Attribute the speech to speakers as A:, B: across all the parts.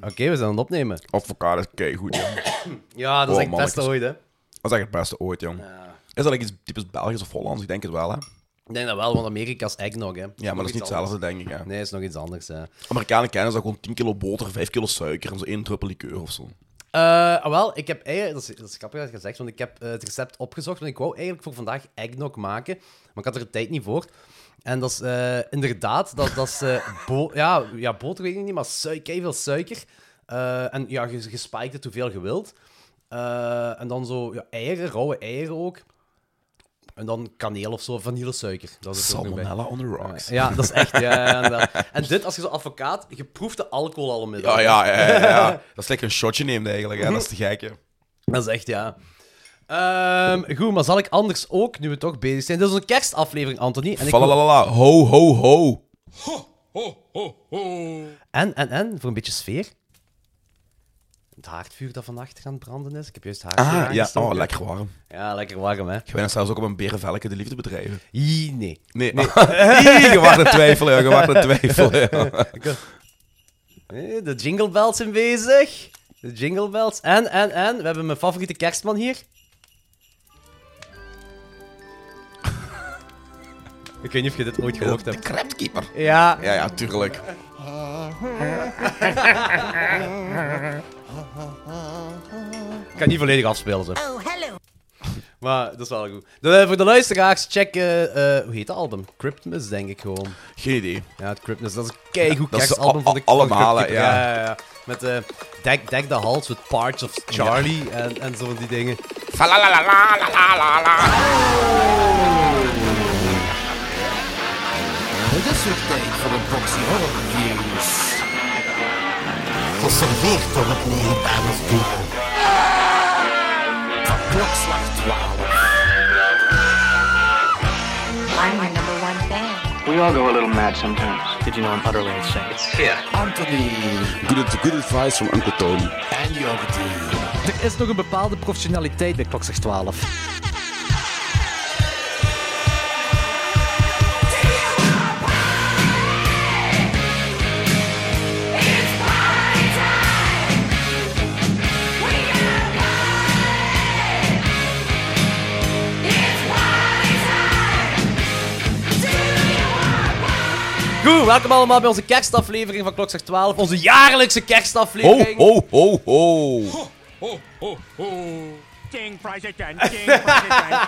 A: Oké, we zijn aan het opnemen.
B: Avocado is kei goed, jong.
A: Ja, dat is
B: Oh,
A: echt het beste ooit, hè.
B: Dat is echt het beste ooit, jong.
A: Ja.
B: Is dat like iets typisch Belgisch of Hollands? Ik denk het wel, hè?
A: Ik denk dat wel, want Amerika is eggnog, hè.
B: Ja, maar dat is niet hetzelfde, denk ik. Hè.
A: Nee, is nog iets anders, hè.
B: Amerikanen kennen dat gewoon 10 kilo boter, 5 kilo suiker en zo één druppel liqueur of zo.
A: Eh, ah, wel, ik heb eigenlijk, dat is, dat is grappig dat je dat zegt, want ik heb eh, het recept opgezocht, want ik wou eigenlijk voor vandaag eggnog maken, maar ik had er de tijd niet voor. En dat is eh, inderdaad, dat, dat is, eh, bo- ja, ja, boter weet ik niet, maar suiker, veel suiker. Eh, en ja, je, je spiked het hoeveel je wilt. Eh, en dan zo, ja, eieren, rauwe eieren ook. En dan kaneel of zo, vanillesuiker. Dat is het ook nog bij.
B: Salmonella on the rocks.
A: Ja, dat is echt, ja, ja, inderdaad. En dit, als je zo advocaat, je proeft de alcohol al onmiddellijk.
B: Ah, Ja, ja, ja, ja, ja. Dat is lekker een shotje neemt eigenlijk, hè. Dat is te gek, hè.
A: Dat is echt, ja. Ehm, goed, maar zal ik anders ook, nu we toch bezig zijn... Dit is een kerstaflevering, Anthony. En, ik wil-
B: Falalala, ho, ho, ho.
A: en, en, en, voor een beetje sfeer. Het haardvuur dat vannacht gaan branden is. Ik heb juist het haardvuur
B: Ah, ja.
A: aangestoken.
B: Oh, lekker warm.
A: Ja, likker warm, hè.
B: Ik ben zelfs ook op een berenvelken de liefde bedrijven.
A: Ih, nee.
B: Nee. Ih, je wacht te twijfelen, ja, je wacht te twijfelen. ja.
A: Eh, De jingle bells zijn bezig. De jingle bells. En, en, en, we hebben mijn favoriete kerstman hier. Ik weet niet of je dit ooit gehoord
B: De
A: hebt.
B: crabkeeper.
A: Ja,
B: Ja, ja, tuurlijk.
A: ik kan niet volledig afspelen, zo.
C: Oh, hello.
A: Maar dat is wel goed. De- eh, voor de luisteraars, check... eh, eh, hoe heet dat album? Cryptmus, denk ik gewoon.
B: Geen idee.
A: Ja, het Cryptmus. Dat is een keigoed
B: Dat is
A: kerstalbum
B: al-
A: van de
B: al-
A: van de
B: allemaal,
A: Cryptkeeper.
B: hè,
A: ja, ja, ja. Met eh Dek, Dek de Hals, met Parts of Charlie en, en zo van die dingen.
B: Falalalalalalalala.
D: Het is weer tijd voor een boxy horror reviews. Geserveerd door het leerbare vuur. Van klokslag 12.
C: I'm your number one fan.
E: We all go a little mad sometimes. Did you know I'm utterly insane?
D: Anthony
F: Good, good advice from Uncle Tony.
D: en Jordi.
G: Er is nog een bepaalde professionaliteit bij klok 12.
A: Goed, welkom allemaal bij onze kerstaflevering van Klokslag 12. Onze jaarlijkse
B: Ho,
A: kerstaflevering.
B: ho, ho, ho.
H: King President, King President,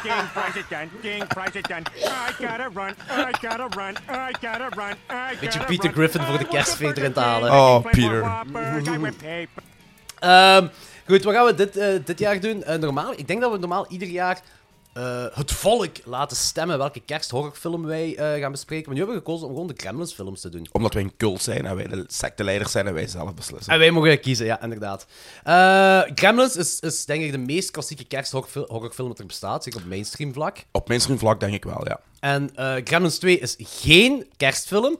H: King President, King President. I gotta run, I gotta run, I gotta run, I gotta
A: Beetje
H: run.
A: Peter Griffin voor de
H: I
A: kerstfeer
H: want the
A: erin te halen.
H: burger
B: Oh,
H: king, flavor
B: Peter.
H: whopper, guy with paper.
A: Ehm, goed, wat gaan we dit, eh, dit jaar doen? Eh, normaal, ik denk dat we normaal ieder jaar eh, het volk laten stemmen welke kersthorrorfilm wij eh, gaan bespreken. Maar nu hebben we gekozen om gewoon de Kremlins-films te doen.
B: Omdat wij een cult zijn en wij de secteleiders zijn en wij zelf beslissen.
A: En wij mogen kiezen, ja, inderdaad. Eh Gremlins is, is denk ik de meest klassieke kersthorrorfilm dat er bestaat, zeker op mainstream vlak.
B: Op mainstream vlak denk ik wel, ja.
A: En eh, Gremlins 2 is geen kerstfilm,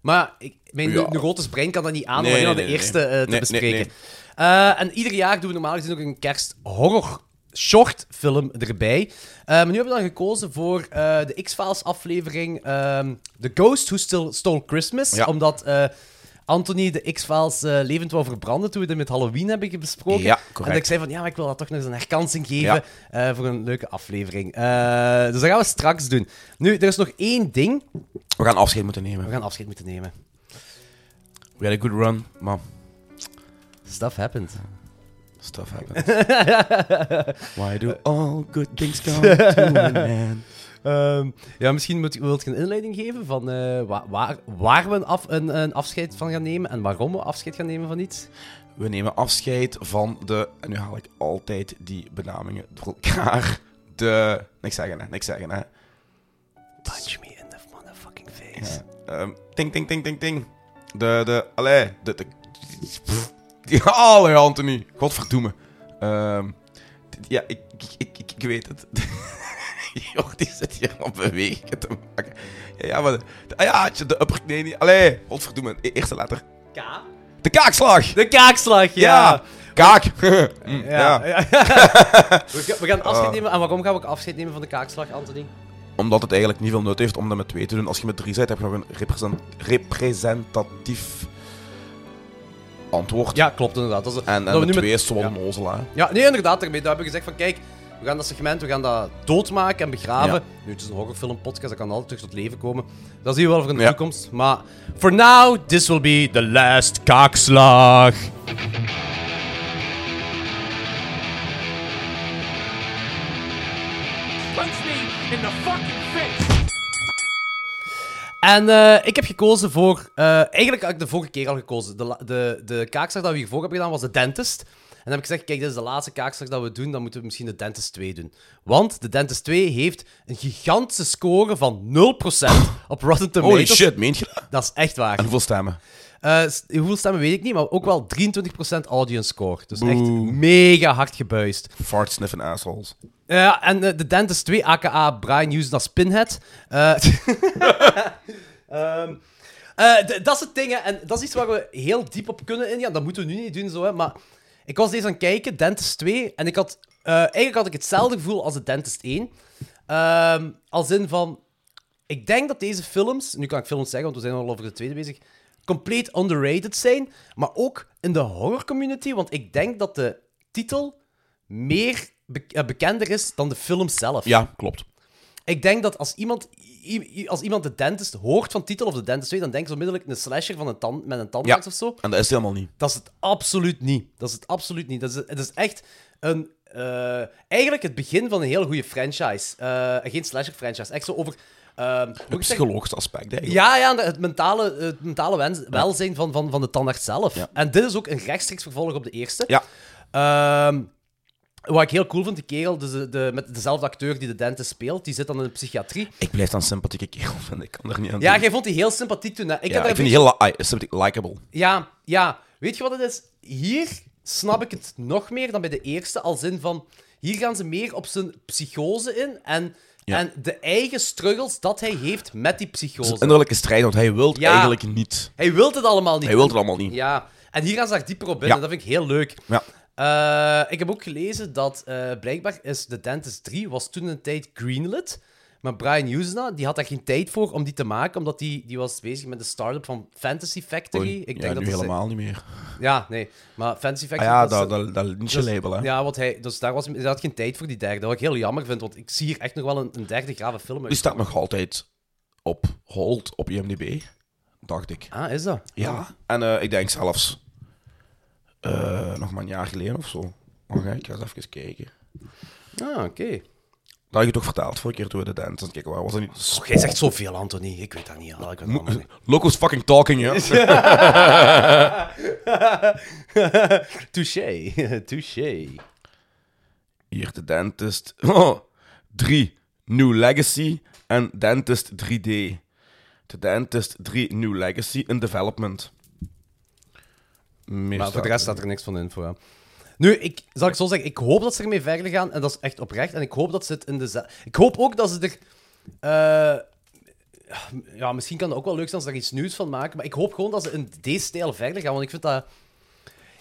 A: maar ik, mijn
B: Ja.
A: neu- neurotisch brein kan dat niet aan om
B: Nee,
A: alleen
B: nee,
A: al de
B: nee,
A: eerste
B: nee.
A: eh, te
B: Nee,
A: bespreken.
B: nee, nee.
A: Eh, en ieder jaar doen we normaal gezien ook een kersthorror shortfilm erbij. Eh, maar nu hebben we dan gekozen voor eh, de X-Files aflevering ehm, The Ghost Who Still Stole Christmas,
B: Ja.
A: omdat... eh, Anthony de X-Files eh, levend wou verbranden toen we dat met Halloween hebben besproken.
B: Ja,
A: en
B: correct.
A: dat ik zei van, ja, maar ik wil dat toch nog eens een herkansing geven
B: Ja.
A: eh, voor een leuke aflevering. Eh, dus dat gaan we straks doen. Nu, er is nog één ding.
B: We gaan afscheid moeten
A: We
B: nemen.
A: gaan afscheid moeten nemen.
B: We had a good run, maar
A: Stuff happened.
B: stuff happens. Why do
A: Eh.
B: all good things come to an end?
A: Ehm, ja, misschien moet, wilt je een inleiding geven van eh, wa- waar, waar we een, af, een, een afscheid van gaan nemen en waarom we afscheid gaan nemen van iets.
B: We nemen afscheid van de... En nu haal ik altijd die benamingen door elkaar. De... Niks zeggen, hè. Niks zeggen, hè.
A: Punch me in the motherfucking face.
B: Ja. Ehm, ting, ting, ting, ting, ting. De, de... Allee. De... de die, allee, Anthony. Godverdoeme. Ehm, dit- ja, ik, ik, ik, ik, ik weet het. Jordi zit hier op bewegen te maken. Ja, ja maar... De, de- ah ja, tje, de upper... Nee, niet... Allee. Godverdoeme. E- Eerste letter.
A: K.
B: De kaakslag.
A: De kaakslag,
B: Ja.
A: ja.
B: Kaak. Mm, ja.
A: ja. Oh. we, ga- we gaan afscheid nemen. En waarom gaan we ook afscheid nemen van de kaakslag, Anthony?
B: Omdat het eigenlijk niet veel nut heeft om dat met twee te doen. Als je met drie bent, heb je nog een represent- representatief antwoord.
A: Ja, klopt inderdaad. Dat is,
B: En,
A: dat
B: en
A: we nu
B: de
A: met-
B: twee is zo
A: ja.
B: een onnozelaar.
A: Ja, nee, inderdaad. Daarmee daar hebben we gezegd van, kijk, we gaan dat segment, we gaan dat doodmaken en begraven. Nu, het is een horrorfilm podcast, dat kan altijd terug tot leven komen. Dat zien we wel voor in de
B: Ja.
A: toekomst. Maar for now, this will be the last kaakslag. En eh, ik heb gekozen voor. eh, eigenlijk had ik de vorige keer al gekozen. De, la- de, de kaakslag dat we hiervoor hebben gedaan was de Dentist. En dan heb ik gezegd: kijk, dit is de laatste kaakslag dat we doen. Dan moeten we misschien de Dentist 2 doen. Want de Dentist 2 heeft een gigantische score van 0% op Rotten Tomatoes.
B: Holy shit, meent je dat?
A: Dat is echt waar.
B: En hoeveel stemmen?
A: Eh, s- hoeveel stemmen weet ik niet, maar ook wel 23% audience score. Dus echt mega hard gebuist.
B: Fart sniffen assholes.
A: Ja, en eh, de Dentist 2, aka Brian Hughes als Pinhead. Eh, ehm, eh, d- dat is het ding, hè, en dat is iets waar we heel diep op kunnen ingaan. Dat moeten we nu niet doen, zo, hè, maar ik was deze aan het kijken, Dentist 2, en ik had, eh, eigenlijk had ik hetzelfde gevoel als de Dentist 1. Ehm, als in van, ik denk dat deze films, nu kan ik films zeggen, want we zijn al over de tweede bezig, compleet underrated zijn, maar ook in de horror community, want ik denk dat de titel meer be- eh, bekender is dan de film zelf.
B: Ja, klopt.
A: Ik denk dat als iemand, i- i- als iemand de dentist hoort van titel of de dentist 2, dan denkt ze onmiddellijk een slasher van een tand, met een tandarts
B: Ja.
A: of zo.
B: En dat is het helemaal niet.
A: Dat is het absoluut niet. Dat is het absoluut niet. Dat is, het is echt een, eh, eigenlijk het begin van een heel goede franchise. Eh, geen slasher franchise. Echt zo over. ehm, hoe
B: Het
A: moet ik zeggen?
B: psychologisch aspect eigenlijk.
A: Ja, ja, de- het mentale, het mentale wens- welzijn van, van, van de tandarts zelf.
B: Ja.
A: En dit is ook een rechtstreeks vervolg op de eerste.
B: Ja.
A: Ehm, wat ik heel cool vond, die kerel, dus de, de, met dezelfde acteur die de dentist speelt, die zit dan in de psychiatrie.
B: Ik blijf dan sympathieke kerel vinden. Ik kan er niet aan
A: Ja,
B: doen.
A: jij vond die heel sympathiek toen. Hè? Ik,
B: Ja,
A: heb daar
B: ik vind
A: een
B: die heel li- ah, sympathiek, likable.
A: beetje- ja, ja, weet je wat het is? Hier snap ik het nog meer dan bij de eerste, als in van... Hier gaan ze meer op zijn psychose in en,
B: Ja.
A: en de eigen struggles dat hij heeft met die
B: Het is
A: psychose.
B: een innerlijke strijd, want hij wil
A: Ja.
B: eigenlijk niet.
A: Hij wil het allemaal niet.
B: Hij wil het allemaal niet.
A: Ja, en hier gaan ze daar dieper op binnen.
B: Ja.
A: Dat vind ik heel leuk.
B: Ja.
A: Eh, ik heb ook gelezen dat eh, blijkbaar is The Dentist 3 was toen een tijd greenlit. Maar Brian Usna, die had daar geen tijd voor om die te maken, omdat die, die was bezig met de start-up van Fantasy Factory.
B: Oei, ja, nu
A: dat is-
B: helemaal niet meer.
A: Ja, nee. Maar Fantasy
B: Ah
A: Factory...
B: ja,
A: is-
B: dat, dat, dat
A: dus-
B: lynch-label, hè.
A: Ja, want hij, dus daar was, hij had geen tijd voor die derde. Wat ik heel jammer vind, want ik zie hier echt nog wel een, een derde grave film
B: Die
A: uit.
B: staat nog altijd op hold op IMDb, dacht ik.
A: Ah, is dat?
B: Ja. En eh, ik denk zelfs eh, nog maar een jaar geleden of zo. Wacht, hè, ik ga eens even kijken.
A: Ah, oké.
B: Dat had je toch verteld vorige keer toen we de dance aan het kijken waren. Was dat niet...
A: Jij zegt zoveel, Anthony. Ik weet dat niet. al. Ik weet dat allemaal niet.
B: Locals fucking talking, ja.
A: touché, touché.
B: Hier, de Dentist. Oh, 3. New Legacy en Dentist 3D. De Dentist 3 New Legacy in development.
A: Maar voor
B: Meer
A: de
B: staat
A: rest staat er niks van info. Hè. Nu, ik, zal ik zo zeggen, ik hoop dat ze ermee verder gaan. En dat is echt oprecht. En ik hoop dat ze het in de... ze- Ik hoop ook dat ze er... eh, ja, misschien kan het ook wel leuk zijn als ze daar iets nieuws van maken. Maar ik hoop gewoon dat ze in deze stijl verder gaan. Want ik vind dat...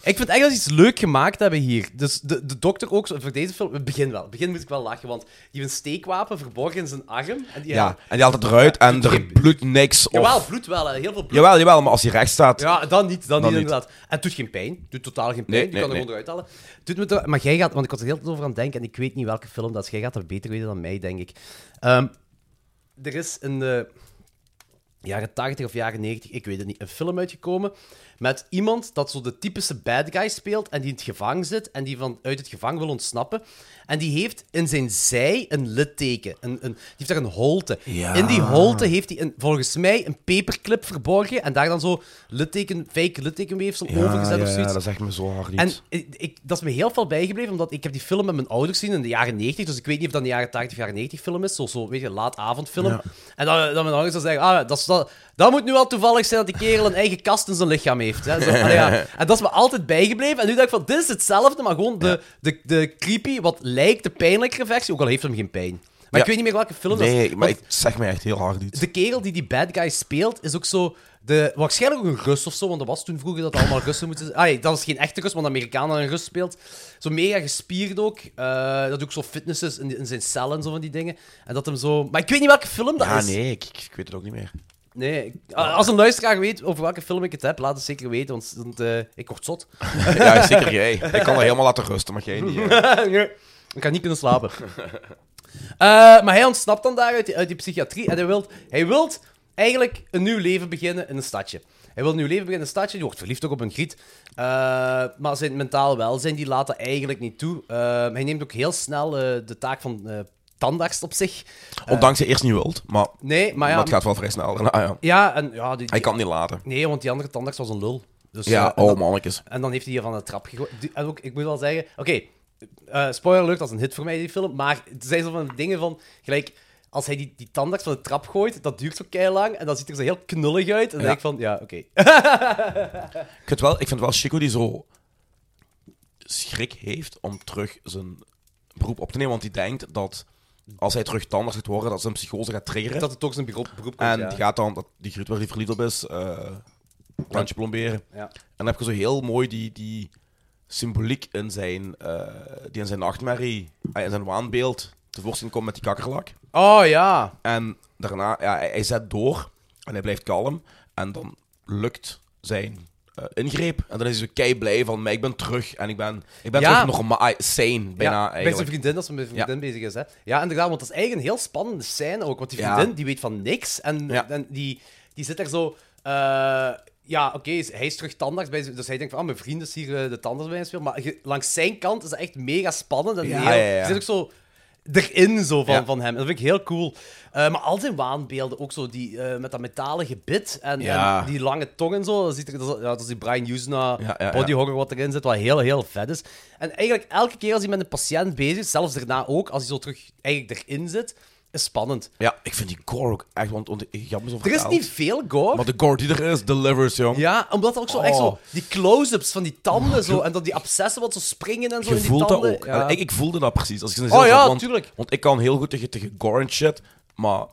A: Ik vind echt dat ze iets leuk gemaakt hebben hier. Dus de, de dokter ook, zo, voor deze film... Het begin wel. Het begin moet ik wel lachen, want die heeft een steekwapen verborgen in zijn arm. En die,
B: Ja, en die haalt het eruit en er bloedt niks. Of...
A: Jawel, bloed wel. hè. Heel veel bloed.
B: Jawel, jawel, maar als hij recht staat.
A: Ja, dan niet, dan,
B: Dan
A: niet,
B: niet.
A: inderdaad. En het doet geen pijn, doet totaal geen pijn,
B: Nee,
A: je
B: nee,
A: kan er
B: nee.
A: gewoon eruit halen. Doet me te- maar jij gaat, want ik was er heel tijd over aan het denken en ik weet niet welke film dat is, jij gaat dat beter weten dan mij, denk ik. Ehm, er is in de jaren 80 of jaren 90, ik weet het niet, een film uitgekomen met iemand dat zo de typische bad guy speelt en die in het gevangen zit en die van, uit het gevangen wil ontsnappen. En die heeft in zijn zij een litteken, een, een, die heeft daar een holte.
B: Ja.
A: In die holte heeft hij een, volgens mij een paperclip verborgen en daar dan zo litteken, fake littekenweefsel
B: Ja,
A: overgezet
B: Ah, ja,
A: of zoiets.
B: ja, dat zegt me zo hard
A: En
B: iets.
A: ik, ik- dat is me heel veel bijgebleven, omdat ik heb die film met mijn ouders gezien in de jaren 90. Dus ik weet niet of dat een jaren 80 of jaren 90 film is. Zo, zo weet je, laatavondfilm.
B: Ja.
A: En dan, dan mijn ouders dan zeggen, ah, dat, is, dat, dat moet nu wel toevallig zijn dat die kerel een eigen kast in zijn lichaam heeft. Hè. Zo, allee, ja. En dat is me altijd bijgebleven. En nu dacht ik van, dit is hetzelfde, maar gewoon de, de, de creepy, wat lijkt de pijnlijkere versie, ook al heeft hem geen pijn. Maar
B: Ja.
A: ik weet niet meer welke film dat is.
B: Nee, maar
A: Want-
B: ik zeg mij echt heel hard iets.
A: de kerel die die bad guy speelt, is ook zo... De, waarschijnlijk ook een Rus of zo, want dat was toen vroeger dat allemaal Russen moeten zijn. Ah, nee, dat is geen echte Rus, want een Amerikaan dat een Rus speelt. Zo mega gespierd ook. eh, dat ook zo fitness is in, in zijn cellen, zo van die dingen. En dat hem zo... Maar ik weet niet welke film dat
B: Ja,
A: is.
B: nee, ik, ik- ik weet het ook niet meer.
A: Nee, ik- a- als een luisteraar weet over welke film ik het heb, laat het zeker weten, want want, eh, ik word zot.
B: Ja, zeker jij. Ik kan dat helemaal laten rusten, maar jij niet. hè.
A: Nee, ik ga niet kunnen slapen. Eh, maar hij ontsnapt dan daar uit die, uit die psychiatrie en hij wil hij wilt eigenlijk een nieuw leven beginnen in een stadje. Hij wil een nieuw leven beginnen in een stadje, die wordt verliefd ook op een griet. Eh, maar zijn mentaal welzijn die laat dat eigenlijk niet toe. Eh, hij neemt ook heel snel eh, de taak van eh, tandarts op zich.
B: Ondanks je eerst niet wilt, maar,
A: Nee, maar
B: maar
A: ja...
B: het gaat wel vrij snel. daarna, ja.
A: Ja, en ja... Die,
B: Hij kan het niet laten.
A: Nee, want die andere tandarts was een lul. Dus, eh,
B: Ja,
A: en
B: oh
A: dan-
B: mannetjes.
A: en dan heeft hij hier van de trap gegooid. Die- En ook, ik moet wel zeggen, oké, eh, spoiler alert, dat is een hit voor mij, die film. Maar er zijn zo van dingen van, gelijk, als hij die, die tandarts van de trap gooit, dat duurt zo keihard lang. En dan ziet er zo heel knullig uit. En dan
B: Ja.
A: denk ik van, ja, oké.
B: Ik vind, wel, ik vind wel Chico die zo schrik heeft om terug zijn beroep op te nemen. Want die denkt dat als hij terug tandarts gaat worden, dat zijn psychose gaat triggeren.
A: Dat het toch zijn beroep, beroep komt,
B: en
A: ja.
B: die gaat dan, dat, die gruut waar die verliefd op is, eh tandje plomberen.
A: Ja.
B: En dan heb je zo heel mooi die, die symboliek in zijn, eh, die in zijn nachtmerrie, eh, in zijn waanbeeld tevoorschijn komt met die kakkerlak.
A: Oh ja.
B: En daarna, ja, hij, hij zet door en hij blijft kalm. En dan lukt zijn eh, ingreep. En dan is hij zo kei blij van, maar ik ben terug. En ik ben, ik ben
A: Ja.
B: terug normaal, ah, sane bijna
A: ja, bij zijn
B: eigenlijk.
A: vriendin, als ze met zijn
B: Ja.
A: vriendin bezig is. Hè. Ja, inderdaad, want dat is eigenlijk een heel spannende scène ook. Want die
B: Ja.
A: vriendin, die weet van niks. En,
B: Ja.
A: en die, die zit daar zo... eh, ja, oké, hij is terug tandarts bij zijn- Dus hij denkt van, ah, mijn vriend is hier eh, de tandarts bij mij spelen. Maar ge- langs zijn kant is dat echt mega spannend. En
B: Ja,
A: heel,
B: ja, ja.
A: die zit ook zo erin zo van,
B: Ja.
A: van hem. Dat vind ik heel cool. Eh, maar al zijn waanbeelden, ook zo die, eh, met dat metalen gebit en,
B: Ja.
A: en die lange tong en zo. Dat, ziet er, dat, is, ja, dat is die Brian Usna
B: Ja, ja, ja.
A: body horror wat erin zit, wat heel, heel vet is. En eigenlijk elke keer als hij met een patiënt bezig is, zelfs daarna ook, als hij zo terug eigenlijk erin zit, is spannend.
B: Ja, ik vind die gore ook echt, want, want ik had me zo
A: Er is
B: verteld.
A: niet veel gore.
B: Nou. Maar de gore die er is, delivers, jong.
A: Ja, omdat dat ook zo echt
B: Oh.
A: zo... Die close-ups van die tanden zo, en dat die abscessen wat zo springen en zo
B: Je
A: in die
B: voelt dat
A: tanden.
B: ook.
A: Ja.
B: En ik, ik voelde dat precies. Als ik in de
A: Oh
B: zin
A: ja,
B: zat, want,
A: tuurlijk.
B: Want ik kan heel goed tegen, tegen gore en shit, maar...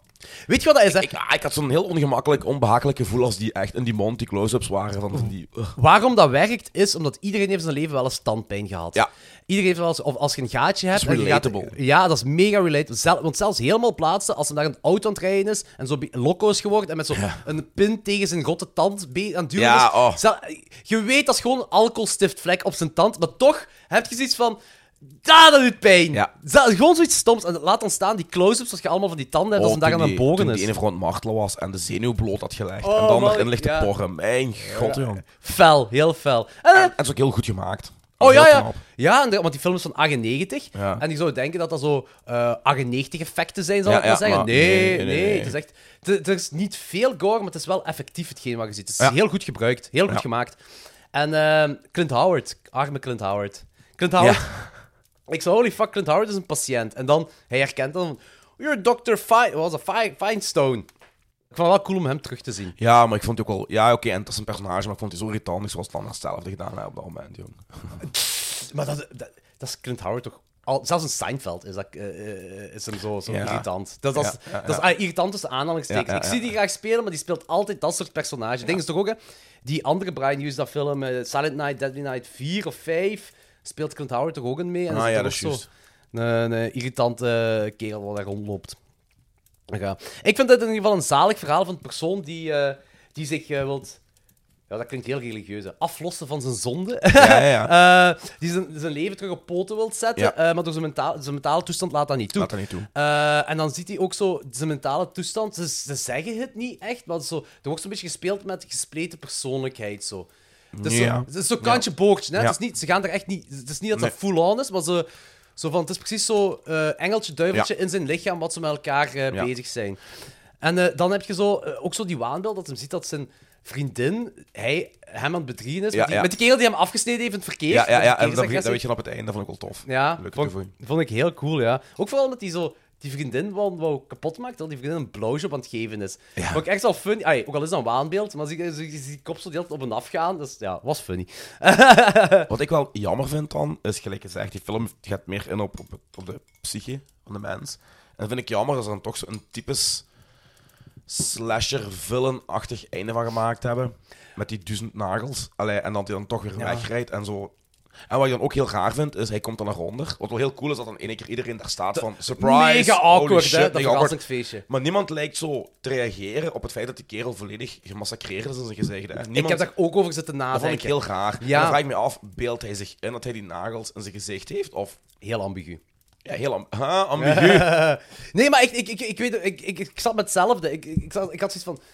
A: Weet je wat dat is, hè?
B: Ik, ah, ik had zo'n heel ongemakkelijk, onbehagelijk gevoel als die echt in die mond, die close-ups waren van van die... oh, ugh.
A: Waarom dat werkt, is omdat iedereen heeft in zijn leven wel eens tandpijn gehad.
B: Ja.
A: Iedereen heeft wel eens, of als je een gaatje hebt...
B: Dat is
A: en je gaat-
B: relatable.
A: ja, dat is mega relatable. Zel- want zelfs helemaal plaatsen, als hem daar een auto aan het rijden is, en zo bij- loco is geworden, en met zo'n een pin tegen zijn rotte tand be- aan het duwen
B: Ja,
A: is.
B: oh.
A: Zel- je weet, dat is gewoon een alcoholstiftvlek op zijn tand, maar toch heb je zoiets van... "Ah, dat doet pijn.
B: Ja.
A: Zel- gewoon zoiets stoms. En laat ontstaan die close-ups, als je allemaal van die tanden hebt, als hem
B: Oh,
A: daar aan
B: toen
A: het
B: die-
A: bogen
B: toen
A: is.
B: die ene vrouw aan het martelen was en de zenuw bloot had gelegd.
A: Oh,
B: en dan
A: man,
B: erin ligt te
A: ja.
B: porren. Mijn god, jong.
A: Fel, heel fel. En, eh,
B: En het is ook heel goed gemaakt.
A: Oh
B: Heel
A: ja, ja.
B: knap.
A: ja en de- want die film is van 98.
B: Ja.
A: En ik zou denken dat dat zo eh 98 effecten zijn, zal
B: Ja,
A: ik maar
B: ja,
A: zeggen.
B: maar
A: nee, nee,
B: nee, nee, nee.
A: Het is echt, het- er is niet veel gore, maar het is wel effectief hetgeen wat je ziet. Het is
B: Ja.
A: heel goed gebruikt, heel goed
B: Ja.
A: gemaakt. En ehm, Clint Howard, arme Clint Howard. Clint Howard, ik zei, holy fuck, Clint Howard is een patiënt. En dan, hij herkent dan, you're Dr. Fi was a Fi- Finestone. Ik vond het wel cool om hem terug te zien.
B: Ja, maar ik vond het ook wel... Ja, oké, en het is een personage, maar ik vond het zo irritant zoals het dan hetzelfde gedaan hebben op dat moment, jong.
A: Maar dat, dat, dat is Clint Howard toch... Al, zelfs in Seinfeld is, dat, eh, eh, is hem zo, zo
B: Ja.
A: irritant. Dat, dat, is-
B: Ja, ja,
A: dat is ah, irritant tussen aanhalingstekens.
B: Ja, ja,
A: Ik zie die graag spelen, maar die speelt altijd dat soort personages. Ding is toch ook, hè, die andere Brian Hughes, dat film eh, Silent Night, Deadly Night 4 of 5, speelt Clint Howard toch ook in mee? En
B: Ah,
A: zit
B: ja,
A: er
B: dat
A: ook
B: is
A: zo
B: juist.
A: Een, een irritante kerel wat daar rondloopt. Ja. Ik vind dit in ieder geval een zalig verhaal van een persoon die, eh, die zich eh, wilt... Ja, dat klinkt heel religieus, hè. Aflossen van zijn zonde.
B: Ja, ja, ja.
A: Eh, die zijn, zijn leven terug op poten wilt zetten,
B: Ja.
A: eh, maar door zijn, mentaal, zijn mentale toestand laat dat niet toe.
B: Laat dat niet toe.
A: Eh, en dan ziet hij ook zo zijn mentale toestand. Ze, ze zeggen het niet echt, maar zo, er wordt zo'n beetje gespeeld met gespleten persoonlijkheid. Zo. Dus
B: Ja.
A: zo, het is zo'n kantje boogtje. Hè?
B: Ja.
A: Het is niet, ze gaan er echt niet. Het is niet dat dat
B: Nee.
A: full-on is, maar ze, zo van, het is precies zo eh, engeltje, duiveltje
B: Ja.
A: in zijn lichaam wat ze met elkaar eh,
B: Ja.
A: bezig zijn. En eh, dan heb je zo, eh, ook zo die waanbeeld dat hem ziet dat zijn vriendin hij, hem aan het bedriegen is.
B: Ja,
A: met, die,
B: ja.
A: met die kerel die hem afgesneden heeft in het verkeer.
B: Ja,
A: met
B: ja, ja. En dat,
A: verkeersagressie.
B: dat weet je dan op het einde, dat vond ik wel tof.
A: Ja,
B: Leuke
A: vond,
B: toevoeging.
A: vond ik heel cool, ja. Ook vooral omdat die zo die vriendin wou, wou kapot maakt, dat die vriendin een blowjob aan het geven is.
B: Ja.
A: Vond ik echt wel funny. Ai, ook al is dat een waanbeeld, maar zie, zie, zie die kop zo deelt op en af gaan, dus ja, was funny.
B: Wat ik wel jammer vind dan, is gelijk gezegd, die film gaat meer in op, op, op de psyche van de mens. En dat vind ik jammer dat ze dan toch zo'n typisch slasher-villain-achtig einde van gemaakt hebben. Met die duizend nagels. Allee, en dat hij dan toch weer wegrijdt en zo. En wat ik dan ook heel raar vind, is hij komt dan naar onder. Wat wel heel cool is, dat dan in één keer iedereen daar staat van surprise.
A: mega
B: holy
A: awkward,
B: shit,
A: hè, dat
B: mega
A: verrassingsfeestje.
B: Maar niemand lijkt zo te reageren op het feit dat die kerel volledig gemassacreerd is in zijn gezegde. Hè. Niemand,
A: Ik heb daar ook over zitten
B: dat vond ik
A: nadenken. Heel...
B: heel raar. En
A: Ja.
B: dan vraag ik me af, beeldt hij zich in dat hij die nagels in zijn gezicht heeft? Of,
A: ambigu.
B: ja, heel am- huh, ambigu.
A: Nee, maar ik, ik, ik, ik weet ik, ik, ik zat met hetzelfde. Ik, ik, ik, zat- ik had zoiets van...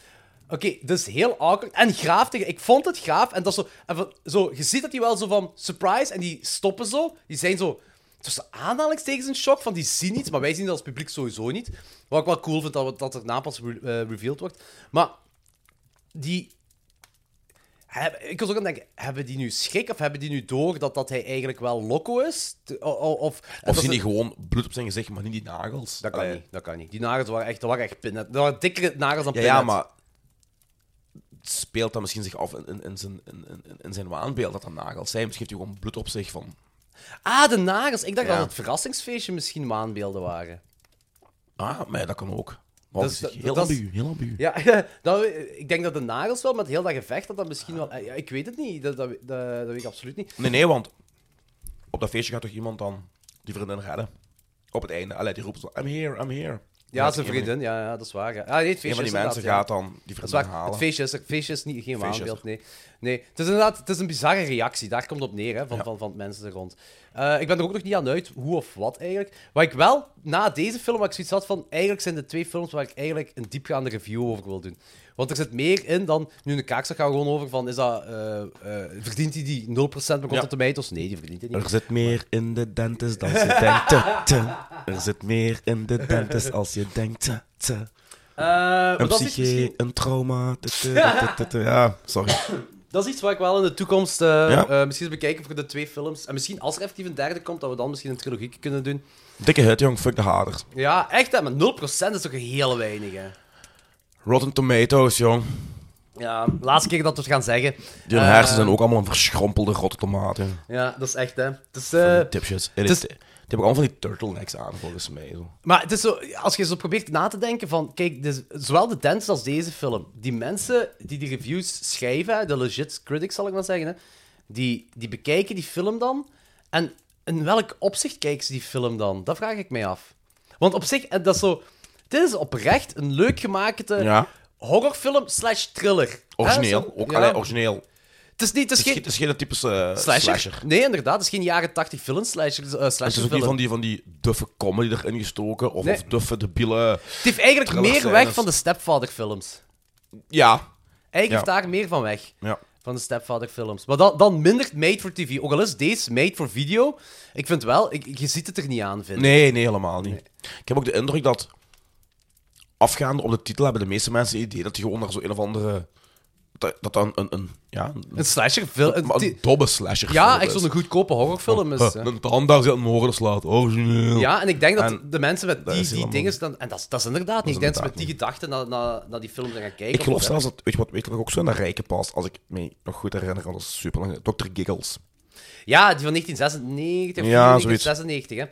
A: Oké, dus heel awkward. En graaf tegen... Ik vond het graaf. En dat is zo, en van- zo... Je ziet dat die wel zo van... Surprise. En die stoppen zo. Die zijn zo... Tussen aanhalingstekens een shock. Van die zien iets. Maar wij zien dat als publiek sowieso niet. Wat ik wel cool vind, dat, we- dat er na pas re- eh, revealed wordt. Maar... Die... heb- ik was ook aan het denken, hebben die nu schrik of hebben die nu door dat, dat hij eigenlijk wel loco is? Te- o- o- Of, dat
B: Of zien
A: ze-
B: die gewoon bloed op zijn gezicht, maar niet die nagels?
A: dat kan
B: Allee.
A: niet, dat kan niet. Die nagels waren echt, dat waren echt pinnet. Dat waren dikkere nagels dan
B: Ja,
A: pinnet.
B: ja, maar speelt dat misschien zich af in, in, in, zijn, in, in- in zijn waanbeeld dat dat nagels zijn? Misschien heeft hij gewoon bloed op zich van...
A: Ah, de nagels. Ik dacht
B: Ja.
A: dat het verrassingsfeestje misschien waanbeelden waren.
B: Ah, maar ja, dat kan ook.
A: Dat
B: Want het
A: is-
B: is
A: dat-
B: heel
A: dat is-
B: ambigu, heel ambigu.
A: Ja, dat, ik denk dat de nagels wel, met heel dat gevecht, dat dat misschien wel... eh, Ja, ik weet het niet, dat, dat, dat, dat weet ik absoluut niet.
B: Nee, nee, want op dat feestje gaat toch iemand dan die vriendin redden? Op het einde. Allee, die roept zo, I'm here, I'm here.
A: Ja,
B: Maar
A: zijn
B: een van die-
A: vriendin, ja, ja, dat is waar. Ja, Ah, nee, het feestje
B: Een van die
A: is
B: mensen
A: inderdaad, ja.
B: gaat dan die
A: Dat is
B: vriendin
A: waar, het
B: halen.
A: feestje is, er- het feestje is niet, geen
B: Feestje is
A: waanbeeld, nee. nee. Het is inderdaad het is een bizarre reactie, daar komt het op neer, hè, van,
B: Ja.
A: van, van de mensen er rond. Eh, ik ben er ook nog niet aan uit, hoe of wat eigenlijk. Wat ik wel, na deze film, waar ik zoiets had van, eigenlijk zijn de twee films waar ik eigenlijk een diepgaande review over wil doen. Want er zit meer in dan, nu in de kaakzak gaan we gewoon over, van, is dat, eh, eh, verdient hij die 0% bij Rotten
B: Ja.
A: Tomatoes? Nee, die verdient hij niet.
B: Er zit meer in de dentist dan je denkt. te, te. Er zit meer in de dentist als je denkt. te, te.
A: Eh, maar
B: Een
A: dat is iets
B: psyche,
A: misschien-
B: een trauma. te, te, te, te, te. Ja, sorry.
A: Dat is iets waar ik wel in de toekomst eh,
B: Ja.
A: eh, misschien eens bekijken voor de twee films. En misschien als er effectief een derde komt, dat we dan misschien een trilogie kunnen doen.
B: Dikke hit, jong. Fuck de haders.
A: Ja, echt, hè, maar 0% is toch heel weinig, hè?
B: Rotten Tomatoes, jong.
A: Ja, laatste keer dat we het gaan zeggen.
B: Die
A: Eh,
B: hersenen zijn ook allemaal een verschrompelde rotte tomaten.
A: Ja, dat is echt, hè. Het is, eh,
B: Tipjes.
A: het is-
B: Die hebben ook allemaal van die turtlenecks aan, volgens mij. Zo.
A: maar het is zo, als je zo probeert na te denken van... Kijk, dus, zowel de dance als deze film. Die mensen die die reviews schrijven, hè, de legit critics, zal ik maar zeggen, hè, die, die bekijken die film dan. En in welk opzicht kijken ze die film dan? Dat vraag ik mij af. Want op zich, eh, dat is zo... Dit is oprecht een leuk gemaakte
B: Ja.
A: horrorfilm slash thriller. hè,
B: Origineel.
A: zo.
B: Ook
A: eh, Ja.
B: alleen origineel.
A: Het is niet... Het is
B: Het is,
A: geen...
B: geen- het is geen typische eh,
A: Slasher?
B: slasher.
A: Nee, inderdaad. Het is geen jaren 80 film slasher. eh, slasher
B: Het is ook
A: film.
B: niet van die, van die duffe comedy erin gestoken. Of,
A: Nee.
B: of duffe debiele...
A: Het heeft eigenlijk
B: thriller
A: meer
B: scènes.
A: weg van de Stepfather films.
B: Ja.
A: Eigenlijk
B: Ja.
A: heeft daar meer van weg.
B: Ja.
A: Van de Stepfather films. Maar dan, dan minder made for TV. Ook al is deze made for video. Ik vind wel, ik, je ziet het er niet aan, vind ik.
B: Nee, nee, helemaal niet. Ik heb ook de indruk dat... Afgaande op de titel hebben de meeste mensen het idee dat je gewoon naar zo een of andere... Dat dat dan een... een ja, een,
A: Een slasher film.
B: maar een dobbe slasher
A: Ja,
B: film
A: echt
B: is.
A: zo'n goedkope horrorfilm is.
B: Huh,
A: hè.
B: Een tandarts die aan het moorden slaat. Oh, Origineel.
A: Ja, en ik denk dat
B: En
A: de mensen met
B: dat
A: die,
B: is
A: die
B: helemaal
A: dingen... Dan, en dat, is- dat is inderdaad niet.
B: is
A: ik denk dat ze met die
B: inderdaad
A: gedachten naar, naar, naar die film gaan kijken.
B: Ik geloof
A: Of-
B: zelfs dat, weet je wat, weet je wat ook zo naar Rijken past, als ik me nog goed herinner, want dat is super lang. Dr. Giggles.
A: Ja, die van 1996 of
B: Ja,
A: 94,
B: zoiets.
A: 96, hè.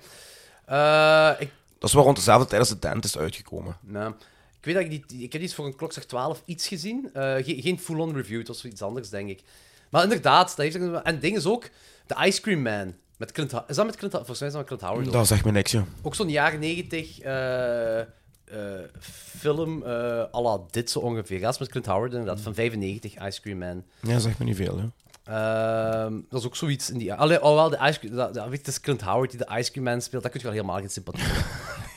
A: Eh, ik
B: Dat is wel rond dezelfde tijd als de tent is uitgekomen.
A: Nou, ik weet dat ik die- die... Ik heb iets voor een klok 12 iets gezien. Eh, ge- geen full-on review, het was zoiets anders, denk ik. Maar inderdaad, dat heeft... er- En het ding is ook... The Ice Cream Man. Met Clint Ho- is dat met Clint Ho- Volgens mij is dat met Clint Howard.
B: Dat zegt me niks, joh.
A: Ook zo'n jaren 90 eh, eh, film eh à la dit zo ongeveer. Ja, dat is met Clint Howard inderdaad. Van 95, Ice Cream Man.
B: Ja, zegt me niet veel, joh.
A: Ehm, dat is ook zoiets in die... Allee, oh wel, de ice cream, dat, dat, weet je, het is Clint Howard die de Ice Cream Man speelt. Daar kun je wel helemaal geen sympathie voor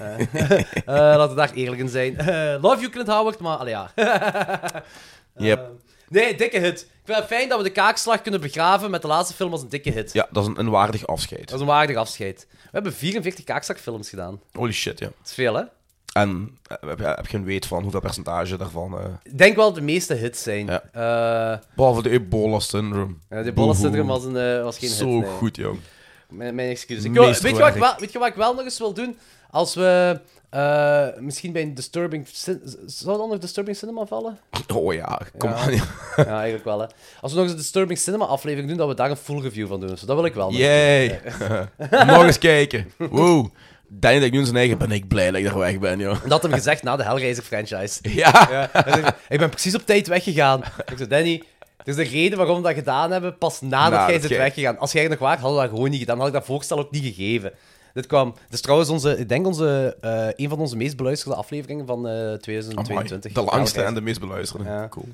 A: hebben. Eh, eh, laten we daar eerlijk in zijn. Eh, love you, Clint Howard, maar allee, ja.
B: Yep.
A: Nee, dikke hit. Ik vind het fijn dat we de kaakslag kunnen begraven met de laatste film als een dikke hit.
B: ja, dat is een, een waardig afscheid.
A: Dat is een waardig afscheid. We hebben 44 kaakslagfilms gedaan.
B: Holy shit, ja.
A: Dat is veel, hè?
B: En eh, heb, je- heb je een weet van hoeveel percentage daarvan... eh
A: Ik denk wel dat de meeste hits zijn.
B: Ja.
A: Eh,
B: behalve de Ebola-syndroom.
A: ja, de Bolla Syndrome was, een, eh, was geen hit.
B: Zo
A: nee.
B: goed, joh.
A: Mijn, mijn excuses. Ik wil- weet, je wat ik
B: Meesterwerk.
A: wel, weet je wat ik wel nog eens wil doen? Als we eh, misschien bij een Disturbing... Cin- Zou dat nog Disturbing Cinema vallen?
B: Oh ja, kom aan. ja.
A: ja, eigenlijk wel, hè. Als we nog eens een Disturbing Cinema aflevering doen, dat we daar een full review van doen. Zo, dat wil ik wel. nog.
B: Yay! Nog eens kijken. Wow. Danny dat ik nu in zijn eigen ben ik blij dat ik daar weg ben, joh.
A: En dat had hem gezegd na de Hellraiser franchise.
B: Ja.
A: Hij zegt, ik ben precies op tijd weggegaan. Ik zei, Danny, Dus de reden waarom we dat gedaan hebben, pas nadat
B: Nadat
A: jij bent
B: jij-
A: weggegaan. Als jij er nog waard, hadden we dat gewoon niet gedaan. Had ik dat voorstel ook niet gegeven. Dit kwam... Dit is trouwens onze, ik denk onze, eh, een van onze meest beluisterde afleveringen van eh,
B: Amai,
A: 2022.
B: de langste
A: Ja,
B: en de meest beluisterde.
A: Ja.
B: Cool.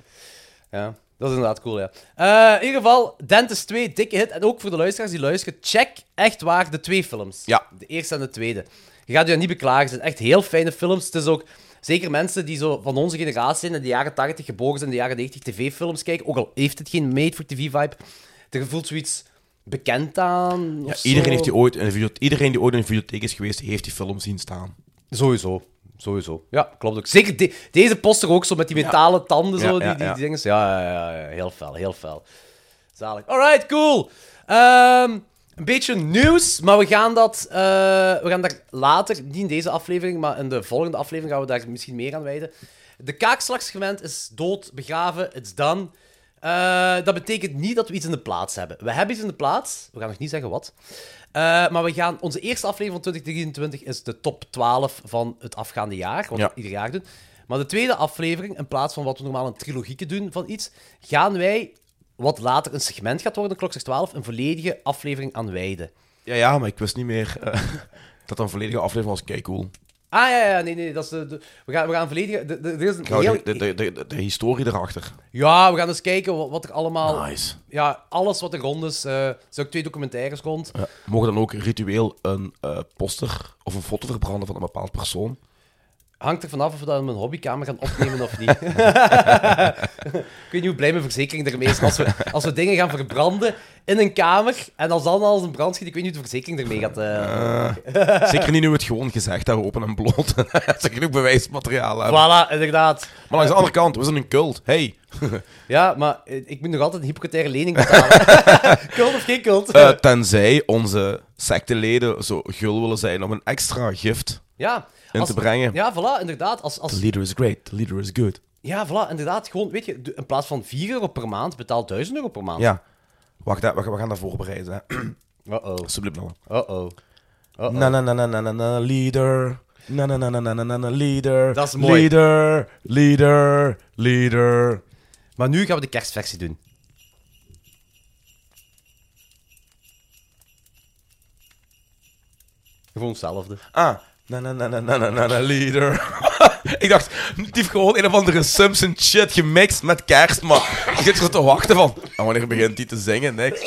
A: Ja, dat is inderdaad cool, ja. Eh, in ieder geval, Dentist 2, dikke hit. En ook voor de luisteraars die luisteren, check echt waar de twee films.
B: Ja.
A: De eerste en de tweede. Je gaat je niet beklagen. Het zijn echt heel fijne films. Het is ook... Zeker mensen die zo van onze generatie zijn, in de jaren 80 geboren zijn, in de jaren 90 tv-films kijken, ook al heeft het geen made-for-tv-vibe, er voelt zoiets bekend aan.
B: Ja,
A: of
B: iedereen,
A: zo.
B: heeft die ooit in de video- iedereen die ooit in de bibliotheek is geweest, heeft die film zien staan.
A: Sowieso. Sowieso. Ja, klopt ook. Zeker de- deze poster ook zo met die metalen tanden, zo,
B: Ja,
A: die,
B: ja,
A: die,
B: ja.
A: dingen. Ja, ja, ja, ja. heel fel, heel fel. Zalig. Alright, cool. Ehm, een beetje nieuws, maar we gaan dat eh, we gaan daar later, niet in deze aflevering, maar in de volgende aflevering gaan we daar misschien meer aan wijden. De kaakslagsgewend is dood, begraven, it's done. Eh, dat betekent niet dat we iets in de plaats hebben. We hebben iets in de plaats, we gaan nog niet zeggen wat. Eh, maar we gaan, onze eerste aflevering van 2023 is de top 12 van het afgaande jaar, wat
B: Ja.
A: we ieder jaar doen. Maar de tweede aflevering, in plaats van wat we normaal een trilogieke doen van iets, gaan wij, wat later een segment gaat worden, klok 12, een volledige aflevering aan wijden.
B: Ja, ja, maar ik wist niet meer eh, dat dat een volledige aflevering was. Kijk, cool.
A: Ah ja, ja, nee, nee, dat is de, de- we, gaan, we gaan volledige. de- de- er is een
B: Trouw,
A: heel,
B: de, de, de, de, de historie erachter.
A: Ja, we gaan eens kijken wat, wat er allemaal.
B: Nice.
A: Ja, alles wat er rond is. eh, er zijn ook twee documentaires rond.
B: Ja. Mogen dan ook ritueel een eh, poster of een foto verbranden van een bepaald persoon?
A: Hangt er vanaf of we dat in mijn hobbykamer gaan opnemen of niet. ik weet niet hoe blij mijn verzekering ermee is. Als we, als we dingen gaan verbranden in een kamer en als dan als een brand schiet, ik weet niet hoe de verzekering ermee gaat. eh
B: Zeker niet nu het gewoon gezegd hebben, open en bloot. Dat je genoeg bewijsmateriaal hebben.
A: Voilà, inderdaad.
B: Maar langs de andere kant, we zijn een cult. Hey,
A: Ja, maar eh, ik moet nog altijd een hypothecaire lening betalen. kult of geen kult?
B: Eh, tenzij onze secteleden zo gul willen zijn om een extra gift.
A: ja.
B: in te brengen.
A: Ja, voilà, inderdaad. Als, als,
B: The leader is great, the leader is good.
A: Ja, voilà, inderdaad. Gewoon, weet je, de- in plaats van 4 euro per maand, betaal 1000 euro per maand.
B: Ja. Wacht, hè, we gaan- we gaan dat voorbereiden. hè.
A: Uh-oh.
B: Subliminal.
A: Uh-oh. Uh-oh.
B: Na na na na na na na leader. Na na na na na na na na leader.
A: Dat is mooi.
B: Leader, leader, leader.
A: Maar nu gaan we de kerstversie doen. Gewoon hetzelfde.
B: Ah. Na na na na na na na na leader. Ik dacht, die heeft gewoon een of andere Simpson shit gemixt met kerst, maar ik zit er te wachten van. En wanneer begint die te zingen? Niks.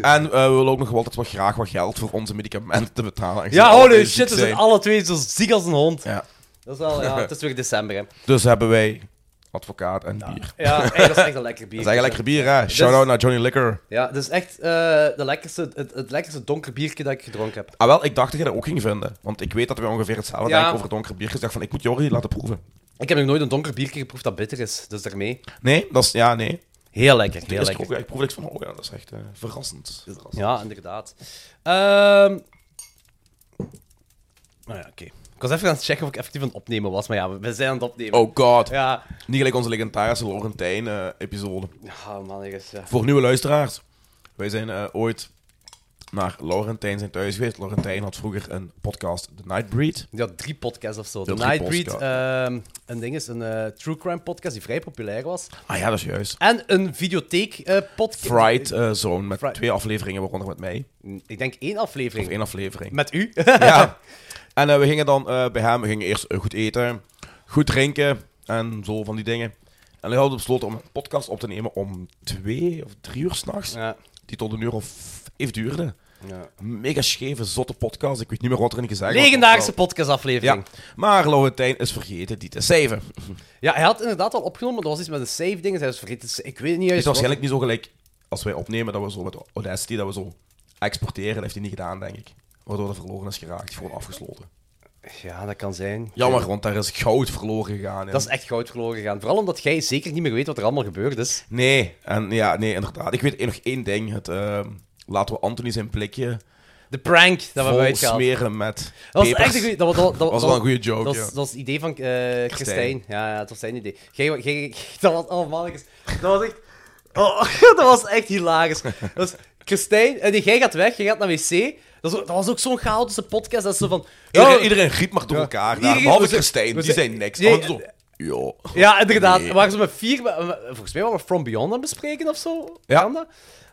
B: En eh, we willen ook nog wel altijd wel graag wat geld voor onze medicamenten te betalen. aangezien
A: Ja,
B: we
A: holy
B: allebei
A: shit,
B: ziek
A: we zijn
B: zijn.
A: alle twee zo ziek als een hond.
B: Ja.
A: Dat is wel, ja, het is weer december, hè.
B: Dus hebben wij advocaat en bier.
A: Ja, hey, dat is echt een lekker bier.
B: Dat is eigenlijk lekker bier, hè? Shout-out naar Johnny Liquor.
A: Ja, dat is echt eh, de lekkerste, het, het lekkerste donker biertje dat ik gedronken heb.
B: Ah, wel, ik dacht dat jij dat ook ging vinden. Want ik weet dat we ongeveer hetzelfde
A: Ja.
B: denken over donkere biertjes. Dus Ik dacht van, ik moet Jordi laten proeven.
A: Ik heb nog nooit een donker biertje geproefd dat bitter is, dus daarmee...
B: Nee, dat is... Ja, nee.
A: Heel lekker, heel
B: Eerst
A: lekker.
B: proef ik, ik proef niks van, oh ja, dat is echt eh, verrassend.
A: Ja, inderdaad. Ehm Nou ja, oké. Ik was even aan het checken of ik effectief aan het opnemen was, maar ja, we- we zijn aan het opnemen.
B: Oh god.
A: Ja.
B: Niet gelijk onze legendarische Laurentijn-episode.
A: Ja, man, ik is... eh, Ja.
B: Voor nieuwe luisteraars. Wij zijn eh, ooit naar Laurentijn zijn thuis geweest. Laurentijn had vroeger een podcast, The Nightbreed.
A: Die had drie podcasts of zo. De
B: Die had drie
A: Nightbreed,
B: podcasts,
A: ehm een ding is, een eh, true crime podcast die vrij populair was.
B: Ah ja, dat is juist.
A: En een videotheek eh, podcast.
B: Fright eh, Zone, met
A: Fright.
B: twee afleveringen, waaronder met mij.
A: Ik denk één aflevering.
B: Of één aflevering.
A: Met u.
B: Ja. En eh, we gingen dan eh, bij hem, we gingen eerst eh, goed eten, goed drinken en zo van die dingen. En we hadden besloten om een podcast op te nemen om twee of drie uur s'nachts,
A: ja.
B: die tot een uur of even duurde.
A: Ja.
B: Mega scheve, zotte podcast, ik weet niet meer wat erin gezegd was.
A: Legendarische
B: Ja,
A: podcastaflevering.
B: maar Laurentijn is vergeten die te saven.
A: Ja. hij had inderdaad al opgenomen, maar dat was iets met een save ding. Hij was vergeten. te sa- Ik weet niet
B: Het is
A: juist. wat-
B: waarschijnlijk niet zo gelijk als wij opnemen dat we zo met Audacity, dat we zo exporteren, dat heeft hij niet gedaan, denk ik. Waardoor dat verloren is geraakt, gewoon afgesloten.
A: Ja, dat kan zijn.
B: Jammer, want daar is goud verloren gegaan. in.
A: Dat is echt goud verloren gegaan. Vooral omdat jij zeker niet meer weet wat er allemaal gebeurd is.
B: Nee, en ja, nee, inderdaad. Ik weet nog één ding. Het, ehm, laten we Anthony zijn blikje
A: De prank dat we
B: vol
A: hebben uitgehaald.
B: smeren met
A: Dat was
B: pepers.
A: echt een goeie, dat, was- dat, dat,
B: was
A: dat-
B: wel een goede joke,
A: Dat, was-
B: ja.
A: dat was het idee van eh Christijn. Ja, ja, dat was zijn idee. Jij, jij, dat was oh man, ik- dat was echt, oh, dat was echt hilarisch. Dat was Christijn, en jij gaat weg, je gaat naar wc. Dat was, ook- dat was ook zo'n chaotische podcast. Dat is zo van.
B: Iedereen,
A: oh,
B: iedereen riep maar door elkaar. daar.
A: iedereen-
B: behalve
A: we zijn-
B: Christijn,
A: we
B: die
A: zijn-
B: zei niks.
A: nee, eh,
B: Oh, zo.
F: Ja.
A: Ja, inderdaad.
F: Nee.
A: Waren ze met vier... eh, Volgens mij waren we From Beyond aan het bespreken of zo.
B: Ja.
A: Kan dat?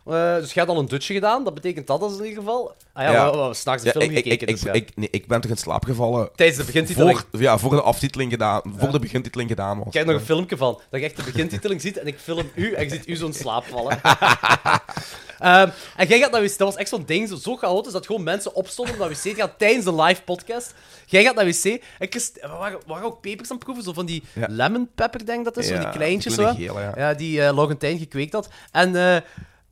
A: Eh, dus jij had al een dutje gedaan, dat betekent dat als in ieder geval. Ah ja,
B: Ja.
A: we, we hebben s'nachts de
B: Ja,
A: film
B: ik, ik,
A: gekeken.
B: ik,
A: dus ja.
B: ik, ik- nee, ik ben toch in slaap gevallen
A: Tijdens de begintiteling.
B: voor, ja, voor de aftiteling gedaan, voor de begintiteling gedaan was.
A: Ik heb nog een filmpje van, dat je echt de begintiteling ziet en ik film u en je ziet u zo'n slaap vallen. Ehm, en jij gaat naar wc, dat was echt zo'n ding, zo, zo chaotisch, dat gewoon mensen opstonden om naar wc te gaan tijdens de live podcast. Jij gaat naar wc en Christ- we waren, we waren ook pepers aan het proeven, zo van die
B: Ja.
A: lemon pepper, denk ik dat is, zo
B: Ja,
A: die kleintjes.
B: die
A: Zo,
B: kleine gele, ja.
A: ja, die eh Laurentijn gekweekt had. En, eh, en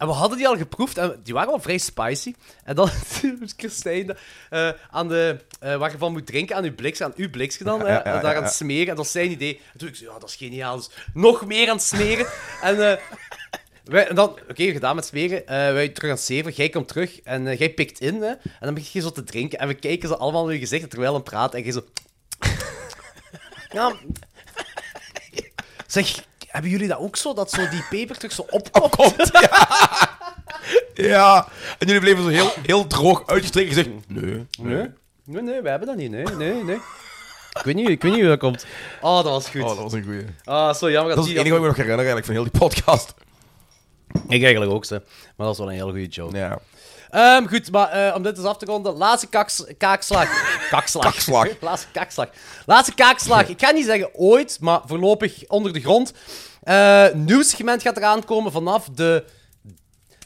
A: we hadden die al geproefd en die waren al vrij spicy. En dan moest Christijn eh, aan de, eh, waar je van moet drinken, aan uw bliks, aan uw bliks gedaan,
B: ja, ja,
A: daar
B: ja,
A: aan
B: ja.
A: het smeren. En dat was zijn idee. En toen ik zo, ja, dat is geniaal. Dus nog meer aan het smeren. en eh, wij, en dan, oké, gedaan met smeren. Eh, wij terug aan het zeven. Jij komt terug en eh, jij pikt in. Hè, en dan begin je zo te drinken. En we kijken ze allemaal in je gezicht terwijl we praten. En jij zo... ja. Zeg, hebben jullie dat ook zo? Dat zo die peper terug zo opkomt?
B: Ja, en jullie bleven zo heel, heel droog uitgestreken en gezegd, nee,
A: Nee. Nee, nee, we hebben dat niet. Nee, nee, nee. Ik weet niet, ik weet niet hoe dat komt. Oh, dat was goed.
B: Oh, dat
A: Ah,
B: was een goeie.
A: zo jammer dat,
B: Dat is
A: die...
B: het enige wat ik me nog herinner eigenlijk van heel die podcast.
A: Ik eigenlijk ook, ze. Maar dat was wel een hele goede joke.
B: Ja.
A: Ehm, goed, maar eh, om dit eens af te ronden. Laatste kaks, kaakslag. Kakslag.
B: Kakslag.
A: Laatste kaakslag. Laatste kaakslag. Ik ga niet zeggen ooit, maar voorlopig onder de grond. Eh nieuw segment gaat eraan komen vanaf de...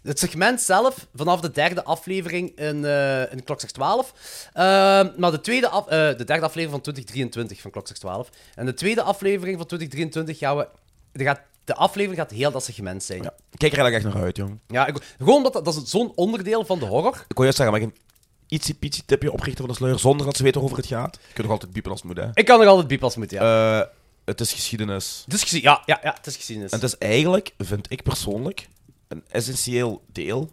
A: Het segment zelf, vanaf de derde aflevering in, eh in Klokslag 12. Ehm, maar de, tweede af, eh, de derde aflevering van 2023 van Klokslag 12. En de tweede aflevering van 2023 gaan we... er gaat, de aflevering gaat heel dat segment zijn.
B: ja.
A: Ja,
B: Ik Kijk er eigenlijk echt naar uit, jong.
A: ik, gewoon omdat dat, dat is zo'n onderdeel van de horror.
B: Ik wil juist zeggen, mag ik een ietsie pietsie tipje oprichten van de sleur zonder dat ze weten waarover het gaat? Je kunt nog altijd piepen als het moet, hè.
A: Ik kan nog altijd bipas moeten, ja.
B: Eh, het is geschiedenis.
A: dus gezien, ja, ja, ja, het is gezien.
B: En het is eigenlijk, vind ik persoonlijk, een essentieel deel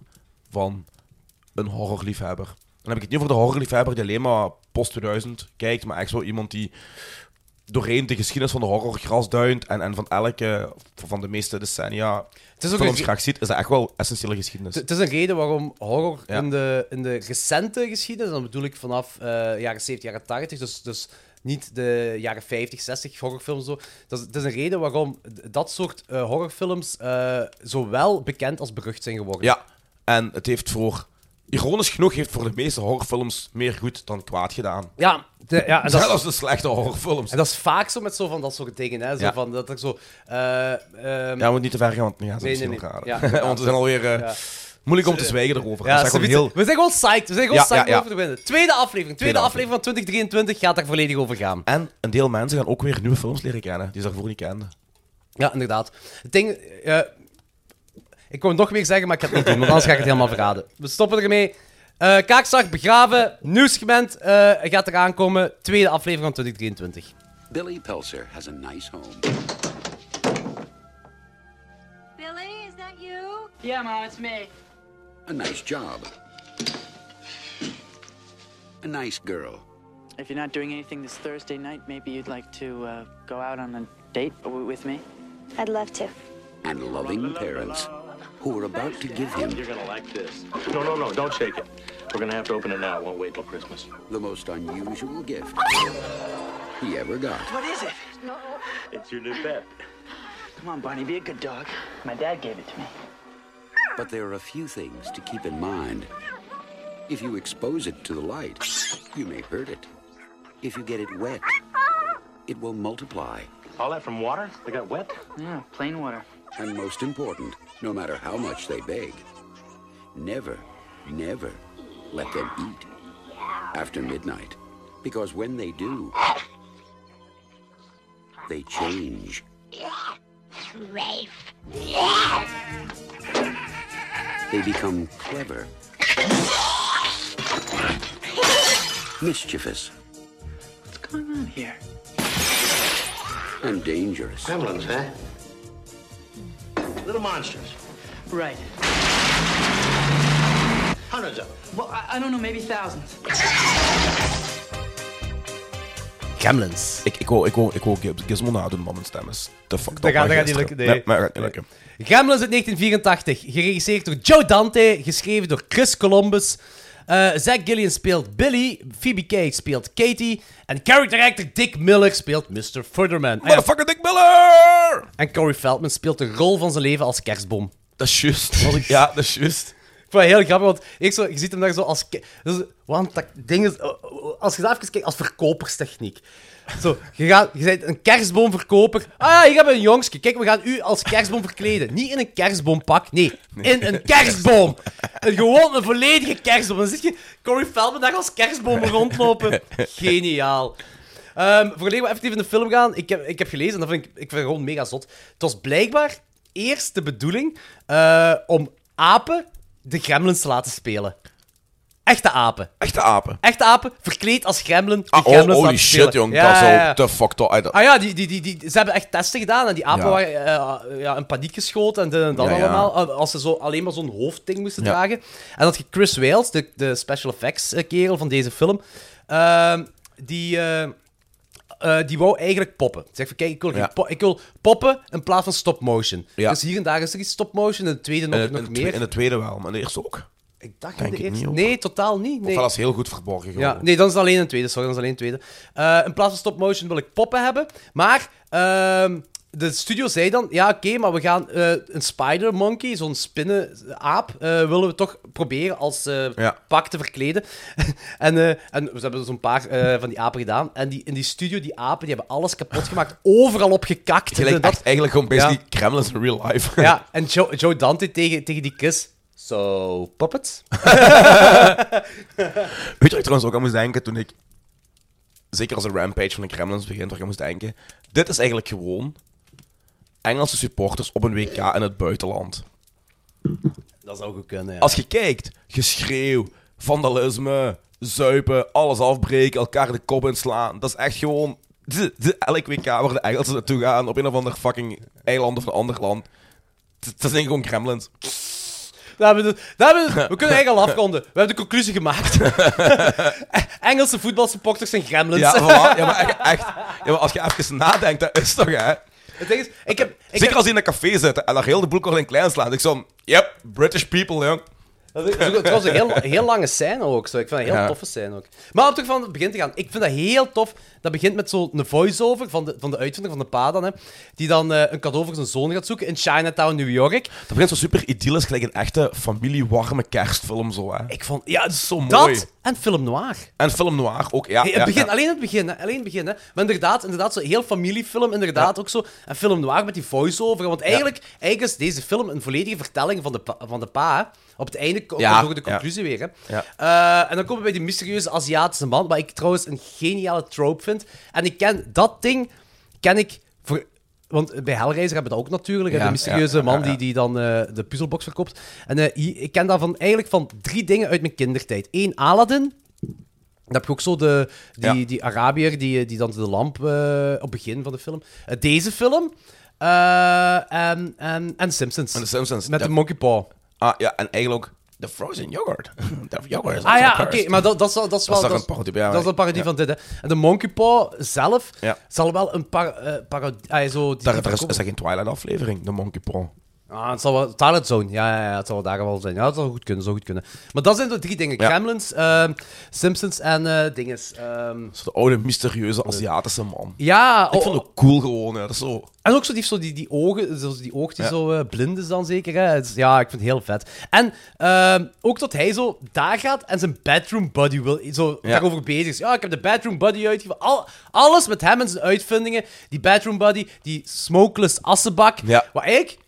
B: van een horrorliefhebber. Dan heb ik het niet over de horrorliefhebber die alleen maar post 2000 kijkt, maar echt zo iemand die doorheen de geschiedenis van de horror grasduint en, en van elke, van de meeste decennia
A: Het is ook
B: films
A: een-
B: graag ziet, is dat echt wel essentiële geschiedenis.
A: Het is een reden waarom horror
B: Ja.
A: in, de, in de recente geschiedenis, dan bedoel ik vanaf eh, jaren 70, jaren 80, dus, dus niet de jaren 50, 60 horrorfilms zo. Dat is, het is een reden waarom d- dat soort eh, horrorfilms eh, zowel bekend als berucht zijn geworden.
B: Ja, en het heeft voor, ironisch genoeg, heeft voor de meeste horrorfilms meer goed dan kwaad gedaan.
A: ja, de- ja en dat is-
B: Zelfs de slechte horrorfilms.
A: en dat is vaak zo met zo van dat soort dingen, hè? Zo
B: Ja.
A: van dat er zo. eh, ehm,
B: Ja, we moeten niet te ver gaan, want nu gaan ze
A: Nee,
B: misschien
A: nee, nee.
B: nog raden.
A: Ja, inderdaad.
B: want we zijn alweer eh,
A: Ja.
B: moeilijk om te zwijgen erover.
A: Ja,
B: dat is echt
A: ze
B: wel heel...
A: weten- We zijn gewoon psyched. We zijn gewoon
B: Ja,
A: psyched
B: ja, ja.
A: om over te winnen. Tweede aflevering. Tweede, aflevering van 2023 gaat daar volledig over gaan.
B: En een deel mensen gaan ook weer nieuwe films leren kennen, die ze daarvoor niet kenden.
A: Ja, inderdaad. Het ding... eh, ik wou nog meer zeggen, maar ik ga het niet doen, want anders ga ik het helemaal verraden. We stoppen ermee. Eh Kaakslag begraven. Nieuwsgement eh gaat eraan komen. Tweede aflevering van 2023.
I: Billy Pelser has a nice home.
C: Billy, is that you?
J: Yeah, Mom, it's me.
I: a nice job, a nice girl.
J: If you're not doing anything this Thursday night, maybe you'd like to uh, go out on a date w- with me?
C: I'd love to.
I: and loving parents who were about to give him
E: You're gonna like this. No, no, no, don't shake it. We're gonna have to open it now. It won't wait till Christmas.
I: the most unusual gift he ever got.
J: What is it?
E: It's your new pet.
J: Come on, Barney, be a good dog. My dad gave it to me.
I: But there are a few things to keep in mind. If you expose it to the light, you may hurt it. If you get it wet, it will multiply.
E: All that from water? They got wet?
J: Yeah, plain water.
I: And most important, no matter how much they beg, never, never let them eat after midnight. Because when they do, they change. They become clever, mischievous,
J: What's going on here?
I: and dangerous.
E: Gremlins, huh? Little monsters.
J: Right.
E: Hundreds of them.
J: Well, I, I don't know, maybe thousands.
A: Gremlins.
B: Ik, ik, wou, ik, wou, ik wou Giz- Gizmo nadoen, maar mijn stem is te fucked
A: Dat
B: up
A: gaat-
B: van
A: dat gaat niet
B: gisteren.
A: lukken, nee.
B: maar dat gaat niet lukken.
A: Gremlins uit 1984. Geregisseerd door Joe Dante. Geschreven door Chris Columbus. Eh Zach Gillian speelt Billy, Phoebe Cates speelt Katie en character actor Dick Miller speelt Ah Mr. Furderman. En,
B: Motherfucker Dick Miller!
A: en Corey Feldman speelt de rol van zijn leven als kerstboom.
B: Dat is juist. Wat ik- Ja, dat is juist.
A: Ik vond het heel grappig, want ik zo, je ziet hem daar zo als... ke- Dus, want dat ding is... Als je daar even kijkt, als verkoperstechniek. Zo, je, gaat, je bent een kerstboomverkoper. Ah ja, hier hebben we een jongske. Kijk, we gaan u als kerstboom verkleden. Niet in een kerstboompak, nee. In een kerstboom. Een, gewoon een volledige kerstboom. Dan zit je Corey Feldman daar als kerstboom rondlopen. Geniaal. Ehm Voordat we effectief in de film gaan, ik heb, ik heb gelezen, en dat vind ik, ik vind het gewoon mega zot. Het was blijkbaar eerst de bedoeling eh, om apen de gremlins te laten spelen. Echte apen.
B: Echte apen.
A: Echte apen, verkleed als gremlin, de
B: Ah, oh,
A: gremlins
B: holy
A: laten
B: shit,
A: spelen.
B: jong.
A: Ja,
B: dat is
A: ja,
B: al
A: ja.
B: te fucked up. Ah, dat-
A: Ah ja, die, die, die, die, ze hebben echt testen gedaan en die apen
B: Ja.
A: waren eh, ja, in paniek geschoten en dit en dat
B: Ja, ja.
A: allemaal. eh, Als ze zo, alleen maar zo'n hoofdding moesten
B: Ja.
A: dragen. En dat je Chris Wales, de, de special effects eh, kerel van deze film, ehm, die, eh, eh, die wou eigenlijk poppen. Zeg van, kijk, ik wil, geen
B: Ja.
A: po- ik wil poppen in plaats van stop motion.
B: Ja.
A: Dus hier en daar is er iets stop motion, en de tweede nog,
B: in,
A: nog
B: in,
A: meer.
B: in de tweede wel, maar de eerste ook. Of
A: ik dacht in
B: denk
A: de
B: ik niet,
A: eerste.
B: hoor.
A: nee, totaal niet. Nee.
B: wel als heel goed verborgen gewoon.
A: Ja, nee, dan is het alleen een tweede. Sorry, dan is het alleen een tweede. Eh, in plaats van stop-motion wil ik poppen hebben. Maar ehm, de studio zei dan... Ja, oké, maar we gaan eh, een spider monkey, zo'n spinnenaap... eh, willen we toch proberen als eh,
B: Ja.
A: pak te verkleden. en, eh, en we hebben zo'n paar eh, van die apen gedaan. En die, in die studio, die apen, die hebben alles kapot gemaakt. Overal op gekakt.
B: Je lijkt
A: en dat-
B: echt eigenlijk gewoon bezig
A: Ja.
B: die Kremlins in real life.
A: ja, en Joe, Joe Dante tegen, tegen die kus... So, puppets?
B: Weet je wat ik trouwens ook aan moest denken toen ik... Zeker als een rampage van de Kremlins begint, waar ik aan moest denken... Dit is eigenlijk gewoon... Engelse supporters op een WK in het buitenland.
A: Dat zou goed kunnen, ja.
B: Als je kijkt, geschreeuw, vandalisme, zuipen, alles afbreken, elkaar de kop inslaan. Dat is echt gewoon... De, de, elk WK waar de Engelsen naartoe gaan, op een of ander fucking eiland of een ander land. Het dat zijn gewoon Kremlins.
A: Daar hebben we, daar hebben we, we kunnen eigenlijk al afronden. We hebben de conclusie gemaakt. Engelse voetbalsupporters zijn gremlins.
B: Ja, oh. voilà. ja, maar echt, echt. Ja, maar als je even nadenkt, dat is toch, hè?
A: Het ding is, ik heb... Ik
B: Zeker
A: heb,
B: als die in een café zitten en daar heel de boel kort in klein slaat. Ik zo, yep, British people, jong.
A: dat is ook- trouwens een heel, heel lange scène ook. Zo. Ik vind dat een heel
B: Ja.
A: toffe scène ook. Maar om terug van het begin te gaan. Ik vind dat heel tof. Dat begint met zo'n voice-over van de, van de uitvinder van de pa dan, hè. Die dan eh, een cadeau voor zijn zoon gaat zoeken in Chinatown, New York.
B: Dat begint zo super idyllisch, gelijk een echte familiewarme kerstfilm, zo, hè?
A: Ik vond... Ja,
B: dat is zo
A: dat
B: mooi.
A: en film noir.
B: En film noir ook, ja.
A: Hey,
B: ja,
A: het begin,
B: ja.
A: Alleen het begin, hè. Alleen het begin, hè. Maar inderdaad, inderdaad zo heel familiefilm, inderdaad ook zo. En film noir met die voice-over. Want eigenlijk, eigenlijk is deze film een volledige vertelling van de pa. Van de pa hè. Op het einde ko-
B: Ja,
A: komt ook de
B: ja.
A: conclusie weer, hè. Eh, en dan komen we bij die mysterieuze Aziatische man, wat ik trouwens een geniale trope vind. En ik ken dat ding, ken ik... Voor, want bij Hellraiser hebben we dat ook natuurlijk, hè,
B: Ja,
A: de mysterieuze
B: ja, ja,
A: man
B: ja.
A: Die, die dan eh, de puzzelbox verkoopt. En eh, hier- ik ken daarvan eigenlijk van drie dingen uit mijn kindertijd. Eén, Aladdin, dan heb je ook zo de, die,
B: Ja.
A: die Arabier die, die dan de lamp eh, op het begin van de film. Eh, deze film. eh, en, en, en Simpsons.
B: En de Simpsons.
A: Met
B: ja.
A: de Monkey Paw.
B: Ah, ja, en eigenlijk ook de frozen yoghurt. De yoghurt is
A: Ah
B: also
A: ja, oké,
B: cursed.
A: maar dat, dat, is, wel- dat is wel...
B: toch een parodie, ja,
A: Dat is een parodie
B: ja.
A: van dit, hè. En de Monkey Paw zelf
B: Ja.
A: zal wel een par, eh, parodie... ah, zo, die-
B: Daar, daar is, is dat geen Twilight-aflevering, de Monkey Paw.
A: Ah, het zal wel... Twilight Zone, ja, ja, ja, het zal wel daar wel zijn. Ja, dat zal goed kunnen, zou goed kunnen. Maar dat zijn de drie dingen.
B: Ja.
A: Gremlins, ehm, Simpsons en eh dinges. ehm.
B: Zo de oude, mysterieuze Aziatische man.
A: ja,
B: Ik
A: oh,
B: vond het ook cool gewoon, hè. Dat is zo...
A: En ook zo die, zo die, die ogen, zo die oog die
B: Ja.
A: zo eh, blind is dan zeker. Hè? Het is- ja, ik vind het heel vet. En ehm, ook dat hij zo daar gaat en zijn bedroom buddy wil, zo
B: Ja.
A: daarover bezig is. Ja, ik heb de bedroom buddy uitgevonden. Al, alles met hem en zijn uitvindingen. Die bedroom buddy, die smokeless assenbak.
B: Ja.
A: Wat eigenlijk...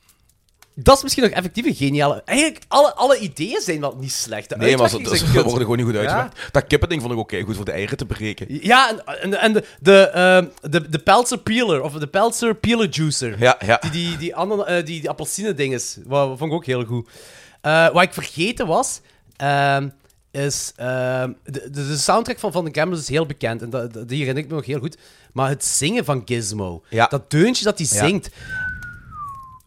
A: Dat is misschien nog effectief een geniale... Eigenlijk, alle, alle ideeën zijn wel niet slecht. De
B: Nee, maar ze,
A: uitwerkingen
B: ze
A: zijn kut.
B: worden gewoon niet goed
A: Ja.
B: uitgewerkt. Dat kippending vond ik oké, goed voor de eieren te breken.
A: Ja, en, en, en de, de, ehm, de, de Peltzer Peeler, of de Peltzer Peeler Juicer.
B: Ja, ja.
A: Die, die, die, anan- eh, die, die appelsine-dinges, wat wat vond ik ook heel goed. Eh, wat ik vergeten was, ehm, is... ehm, de, de, de soundtrack van Van de Cameras is heel bekend, en dat, dat- die herinner ik me nog heel goed. Maar het zingen van Gizmo,
B: Ja.
A: dat deuntje dat hij
B: Ja.
A: zingt,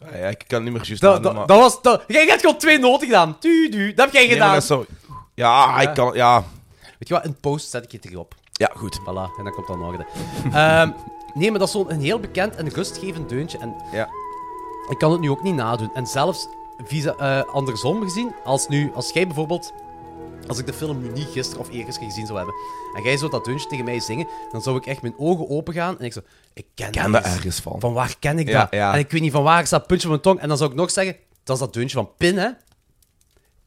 B: Ah, ja, ik kan het niet meer juist
A: dat,
B: nadoen,
A: dat,
B: maar-
A: dat was... Dat, jij hebt gewoon twee noten gedaan. Tu, du, dat heb jij
B: Nee, maar
A: gedaan.
B: dat is zo... Ja, ik kan... Ja,
A: Weet je wat, in post zet ik het erop.
B: ja goed.
A: Voilà, en dan komt dat in orde. Ehm, nee, maar dat is zo'n een heel bekend en rustgevend deuntje. En
B: Ja.
A: ik kan het nu ook niet nadoen. En zelfs visa, eh, andersom gezien, als, nu, als jij bijvoorbeeld Als ik de film nu niet gisteren of eergisteren gezien zou hebben. En jij zou dat deuntje tegen mij zingen, dan zou ik echt mijn ogen open gaan. En ik zo, ik ken,
B: Ken
A: dat
B: dat ergens van.
A: Van waar ken ik
B: Ja,
A: dat?
B: ja.
A: En ik weet niet van waar is dat puntje op mijn tong. En dan zou ik nog zeggen, dat is dat deuntje van Pin, hè?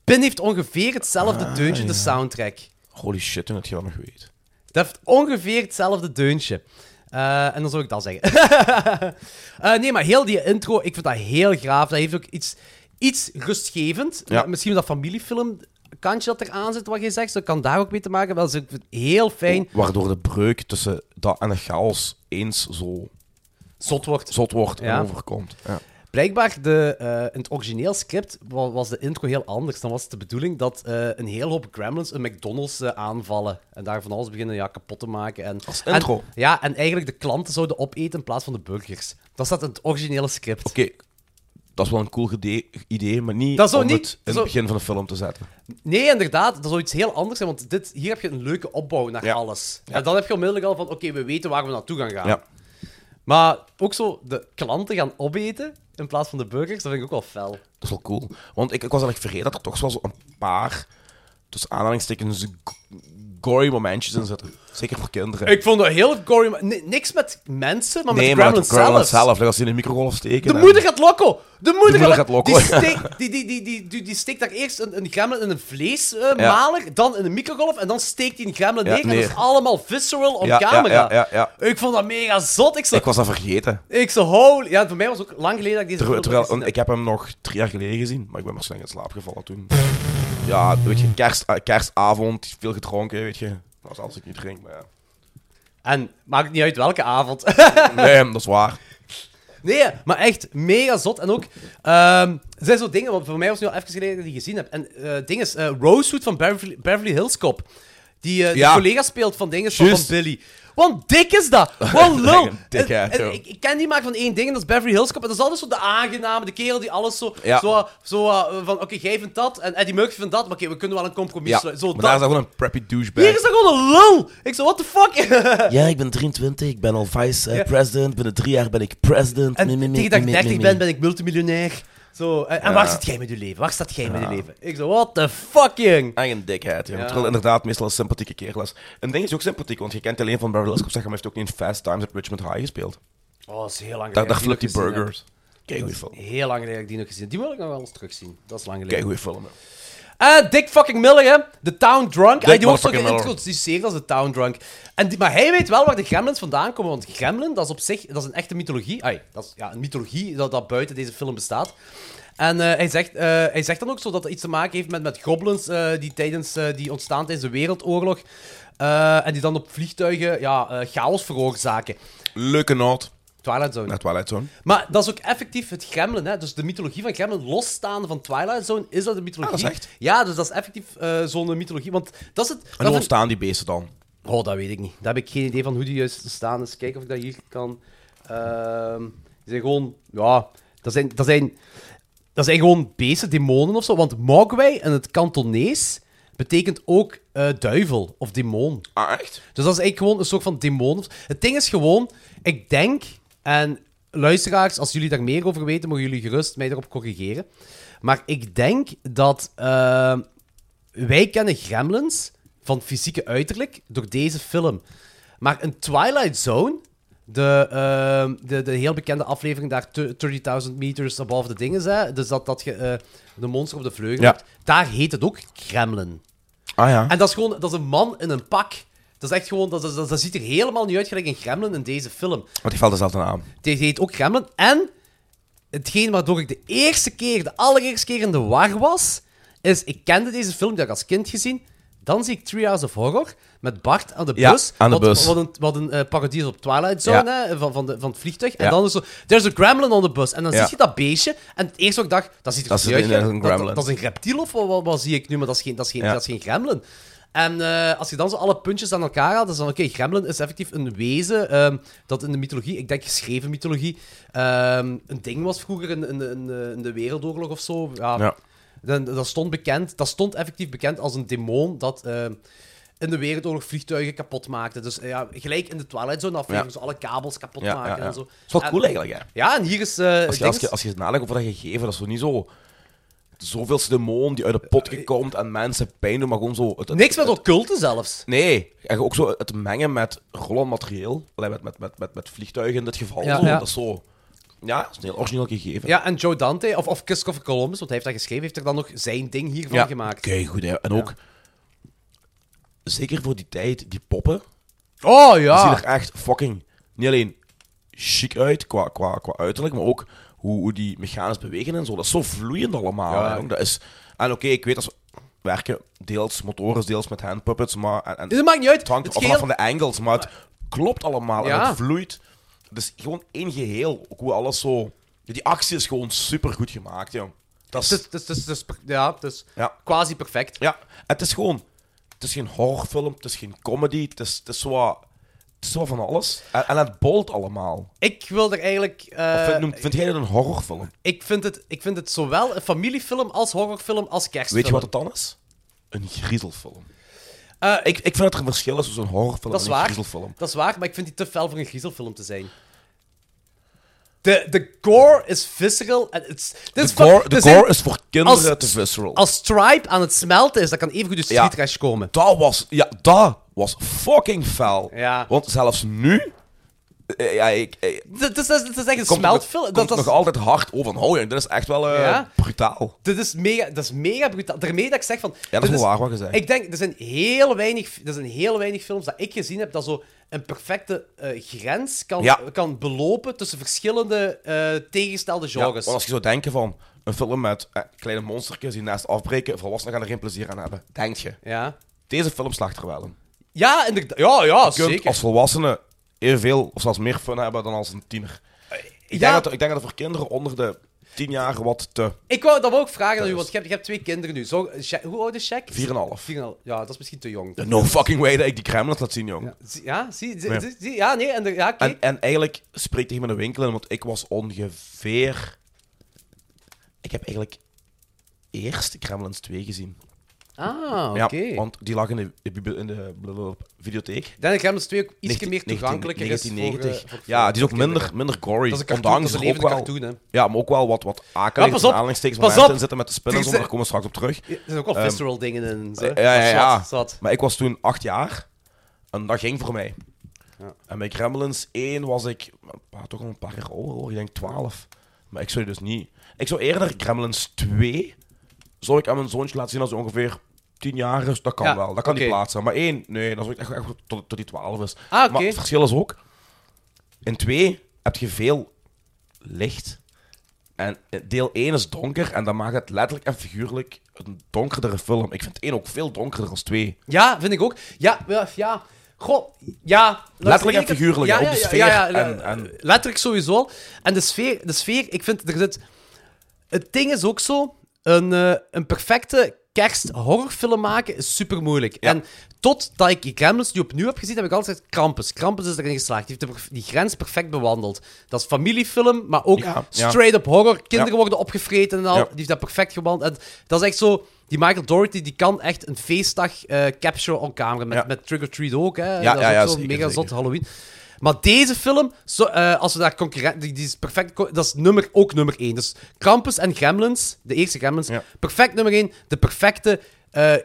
A: Pin heeft ongeveer hetzelfde
B: Ah,
A: deuntje, de soundtrack.
B: Holy shit, toen dat je dat nog weet.
A: Dat heeft ongeveer hetzelfde deuntje. Eh, en dan zou ik dat zeggen. Eh, nee, maar heel die intro, ik vind dat heel graaf. Dat heeft ook iets, iets rustgevend.
B: Ja.
A: Eh, Misschien dat familiefilmkantje dat er aan zit, wat je zegt. Dat kan daar ook mee te maken hebben. Dat is ik vind het heel fijn.
B: Oh, Waardoor de breuk tussen dat en de chaos eens zo
A: Zot wordt.
B: zot wordt
A: Ja.
B: en overkomt. Ja.
A: Blijkbaar, de, eh, in het origineel script wa- was de intro heel anders. Dan was het de bedoeling dat eh, een hele hoop gremlins een McDonald's eh, aanvallen. En daar van alles beginnen ja, kapot te maken. En,
B: Als
A: en-
B: intro.
A: ja, en eigenlijk de klanten zouden opeten in plaats van de burgers. Dat staat in het originele script.
B: Oké, dat is wel een cool gede- idee, maar niet
A: Dat zou
B: om
A: niet-
B: het in
A: dat
B: het
A: zou-
B: begin van de film te zetten.
A: Nee, inderdaad, dat zou iets heel anders zijn. Want dit, hier heb je een leuke opbouw naar
B: Ja.
A: alles. En dan heb je onmiddellijk al van: oké, we weten waar we naartoe gaan gaan.
B: Ja.
A: Maar ook zo de klanten gaan opeten in plaats van de burgers, dat vind ik ook wel fel.
B: Dat is wel cool. Want ik, ik was eigenlijk vergeten dat er toch wel zo een paar, tussen aanhalingstekens, g- gory momentjes in zitten. Zeker voor kinderen.
A: Ik vond dat heel gory. maar ni- niks met mensen, maar
B: nee,
A: met
B: maar
A: Gremlins
B: dat Gremlins
A: zelf.
B: zelf. Like, als ze in de microgolf steken.
A: De
B: en-
A: moeder gaat loco! De moeder,
B: moeder gaat loco,
A: Die,
B: ja.
A: steekt, die, die, die, die, die, die steekt daar eerst een, een gremlin in een vleesmaler,
B: Ja.
A: dan in een microgolf en dan steekt die een gremlin
B: Ja,
A: neer. En dat
B: neer.
A: is allemaal visceral op
B: Ja, ja,
A: camera.
B: ja, ja, ja.
A: Ik vond dat mega zot. Ik zo,
B: Ik was dat vergeten.
A: Ik zo, holy... Ja, voor mij was het ook lang geleden dat ik deze film
B: Terwijl, terwijl-
A: gezien
B: want ik heb hem nog drie jaar geleden gezien, maar ik ben maar snel in slaap gevallen toen. Ja, weet je, kerst, eh, kerstavond, veel gedronken, weet je. Dat is als ik niet drink, maar ja.
A: En maakt niet uit welke avond.
B: Nee, dat is waar.
A: nee, maar echt mega zot. En ook, ehm, er zijn zo dingen, want voor mij was het nu al even geleden dat ik die gezien heb. En eh ding is, eh, Rosewood van Beverly, Beverly Hills Cop. Die eh,
B: Ja.
A: de collega speelt van dingen van, van
B: Juist.
A: Billy. Want dik is dat! Wat lul!
B: Dik, hè,
A: En- en
B: zo.
A: ik, ik ken die maar van één ding, en dat is Beverly Hills Cop. En dat is altijd zo de aangename, de kerel die alles zo...
B: Ja.
A: zo, eh, zo eh, van, oké, jij vindt dat, en Eddie Murphy vindt dat, maar oké, we kunnen wel een compromis
B: Ja,
A: sluiten. Zo
B: maar
A: dat.
B: daar is dat gewoon een preppy douchebag.
A: Hier is dat gewoon een lul! Ik zo, what the fuck?
K: Ja, ik ben 23, ik ben al vice-president. Binnen drie jaar ben ik president.
A: En
K: Mie, mie, mie,
A: tegen dat ik
K: mie,
A: 30
K: mie,
A: ben,
K: mie.
A: ben ik multimiljonair. Zo, eh, en, en waar zit jij met je leven? Waar staat jij met je leven? Ik zo, what the fucking?
B: En een dikheid, ja. Terwijl inderdaad meestal een sympathieke kerel is. En ding is ook sympathiek, want je kent alleen van Beverly Hills Cop, zeg maar, hij heeft ook niet in Fast Times at Richmond High gespeeld.
A: Oh, dat is heel lang geleden. dat
B: Daar,
A: ik
B: daar
A: nog
B: flipt die
A: gezien heb.
B: burgers. Kijk goeie film.
A: Heel lang geleden dat ik die nog gezien heb. Die wil ik nog wel eens terugzien. Dat is lang
B: Kijk
A: geleden.
B: goeie film. hè.
A: En Eh, Dick fucking Miller, hè? De Town Drunk. Hij die wordt zo
B: motherfucking Miller.
A: geïntroduceerd als de Town Drunk. En die, maar hij weet wel waar de gremlins vandaan komen. Want gremlin, dat is op zich dat is een echte mythologie. Ai, dat is ja, een mythologie dat, dat buiten deze film bestaat. En eh, hij, zegt, eh, hij zegt dan ook zo dat het iets te maken heeft met, met goblins eh, die, tijdens, eh, die ontstaan tijdens de Wereldoorlog. eh, en die dan op vliegtuigen ja, eh, chaos veroorzaken.
B: Leuke noot
A: Twilight Zone.
B: naar Twilight Zone.
A: Maar dat is ook effectief het gremlin, hè? Dus de mythologie van gremlin, losstaande van Twilight Zone, is dat de mythologie.
B: Ah, dat is echt?
A: Ja, dus dat is effectief eh, zo'n mythologie. Want dat is het.
B: En hoe
A: dat is
B: ontstaan die beesten dan?
A: een- Oh, dat weet ik niet. Daar heb ik geen idee van hoe die juist staan. Dus kijken of ik dat hier kan. Ehm, die zijn gewoon. Ja, dat zijn. Dat zijn, dat zijn gewoon beesten, demonen of zo. Want Mogwai in het Kantonees betekent ook eh, duivel of demon.
B: Ah, echt?
A: Dus dat is eigenlijk gewoon een soort van demon. Het ding is gewoon, ik denk, en luisteraars, als jullie daar meer over weten, mogen jullie gerust mij daarop corrigeren. Maar ik denk dat eh, wij kennen gremlins van fysieke uiterlijk door deze film. Maar in Twilight Zone, de, eh, de, de heel bekende aflevering daar, 30.000 meters above the dingen, hè, dus dat, dat je eh, de monster op de vleugel
B: Ja.
A: hebt, daar heet het ook gremlin.
B: Ah ja.
A: En dat is gewoon dat is een man in een pak. Dat is echt gewoon, dat, dat, dat, dat ziet er helemaal niet uit gelijk een gremlin in deze film.
B: Want die valt dezelfde naam.
A: Het heet ook gremlin. En hetgeen waardoor ik de eerste keer, de allereerste keer in de war was, is ik kende deze film, die had ik als kind gezien. Dan zie ik Three Hours of Horror met Bart aan de
B: Ja,
A: bus.
B: aan de
A: wat,
B: bus.
A: Wat een, wat een eh, parodie is op Twilight Zone,
B: Ja.
A: hè, van, van, de, van het vliegtuig. En
B: Ja.
A: dan is zo, there's a gremlin on the bus. En dan
B: Ja.
A: zie je dat beestje. En het eerste wat ik dacht, dat ziet er
B: Dat
A: niet
B: is
A: uit.
B: een-
A: hè.
B: een
A: dat,
B: gremlin.
A: dat, is een reptiel of wat, wat, wat zie ik nu? Maar dat is geen, dat is geen,
B: Ja.
A: dat is geen gremlin. En eh, als je dan zo alle puntjes aan elkaar haalt, dan is dan oké, gremlin is effectief een wezen ehm, dat in de mythologie, ik denk geschreven mythologie, ehm, een ding was vroeger in, in, in, eh, in de Wereldoorlog of zo. Ja.
B: Ja.
A: Dan, dat, stond bekend, dat stond effectief bekend als een demon dat ehm, in de Wereldoorlog vliegtuigen kapot maakte. Dus eh, ja, gelijk in de Twilight Zone aflevering,
B: Ja.
A: zo alle kabels kapot
B: Ja,
A: maken
B: ja, ja.
A: en zo.
B: Dat is wel
A: En-
B: cool eigenlijk, hè?
A: Ja, en hier is... eh,
B: Als je,
A: ding
B: als je,
A: is-
B: als je nadenkt over dat gegeven, dat is zo niet zo zoveelste demon die uit de pot gekomen en mensen pijn doen, maar gewoon zo... het- het-
A: Eh, Niks met occulte zelfs.
B: Nee, en ook zo het mengen met rollend materieel, Allee, met, met, met, met, met vliegtuigen in dit geval.
A: Ja,
B: zo.
A: ja.
B: Dat is zo... Ja, dat is een heel origineel gegeven.
A: Ja, en Joe Dante, of, of Christopher Columbus, want hij heeft dat geschreven, heeft er dan nog zijn ding hiervan gemaakt.
B: goed. Hè. En ook, zeker voor die tijd, die poppen,
A: Oh
B: die zien
A: ja!
B: er echt fucking niet alleen chic uit qua, qua, qua uiterlijk, maar ook hoe, hoe die mechanisch bewegen en zo. Dat is zo vloeiend allemaal.
A: Ja.
B: hè, jong. Dat is, en oké, ik weet dat ze werken deels motoren, deels met handpuppets, maar... En, en
A: Dus het maakt niet uit.
B: het hangt
A: Het
B: af
A: geheel-
B: van de angles, maar het klopt allemaal en
A: Ja.
B: het vloeit. Het is gewoon één geheel, ook hoe alles zo... ja, Die actie is gewoon super goed gemaakt, jong. Dat
A: Het
B: is,
A: is, het is, het is- het is per- ja, het is
B: Ja.
A: quasi perfect.
B: ja, het is gewoon... Het is geen horrorfilm, het is geen comedy, het is, het is zo... wat- Het is zo wat van alles. En, en het bolt allemaal.
A: Ik wil er eigenlijk... eh,
B: Of vind, noem- vind jij dat een horrorfilm?
A: ik, vind het, ik vind het zowel een familiefilm als horrorfilm als kerstfilm.
B: Weet je wat het dan is? Een griezelfilm.
A: Eh,
B: ik, ik vind dat er een verschil is tussen een horrorfilm
A: Dat is
B: en een
A: waar.
B: griezelfilm.
A: Dat is waar, maar ik vind die te fel voor een griezelfilm te zijn. De, de gore is visceral. en het is- dit
B: De
A: is van-
B: gore, de
A: dit
B: gore is voor kinderen
A: als-
B: te visceral.
A: Als Stripe aan het smelten is, dan kan even goed de street
B: Ja.
A: trash komen.
B: Dat was, ja, dat was fucking fel.
A: Ja.
B: Want zelfs nu, eh, ja, ik, eh,
A: Dit is, dit is echt een
B: komt
A: smeltfilm. Dat,
B: het nog,
A: dat,
B: komt
A: is-
B: nog altijd hard over. Oh, ja, dit is echt wel eh,
A: Ja?
B: brutaal.
A: dit is mega, dat is mega brutaal. Daarmee dat ik zeg van...
B: Ja, dat
A: dit
B: is wel waar wat je zegt.
A: Ik denk, er zijn, heel weinig, er zijn heel weinig films dat ik gezien heb dat zo een perfecte eh, grens kan,
B: Ja.
A: kan belopen tussen verschillende eh tegenstelde
B: Ja,
A: genres.
B: want als je zou denken van een film met eh, kleine monstertjes die naast afbreken, volwassenen gaan er geen plezier aan hebben. Denk je?
A: ja.
B: Deze film slacht er wel in.
A: Ja, inderdaad. Ja, ja,
B: Je kunt
A: zeker.
B: als volwassene evenveel of zelfs meer fun hebben dan als een tiener. Ik,
A: Ja.
B: denk dat, ik denk dat voor kinderen onder de tien jaar wat te...
A: Ik wou dat wou ook vragen aan u,
B: is-
A: want je hebt, je hebt twee kinderen nu. Zo, Sha- hoe oud is Shaq?
B: 4,5.
A: 4,5. Ja, dat is misschien te jong.
B: No fucking way dat ik die Kremlins laat zien, jong.
A: Ja, zie, ja, zie, zie-
B: Ja.
A: zie- zie- ja nee, en de- ja, oké.
B: En, en eigenlijk spreekt tegen mijn winkel in, want ik was ongeveer. Ik heb eigenlijk eerst Kremlins 2 gezien.
A: Ah, oké.
B: Ja, want die lag in de, de bibli- in de blablabla videotheek.
A: Dan Gremlins 2 ook iets
B: 19-
A: meer
B: 19-
A: toegankelijker is
B: 1990.
A: voor, eh, voor-
B: ja, die is ook
A: voor
B: minder,
A: kinderen.
B: minder gory.
A: Dat is een cartoon,
B: ondanks
A: dat is
B: er
A: een
B: ook wel,
A: levende cartoon,
B: Ja, maar ook wel wat, wat akelige
A: Ja, pas op.
B: en
A: Pas
B: aanhalingstekens
A: op.
B: in zitten met de spinnen.
A: Die
B: zo,
A: zijn-
B: maar Daar komen we straks op terug.
A: Ja, Er zijn ook wel
B: Ehm,
A: visceral dingen in. zo.
B: Ja, ja, ja.
A: Zat, zat.
B: Maar ik was toen acht jaar en dat ging voor mij. En bij Gremlins 1 was ik een paar- toch al een paar jaar ouder, hoor. ik denk 12. Maar ik zou die dus niet. Ik zou eerder Gremlins 2 zou ik aan mijn zoontje laten zien als hij ongeveer 10 jaar is. Dat kan
A: Ja,
B: wel, dat kan die
A: oké.
B: plaatsen. Maar 1, nee, dan zou ik echt, echt tot, tot die 12 is.
A: Ah, oké.
B: Maar het verschil is ook, in 2 heb je veel licht. En eh, deel 1 is donker en dat maakt het letterlijk en figuurlijk een donkerdere film. Ik vind 1 ook veel donkerder als 2.
A: Ja, vind ik ook. Ja, ja, ja. Goh, ja.
B: Letterlijk en figuurlijk, ja, ook de sfeer en- en-
A: Letterlijk sowieso. En de sfeer, de sfeer ik vind, er zit... Het ding is ook zo, een, eh, een perfecte kersthorrorfilm maken is super moeilijk. En totdat ik die Gremlins nu opnieuw heb gezien, heb ik altijd gezegd, Krampus. Krampus is erin geslaagd. Die heeft de perf- die grens perfect bewandeld. Dat is familiefilm, maar ook
B: Ja, ja.
A: straight-up horror. Kinderen
B: Ja.
A: worden opgevreten en al.
B: Ja.
A: Die heeft dat perfect gewandeld. En dat is echt zo... Die Michael Doherty, die kan echt een feestdag eh capture on camera. Met,
B: Ja.
A: met Trick or Treat ook, hè.
B: Ja,
A: dat
B: ja,
A: is
B: ja,
A: ook zo'n
B: zeker,
A: mega
B: zeker.
A: zot Halloween. Maar deze film, zo, eh, als we daar concurrent... Die, die is perfect... co- Dat is nummer, ook nummer één. Dus Krampus en Gremlins, de eerste Gremlins,
B: Ja.
A: perfect nummer één. De perfecte eh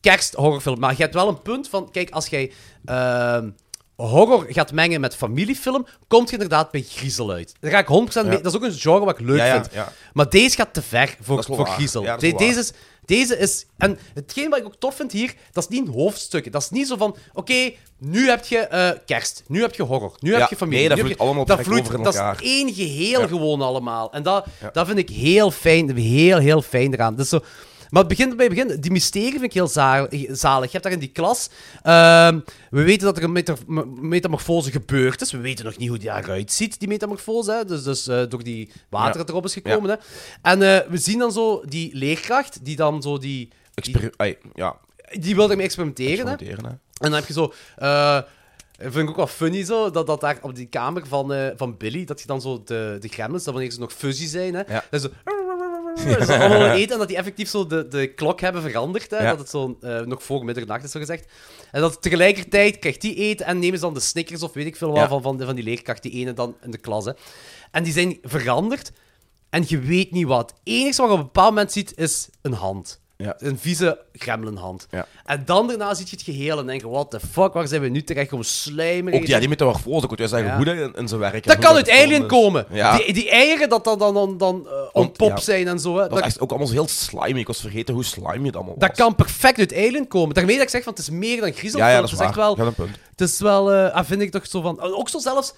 A: kersthorrorfilm. Maar je hebt wel een punt van... Kijk, als jij ehm, horror gaat mengen met familiefilm, komt je inderdaad bij griezel uit. Daar ga ik 100% mee. Dat is ook een genre wat ik leuk
B: Ja, ja,
A: vind.
B: ja.
A: Maar deze gaat te ver voor,
B: Dat is wel
A: voor
B: waar.
A: griezel.
B: Ja, dat
A: De-
B: is wel waar.
A: deze is, deze is. En hetgeen wat ik ook tof vind hier, dat is niet een hoofdstukje. Dat is niet zo van. Oké, nu heb je eh, kerst. Nu heb je horror. Nu heb
B: Ja,
A: je familie.
B: nee, dat
A: nu heb je-
B: vloeit allemaal
A: dat
B: perfect over in
A: Dat
B: elkaar.
A: is één geheel
B: Ja.
A: gewoon allemaal. En dat,
B: Ja.
A: dat vind ik heel fijn. Heel, heel fijn eraan. Dus zo. Maar het begint bij het begin. Die mysterie vind ik heel za- zalig. Je hebt daar in die klas. ehm, we weten dat er een meta- me- metamorfose gebeurd is. We weten nog niet hoe die eruit ziet, die metamorfose. Hè? Dus, dus eh, door die water
B: Ja.
A: dat erop is gekomen. Hè? En eh, we zien dan zo die leerkracht, die dan zo die.
B: Exper ai, ja,
A: Die, die wil ermee experimenteren. Hè?
B: experimenteren. hè.
A: En dan heb je zo. eh vind ik ook wel funny zo, dat, dat daar op die kamer van, eh, van Billy, dat je dan zo de, de gremlins, dat wanneer ze nog fuzzy zijn, hè,
B: Ja.
A: dat ze dat ze allemaal eten en dat die effectief zo de, de klok hebben veranderd. Hè,
B: Ja.
A: Dat het zo eh, nog voor middernacht is, zo gezegd. En dat tegelijkertijd krijgt die eten en nemen ze dan de Snickers of weet ik veel wat
B: Ja.
A: van, van, van die leerkracht, die ene dan in de klas. Hè. En die zijn veranderd. En je weet niet wat. Het enige wat je op een bepaald moment ziet, is een hand.
B: Ja.
A: Een vieze gremlinhand.
B: Ja.
A: En dan daarna zie je het geheel en denk je, what the fuck, waar zijn we nu terecht? Gewoon slijmerig.
B: Ook ja, die metamorfose, ik moet je zeggen,
A: Ja.
B: hoe dat in, in zijn werk... en
A: Dat
B: hoe
A: kan uit Alien
B: gevormd is.
A: komen.
B: Ja.
A: Die, die eieren dat dan, dan, dan, dan eh, ontpop
B: ja.
A: zijn en zo. Hè.
B: Dat was
A: Dat,
B: echt ook allemaal zo heel slimy. Ik was vergeten hoe slimy het allemaal was.
A: dat kan perfect uit Alien komen. Daarmee dat ik zeg, van, het is meer dan griezelfilm.
B: Ja, ja, dat is
A: het is echt
B: waar.
A: wel...
B: Je had een punt.
A: Het is wel, eh, ah, vind ik toch zo van. Ook zo zelfs.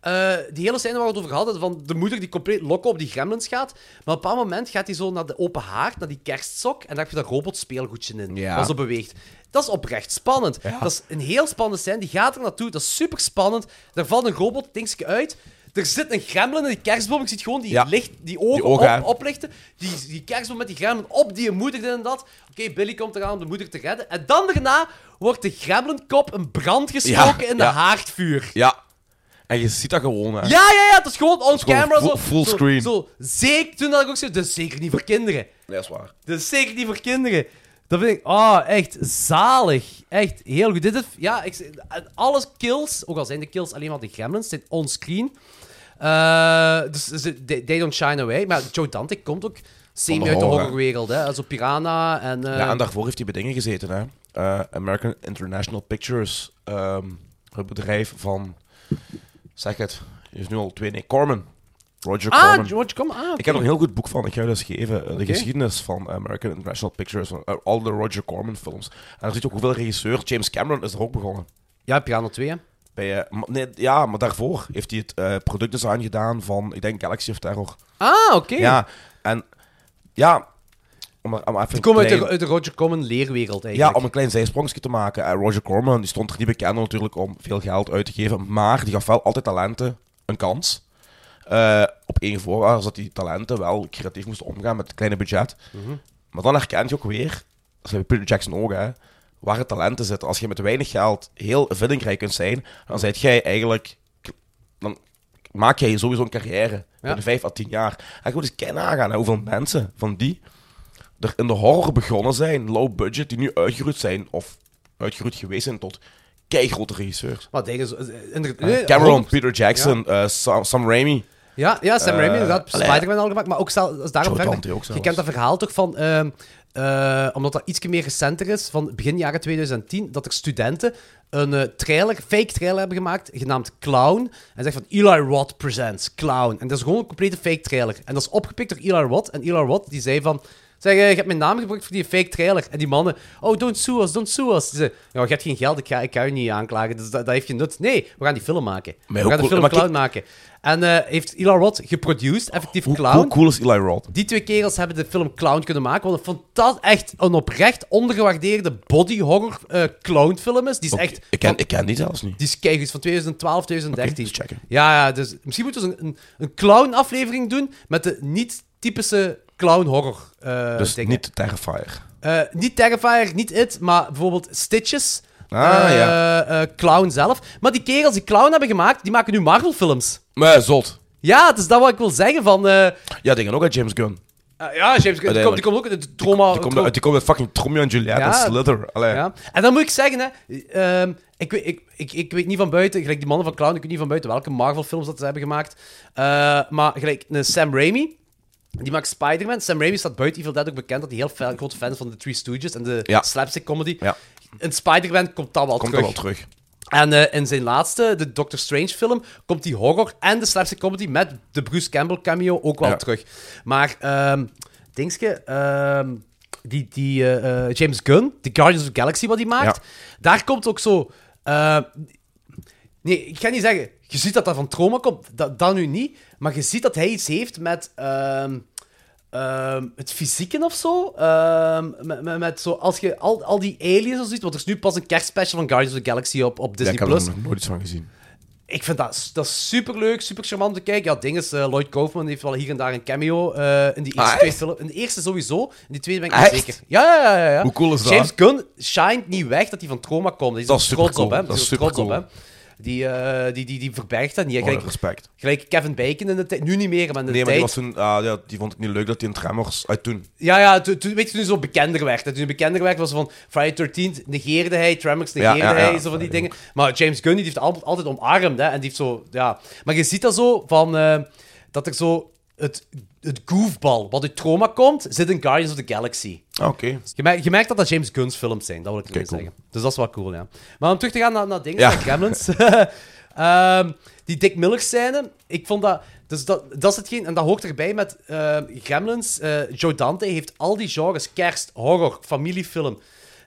A: eh, die hele scène waar we het over hadden, van de moeder die compleet lokken op die gremlins gaat. Maar op een bepaald moment gaat hij zo naar de open haard, naar die kerstsok. En daar heb je dat robotspeelgoedje in,
B: Ja.
A: dat zo beweegt. Dat is oprecht spannend. Dat is een heel spannende scène, die gaat er naartoe. Dat is super spannend. Daar valt een robot dingetje uit. Er zit een gremlin in die kerstboom. Ik zie het gewoon die,
B: Ja.
A: licht, die ogen,
B: Die ogen,
A: op,
B: hè.
A: oplichten. Die, die kerstboom met die gremlin op die moeder dit en dat. Oké, Billy komt eraan om de moeder te redden. En dan daarna wordt de gremlinkop een brand gestoken
B: Ja,
A: in de
B: ja.
A: haardvuur.
B: Ja. En je ziet dat gewoon, hè.
A: Ja, ja, ja, het is gewoon on
B: gewoon
A: camera.
B: full-
A: zo,
B: full
A: zo-
B: screen.
A: Zo, zeker, toen had ik ook zo, dat is zeker niet voor kinderen.
B: Ja, dat is waar.
A: Dat is zeker niet voor kinderen. Dat vind ik, ah, echt zalig. Echt heel goed. Dit is, ja, ik, zeg- en alles kills, ook al zijn de kills alleen maar de gremlins, zijn onscreen. Eh dus ze- they, they don't shine away. Maar Joe Dante komt ook semi
B: Van de
A: uit de
B: horror.
A: horrorwereld. Hè. Zo Piranha en... eh,
B: Ja, en daarvoor heeft hij bij dingen gezeten, hè. Eh, American International Pictures. ehm, het bedrijf van... Zeg het. Hij is nu al twee... Nee, Corman. Roger
A: Ah,
B: Corman.
A: George, kom aan.
B: Ik heb er een heel goed boek van, ik ga je dat eens geven. Eh, De
A: Oké.
B: geschiedenis van American International Pictures, van eh, al de Roger Corman films. En dan ziet je ook hoeveel regisseur, James Cameron is er ook begonnen.
A: Ja, Piranha 2, hè.
B: Bij, eh, ma- nee, ja, maar daarvoor heeft hij het eh, productdesign gedaan van, ik denk, Galaxy of Terror.
A: Ah, oké.
B: Ja, en ja, om, er- om even
A: Die komen uit
B: een
A: de,
B: klein-
A: uit de Roger Common leerwereld, eigenlijk.
B: ja, om een klein zijsprongetje te maken. Eh, Roger Corman die stond er niet bekend om natuurlijk om veel geld uit te geven, maar die gaf wel altijd talenten een kans. Eh, op één voorwaarde, dat die talenten wel creatief moesten omgaan met het kleine budget. Maar dan herkent je ook weer, dat is bij Peter Jackson ook, hè, waar het talenten zitten. Als je met weinig geld heel vindingrijk kunt zijn, dan zijt jij eigenlijk... Dan maak jij sowieso een carrière. Binnen vijf à tien jaar. En gewoon eens kennen aangaan hè, hoeveel mensen van die er in de horror begonnen zijn, low budget, die nu uitgeroeid zijn of uitgeroeid geweest zijn tot keigrote regisseurs.
A: Maar dingen zo... inderdaad-
B: Eh,
A: nee,
B: Cameron,
A: 100%.
B: Peter Jackson, eh, Sam, Sam Raimi.
A: Ja, ja Sam Raimi,
B: Eh,
A: inderdaad.
B: allee.
A: Spider-Man al gemaakt, maar ook zelf, als daarom
B: Joe
A: verder.
B: Dante ook
A: Je
B: zelfs.
A: kent dat verhaal toch van... ehm, eh, omdat dat iets meer recenter is, van begin jaren 2010, dat er studenten een eh, trailer, fake trailer hebben gemaakt, genaamd Clown. En zegt van Eli Roth presents Clown. En dat is gewoon een complete fake trailer. En dat is opgepikt door Eli Roth. En Eli Roth, die zei van... Zeg, eh, je hebt mijn naam gebruikt voor die fake trailer. En die mannen, oh, don't sue us, don't sue us. Ze zei, nou, je hebt geen geld, ik ga, ik ga je niet aanklagen, dus dat, dat heeft geen nut. Nee, we gaan die film maken.
B: Maar
A: we
B: hoe
A: gaan de
B: cool-
A: film
B: maar kijk-
A: Clown maken. En eh, heeft Eli Roth geproduced, effectief
B: Hoe,
A: Clown.
B: hoe cool is Eli Roth?
A: Die twee kerels hebben de film Clown kunnen maken. Wat een fantastisch, echt een oprecht ondergewaardeerde body horror eh, clown film is. Die is echt...
B: Ik ken,
A: van-
B: ik ken die zelfs niet.
A: die is keigoed, is van 2012, 2013.
B: Oké, eens checken.
A: Ja, ja, dus misschien moeten we eens een, een, een clown-aflevering doen met de niet-typische clown-horror eh,
B: dus
A: dingen.
B: niet Terrifier.
A: Eh, niet Terrifier, niet It, maar bijvoorbeeld Stitches.
B: Ah,
A: eh,
B: ja.
A: eh, clown zelf. Maar die kerels die Clown hebben gemaakt, die maken nu Marvel-films.
B: Maar zot.
A: Ja, het is dat wat ik wil zeggen van... eh, eh,
B: Ja, dingen ook uit James Gunn.
A: ja, James Gunn, die komt, die komt ook uit het trauma...
B: Die komt, uit- die komt met fucking Tromeo en Juliet
A: Ja.
B: en Slither. Allee.
A: Ja. En dan moet ik zeggen, hè, ehm, ik, weet, ik, ik, ik weet niet van buiten, gelijk die mannen van Clown, ik weet niet van buiten welke Marvel-films dat ze hebben gemaakt. Eh, maar gelijk een Sam Raimi, die maakt Spider-Man. Sam Raimi staat buiten Evil Dead ook bekend dat hij heel fel- groot fan is van de Three Stooges en de
B: Ja.
A: slapstick comedy.
B: Ja.
A: In Spider-Man komt dat wel
B: Komt er
A: terug.
B: wel terug.
A: En eh, in zijn laatste, de Doctor Strange film, komt die horror en de slapstick comedy met de Bruce Campbell cameo ook wel
B: Ja.
A: terug. Maar, ehm dingske, ehm, die, die eh, eh, James Gunn, The Guardians of the Galaxy wat hij maakt,
B: Ja.
A: daar komt ook zo... eh, nee, ik ga niet zeggen, je ziet dat dat van trauma komt, dat, dat nu niet, maar je ziet dat hij iets heeft met... ehm, ehm, het fysieke of zo. Ehm, met, met, met zo als je al, al die aliens of zoiets. Want er is nu pas een kerstspecial van Guardians of the Galaxy op, op
B: Ja,
A: Disney
B: ik heb er
A: Plus.
B: nog nooit iets van gezien.
A: Ik vind dat, dat is super leuk, super charmant om te kijken. Ja, het ding is, eh, Lloyd Kaufman heeft wel hier en daar een cameo eh, in die eerste
B: Ah,
A: twee
B: echt? Ah,
A: films. In de eerste sowieso, in die tweede ben ik
B: Echt?
A: niet zeker. Ja, ja, ja, ja, ja.
B: Hoe cool is dat?
A: James Gunn shined niet weg dat hij van trauma komt. Hij is,
B: Dat
A: er
B: is
A: trots
B: supercool.
A: op, hè.
B: Dat is
A: Hij er trots op, hè.
B: supercool.
A: Die, eh, die, die, die verbergt dat niet. hè.
B: Oh,
A: Gelijk,
B: respect.
A: gelijk Kevin Bacon in de tijd. Nu niet meer, maar in de
B: Nee, maar
A: tijd...
B: die, was toen, ah, ja, die vond ik niet leuk dat hij in Tremors uit toen.
A: Ja, ja, toen, toen- weet je, toen hij zo bekender werd. Hè? Toen hij bekender werd, was van Friday 13 negeerde hij, Tremors negeerde
B: Ja, ja, ja.
A: hij, zo van die dingen. Maar James Gunn, die heeft al- altijd omarmd, hè. En die heeft zo, ja... Maar je ziet dat zo van... eh, dat er zo... het, het goofbal wat uit trauma komt, zit in Guardians of the Galaxy.
B: Ah, Oké.
A: Je, merkt, je merkt dat dat James Gunn's films zijn, dat wil ik
B: Oké,
A: ermee
B: cool.
A: zeggen. Dus dat is wel cool, ja. Maar om terug te gaan naar, naar dingen,
B: Ja.
A: naar Gremlins. Ehm, die Dick Miller scène, ik vond dat... Dus dat, dat is hetgeen, en dat hoort erbij met ehm, Gremlins. eh Joe Dante heeft al die genres, kerst, horror, familiefilm.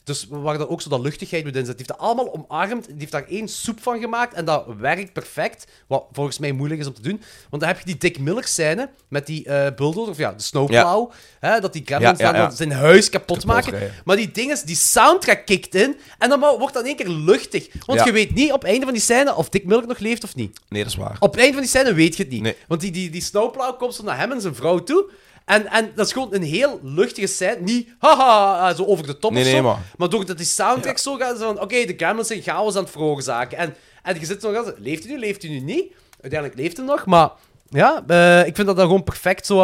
A: Dus waar dan ook zo dat luchtigheid moet in zit. Die heeft dat allemaal omarmd. Die heeft daar één soep van gemaakt. En dat werkt perfect. Wat volgens mij moeilijk is om te doen. Want dan heb je die Dick Miller scène met die eh bulldozer, of ja, de snowplow. Hè, dat die Gremlins
B: Ja, ja,
A: daar
B: ja.
A: zijn huis kapot maken.
B: rijden.
A: Maar die ding is, die soundtrack kikt in. En dan mo- wordt dat in één keer luchtig. Want
B: Ja.
A: je weet niet op het einde van die scène of Dick Miller nog leeft of niet.
B: Nee, dat is waar.
A: Op het einde van die scène weet je het niet.
B: Nee.
A: Want die, die, die snowplow komt zo naar hem en zijn vrouw toe. En, en dat is gewoon een heel luchtige scène. Niet haha, eh, zo over de top
B: Nee,
A: of
B: nee,
A: zo.
B: maar-
A: doordat die soundtrack zo gaat, zo van... Oké, de Gremlins zijn chaos aan het veroorzaken. En, en je zit zo van... Leeft hij nu, leeft hij nu niet? Uiteindelijk leeft hij nog, maar... Ja, eh, ik vind dat dan gewoon perfect zo...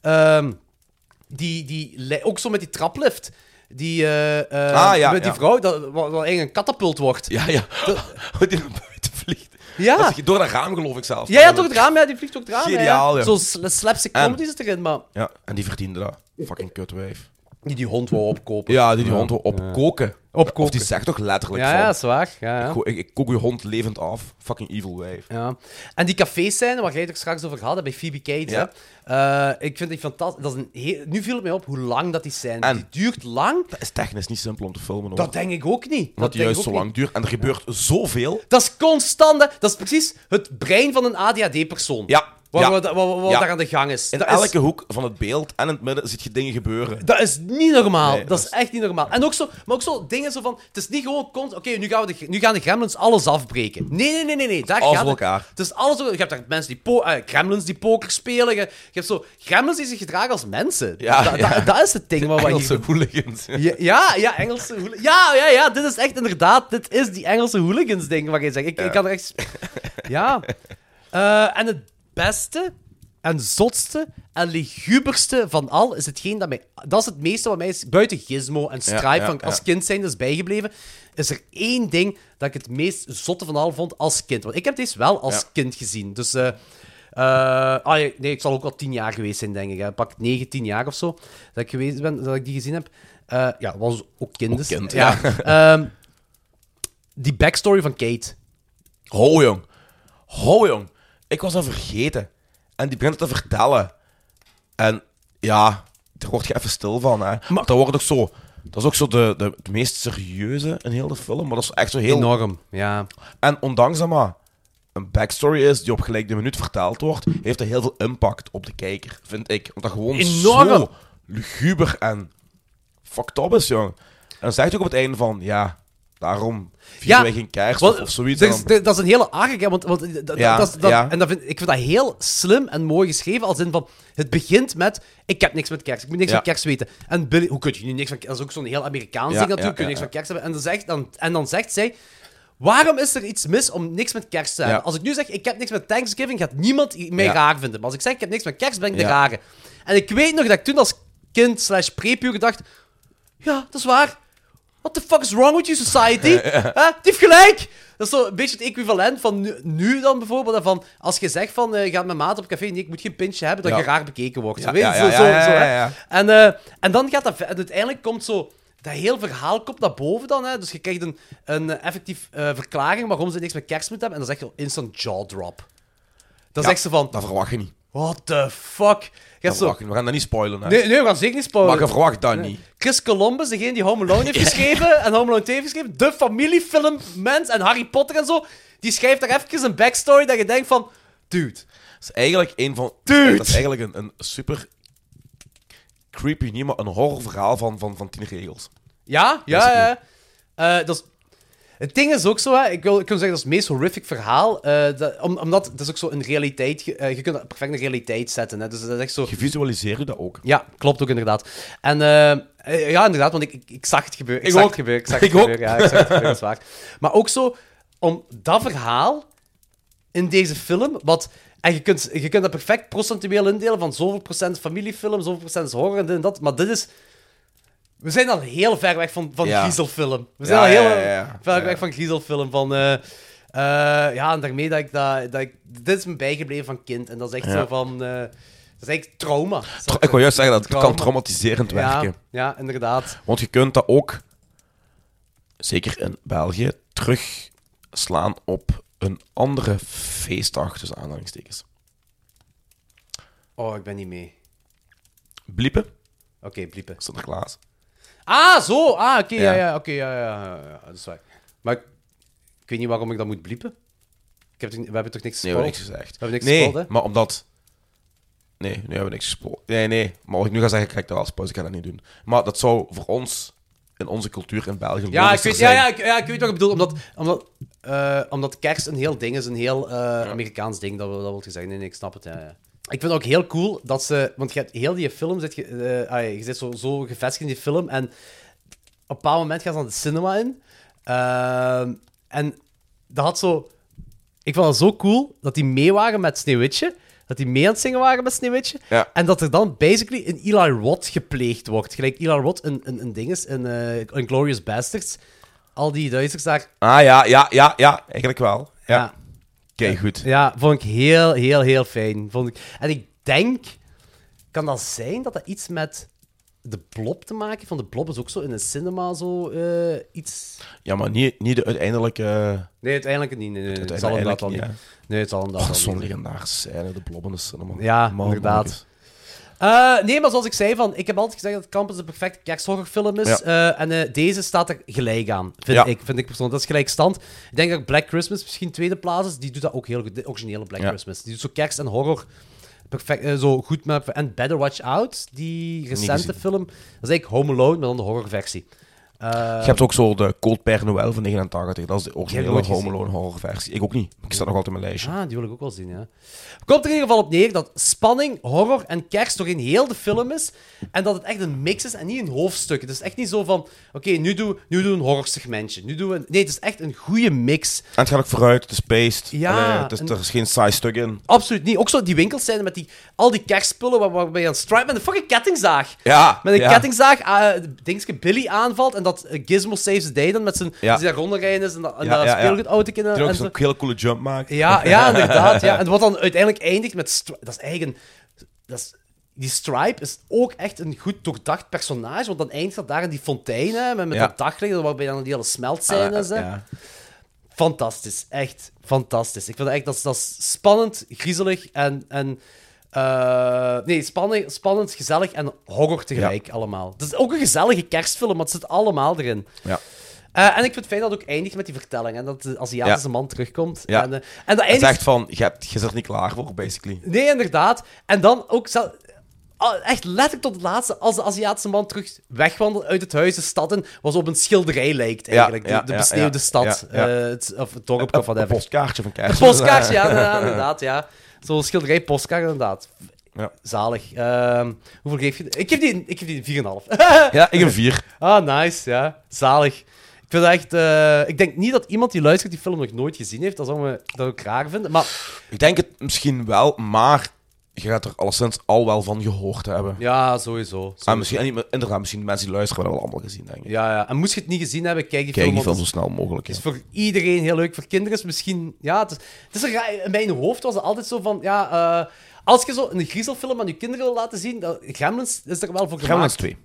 A: eh, ehm, die, die, li- ook zo met die traplift. Die, eh, eh,
B: Ah, ja,
A: met die
B: ja.
A: vrouw, dat, wat, wat eigenlijk een katapult wordt.
B: Ja, ja. Hoe die naar buiten vliegt.
A: Ja.
B: Dat is door dat raam geloof ik zelf.
A: Ah. Ja, ja, toch het raam, ja, die vliegt toch het raam.
B: Geniaal,
A: ja.
B: ja.
A: Zo'n sl- slapstick
B: En-
A: comedy zit erin, maar...
B: Ja, en die verdiende dat. Fucking kutwijf.
A: Die die hond wou opkopen.
B: Ja, die die hond wil opkoken.
A: Opkoken.
B: Of die zegt toch letterlijk
A: ja,
B: van...
A: ja, zwaar. Ja, ja.
B: Ik, ik, ik kook je hond levend af. Fucking evil wijf.
A: Ja. En die cafés zijn, waar jij het er straks over had, bij Phoebe Cates.
B: Ja.
A: Hè? Eh, ik vind die fantastisch. Dat is een heel- Nu viel het mij op hoe lang dat die zijn.
B: En-
A: Die duurt lang.
B: Dat is technisch niet simpel om te filmen, hoor.
A: Dat denk ik ook niet. Dat
B: Omdat die
A: denk
B: juist
A: ik
B: zo
A: ook
B: lang
A: niet.
B: duurt. En er gebeurt zoveel.
A: Dat is constant. hè. Dat is precies het brein van een ADHD-persoon.
B: Ja.
A: Wat,
B: ja.
A: wat, wat, wat
B: Ja.
A: daar aan de gang is.
B: In
A: dat
B: elke
A: is...
B: hoek van het beeld en in het midden zit je dingen gebeuren.
A: Dat is niet normaal.
B: Nee,
A: dat,
B: dat
A: is
B: is-
A: echt niet normaal. En ook zo, maar ook zo dingen zo van... Het is niet gewoon... cons- Oké, nu, gaan we de- nu gaan de gremlins alles afbreken. Nee, nee, nee, nee. nee. Daar
B: Alles
A: gaat
B: door
A: het-
B: elkaar.
A: Het is alles door- Je hebt daar mensen die... po- eh, gremlins die poker spelen. Je, je hebt zo... Gremlins die zich gedragen als mensen.
B: Ja,
A: Da- da-
B: ja.
A: dat is het ding. wat we hier-
B: Engelse hooligans.
A: Ja, ja, ja, Engelse hooligans. Ja, ja, ja. Dit is echt inderdaad... Dit is die Engelse hooligans ding wat je zegt. Ik, ik had er echt... Ja. Eh, en het beste en zotste en liguberste van al is hetgeen dat mij... Dat is het meeste wat mij is... Buiten Gizmo en Stripe
B: Ja, ja,
A: van als
B: ja.
A: kind zijn is bijgebleven, is er één ding dat ik het meest zotte van al vond als kind. Want ik heb deze wel als
B: Ja.
A: kind gezien. Dus... eh, eh, ah, ja, nee, ik zal ook al tien jaar geweest zijn, denk ik. Hè. Pak 19 jaar of zo dat ik geweest ben, dat ik die gezien heb. Eh, ja, was ook kindes.
B: Ook kind,
A: Ehm, die backstory van Kate.
B: Ho, jong. Ho, jong. Ik was dat vergeten. En die begint het te vertellen. En ja, daar word je even stil van. Hè. Maar... Dat wordt ook zo... Dat is ook zo de, de, het meest serieuze in heel de film. Maar dat is echt zo heel...
A: Enorm, ja.
B: En ondanks dat maar een backstory is die op gelijk de minuut vertaald wordt, heeft dat heel veel impact op de kijker, vind ik. Omdat gewoon
A: Enorm.
B: zo luguber en fucked up is, jong. En dan zegt ook op het einde van, ja, daarom vieren wij geen kerst
A: want
B: of, of zoiets.
A: er
B: en
A: is-
B: dan-
A: er- dat is een hele arg, hè, want, want eh, dat,
B: Ja,
A: dat, is- dat-
B: ja.
A: En dat vind, ik vind dat heel slim en mooi geschreven, als in van, het begint met, ik heb niks met kerst, ik moet niks
B: Ja.
A: met kerst weten. En Billy, hoe kun je nu niks van kerst, dat is ook zo'n heel Amerikaans
B: Ja,
A: ding natuurlijk,
B: ja,
A: kun je niks
B: ja,
A: van kerst hebben. En dan, zegt, dan, en dan zegt zij, waarom is er iets mis om niks met kerst te hebben?
B: Ja.
A: Als ik nu zeg, ik heb niks met Thanksgiving, gaat niemand mij
B: Ja.
A: raar vinden. Maar als ik zeg, ik heb niks met kerst, ben ik de
B: Ja.
A: rare. En ik weet nog dat ik toen als kind slash prepuur dacht, ja, dat is waar. What the fuck is wrong with you society? Hè? Die heeft gelijk! Dat is zo een beetje het equivalent van nu, nu dan bijvoorbeeld. hè, Van als je zegt van, eh, ga met maat op café, nee, ik moet geen pintje hebben, dat
B: Ja.
A: je raar bekeken wordt.
B: Ja,
A: Weet je,
B: ja,
A: zo,
B: ja,
A: zo,
B: ja,
A: zo, hè.
B: ja, ja.
A: En, eh, en dan gaat dat... ver- En uiteindelijk komt zo... Dat heel verhaal komt naar boven dan. Hè? Dus je krijgt een, een eh, effectief eh, verklaring waarom ze niks met kerst moeten hebben. En dan zeg je instant jaw drop. Dan
B: Ja,
A: zegt ze van,
B: Dat verwacht je niet.
A: what the fuck? Je hebt
B: Dat
A: zo,
B: verwacht je niet. We gaan dat niet spoilen, hè.
A: nee, oh, nee, we gaan zeker niet spoilen.
B: maar je verwacht dat niet.
A: Chris Columbus, degene die Home Alone heeft geschreven en Home Alone 2 heeft geschreven, de familiefilmmens en Harry Potter en zo, die schrijft daar even een backstory dat je denkt van, dude,
B: Dat is eigenlijk een van...
A: Dude.
B: Dat is eigenlijk een, een super... Creepy niet, maar een horrorverhaal van, van, van tien regels.
A: ja,
B: Dat
A: ja,
B: is het
A: ja. Eh, dat is- het ding is ook zo, hè, ik, wil, ik wil zeggen, dat is het meest horrific verhaal, eh, dat- om- omdat het is ook zo een realiteit, ge- eh, je kunt dat perfect in de realiteit zetten, hè, dus dat is echt zo...
B: Je visualiseert je dat ook.
A: Ja, klopt ook inderdaad. En eh, eh, ja, inderdaad, want ik, ik, ik zag het gebeuren. Ik,
B: Ik
A: zag
B: ook.
A: het gebeuren. Ik zag het
B: Ik ook.
A: gebeuren. Ja, ik zag het gebeuren, dat is waar. Maar ook zo, om dat verhaal in deze film, wat... En je kunt, je kunt dat perfect procentueel indelen van zoveel procent familiefilm, zoveel procent is horror en dit en dat. Maar dit is... We zijn al heel ver weg van, van
B: Ja.
A: griezelfilm. We
B: Ja,
A: zijn al heel
B: ja, ja, ja.
A: ver
B: Ja.
A: weg van griezelfilm. Van, eh, eh, ja, en daarmee dat ik dat... dat ik, dit is me bijgebleven van kind. En dat is echt
B: Ja.
A: zo van... eh, is eigenlijk trauma.
B: Tra- Ik wil juist zeggen dat het kan traumatiserend
A: Ja,
B: werken.
A: ja, inderdaad.
B: Want je kunt dat ook, zeker in België, terugslaan op een andere feestdag, tussen aanhalingstekens.
A: Oh, ik ben niet mee.
B: Bliepen,
A: Oké, bliepen.
B: Sinterklaas.
A: Ah, zo! Ah, oké, ja,
B: Ja.
A: ja, oké, ja, ja, ja, ja, dat is waar. Maar ik, ik weet niet waarom ik dat moet bliepen. Ik heb, toch- we hebben toch niks
B: Nee, we hebben
A: gespoild?
B: niks gezegd.
A: We hebben niks
B: nee,
A: gespoild, hè?
B: maar omdat... Nee, nu hebben we niks gespoord. Nee, nee. Maar wat ik nu ga zeggen, krijg ik dat wel spoilers. Ik ga dat niet doen. Maar dat zou voor ons, in onze cultuur in België,
A: Ja ik,
B: logischer
A: weet, ja, ja,
B: zijn.
A: ik, ja, ik weet wat ik bedoel. Omdat, omdat, eh, omdat kerst een heel ding is, een heel eh, Amerikaans ding, dat, wil- dat wil je zeggen. Nee, nee, ik snap het. Ja, ja. Ik vind het ook heel cool dat ze... Want je hebt heel die film... Zit je, eh, ah, je zit zo, zo gevestigd in die film. En op een bepaald moment gaan ze naar de cinema in. Ehm, en dat had zo... Ik vond het zo cool dat die mee waren met Sneeuwwitje. Dat die mee aan het zingen waren met Sneeuwwitje.
B: Ja.
A: En dat er dan basically een Eli Roth gepleegd wordt. Gelijk Eli Roth een, een, een ding is, een, eh, een Glorious Bastards. Al die Duitsers daar.
B: Ah, ja, ja, ja, ja. Eigenlijk wel. Ja.
A: Ja.
B: Kijk, goed.
A: ja, vond ik heel, heel, heel fijn. Vond ik... En ik denk, kan dat zijn dat dat iets met de blob te maken heeft? Want de blob is ook zo in een cinema zo eh, iets...
B: Ja, maar niet, niet de uiteindelijke...
A: Nee, uiteindelijk niet. Nee, nee, nee. Het zal inderdaad
B: Uiteindelijk
A: wel niet.
B: niet,
A: Nee, het zal inderdaad
B: Oh,
A: wel
B: Zo'n
A: niet.
B: legendarische scène, de blobbende cinema.
A: Ja,
B: Man,
A: inderdaad.
B: man,
A: Eh, nee, maar zoals ik zei, van, ik heb altijd gezegd dat Campus de perfecte kersthorrorfilm is.
B: Ja.
A: Eh, en eh, deze staat er gelijk aan, vind,
B: Ja.
A: ik, vind ik persoonlijk. Dat is gelijkstand. Ik denk dat Black Christmas misschien tweede plaats is. Die doet dat ook heel goed, de originele Black
B: Ja.
A: Christmas. Die doet zo kerst en horror perfect, eh, zo goed met... En Better Watch Out, die recente
B: gezien.
A: film. Dat is eigenlijk Home Alone, maar dan de horrorversie.
B: Je hebt ook zo de Cold Père Noël van 89. Dat is de originele
A: nooit
B: Home
A: gezien.
B: Alone horror versie. Ik ook niet. maar Ik sta nog altijd in mijn lijstje.
A: Ah, die wil ik ook wel zien, ja. Komt er in ieder geval op neer dat spanning, horror en kerst doorheen heel de film is. En dat het echt een mix is en niet een hoofdstuk. Het is echt niet zo van, oké, nu doen nu doe een horror segmentje. Nu doen we een- Nee, het is echt een goede mix.
B: En het gaat ook vooruit. Het is paced.
A: Ja,
B: Allee, het is,
A: en-
B: Er is geen saai stuk in.
A: Absoluut niet. Ook zo die winkels zijn met die, al die kerstspullen waar, waarbij je aan strijd met een fucking kettingzaag.
B: Ja,
A: Met een
B: ja.
A: kettingzaag, eh dingetje Billy aanvalt en dat eh, Gizmo Saves the Day dan met zijn,
B: Ja.
A: die daar rondrijden is en dat, en
B: Ja,
A: dat
B: ja, ja.
A: speelgoedauto kunnen-
B: Die ook
A: en
B: zo'n
A: zo.
B: hele coole jump maken.
A: Ja, ja inderdaad. Ja. En wat dan uiteindelijk eindigt met... Stri- Dat is eigen... Dat is, die Stripe is ook echt een goed doordacht personage, want dan eindigt dat daar in die fontein, hè, met, met
B: Ja. Ah,
A: dat daglicht, waarbij dan die hele smeltscène is. hè.
B: Ja.
A: Fantastisch, echt fantastisch. Ik vind dat echt dat, is- dat is spannend, griezelig en... en eh, nee, spannend, spannend, gezellig en horror tegelijk allemaal. Het is ook een gezellige kerstfilm, want het zit allemaal erin.
B: Ja.
A: Eh, en ik vind het fijn dat het ook eindigt met die vertelling, en dat de Aziatische
B: Ja.
A: man terugkomt.
B: Ja.
A: En, eh, en dat
B: Het is
A: eindigt
B: echt van, je, hebt, je zit er niet klaar voor, basically.
A: Nee, inderdaad. En dan ook zel- a- echt letterlijk tot het laatste, als de Aziatische man terug wegwandelt uit het huis, de stad in, was op een schilderij lijkt eigenlijk.
B: ja,
A: de, de
B: ja,
A: besneeuwde
B: ja,
A: stad,
B: ja, ja.
A: eh, het, of het dorp of
B: Een, een
A: whatever.
B: postkaartje van kerst.
A: Postkaart, ja, inderdaad, inderdaad, ja. Zo'n schilderij, postkaart, inderdaad.
B: Ja.
A: Zalig. Ehm, hoeveel geef je? Ik geef die, ik geef die een 4,5.
B: Ja, ik een vier.
A: ah, nice, ja. Zalig. Ik vind dat echt... eh, ik denk niet dat iemand die luistert die film nog nooit gezien heeft. Dat zou me dat ook raar vinden. Maar
B: Ik denk het misschien wel, maar je gaat er alleszins al wel van gehoord hebben.
A: ja, sowieso.
B: Ah, misschien, en niet- inderdaad, misschien de mensen die luisteren hebben dat wel allemaal gezien, denk ik.
A: Ja, ja. En moest je het niet gezien hebben, kijk die
B: Kijk
A: film.
B: die film
A: want
B: zo snel mogelijk.
A: Het
B: ja.
A: is voor iedereen heel leuk. Voor kinderen is misschien... Ja, het is, het is een raar- in mijn hoofd was het altijd zo van... Ja, eh, als je zo een griezelfilm aan je kinderen wil laten zien... Dat, Gremlins is er wel voor gemaakt.
B: Gremlins 2.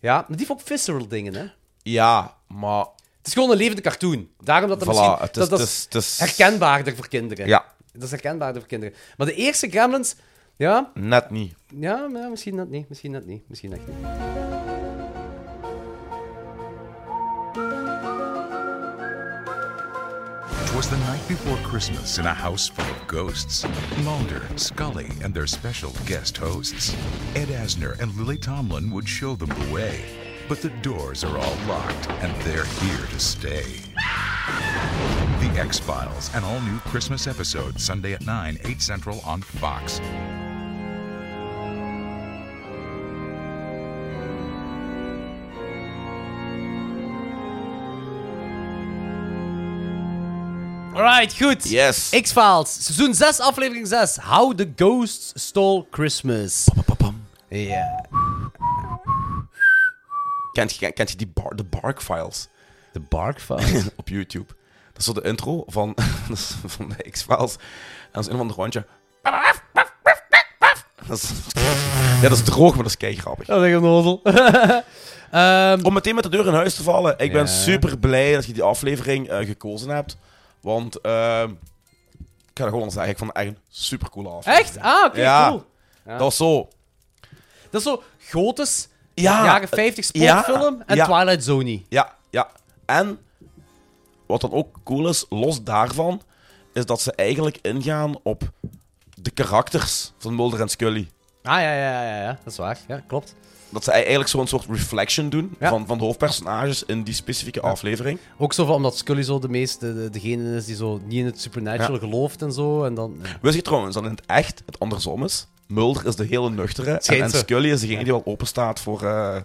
A: Ja, maar die heeft ook visceral dingen, hè.
B: Ja, maar...
A: Het is gewoon een levende cartoon. Daarom dat dat
B: Voilà,
A: misschien...
B: het is-
A: dat, dat
B: het is- het is-
A: herkenbaarder voor kinderen.
B: Ja,
A: Dat is herkenbaarder voor kinderen. Maar de eerste Gremlins... Ja,
B: net niet.
A: ja, ja, misschien dat niet. Misschien dat niet. Misschien echt niet.
L: Twas the night before Christmas in a house full of ghosts. Launder, Scully, and their special guest hosts. Ed Asner and Lily Tomlin would show them the way. But the doors are all locked, and they're here to stay. The X Files, an all new Christmas episode, Sunday at 9, 8 Central on Fox.
A: Alright, goed.
B: Yes.
A: X-Files, seizoen 6, aflevering 6. How the Ghosts Stole Christmas. Ja.
B: Kent je, kent je die bar, de Bark Files
A: De Bark Files?
B: op YouTube? Dat is zo de intro van, van de X-Files. En dat is een van de rondje. Dat is, ja, dat is droog, maar dat is kei grappig.
A: Dat is een nozel.
B: Om meteen met de deur in huis te vallen. Ik ben
A: Ja.
B: super blij dat je die aflevering eh, gekozen hebt. Want ehm, ik ga er gewoon al zeggen, ik vond het echt een super coole aflevering.
A: Echt? Ah, oké,
B: Ja.
A: cool. Ja.
B: Dat was zo.
A: Dat is zo gotisch,
B: Ja,
A: jaren 50
B: Ah, eh, ja,
A: sportfilm en
B: ja.
A: Twilight Zone.
B: Ja, ja. En wat dan ook cool is, los daarvan, is dat ze eigenlijk ingaan op de karakters van Mulder en Scully.
A: Ah, ja, ja, ja, ja, dat is waar. Ja, klopt.
B: Dat ze eigenlijk zo'n soort reflection doen van, van de hoofdpersonages in die specifieke aflevering.
A: Ook zo van, omdat Scully zo de meeste, de- degene is die zo niet in het supernatural
B: Ja.
A: gelooft en zo. En dan,
B: Wist je trouwens dat in het echt het andersom is? Mulder is de hele nuchtere en,
A: Schijnt
B: en
A: zo.
B: Scully is degene die wel open staat voor eh,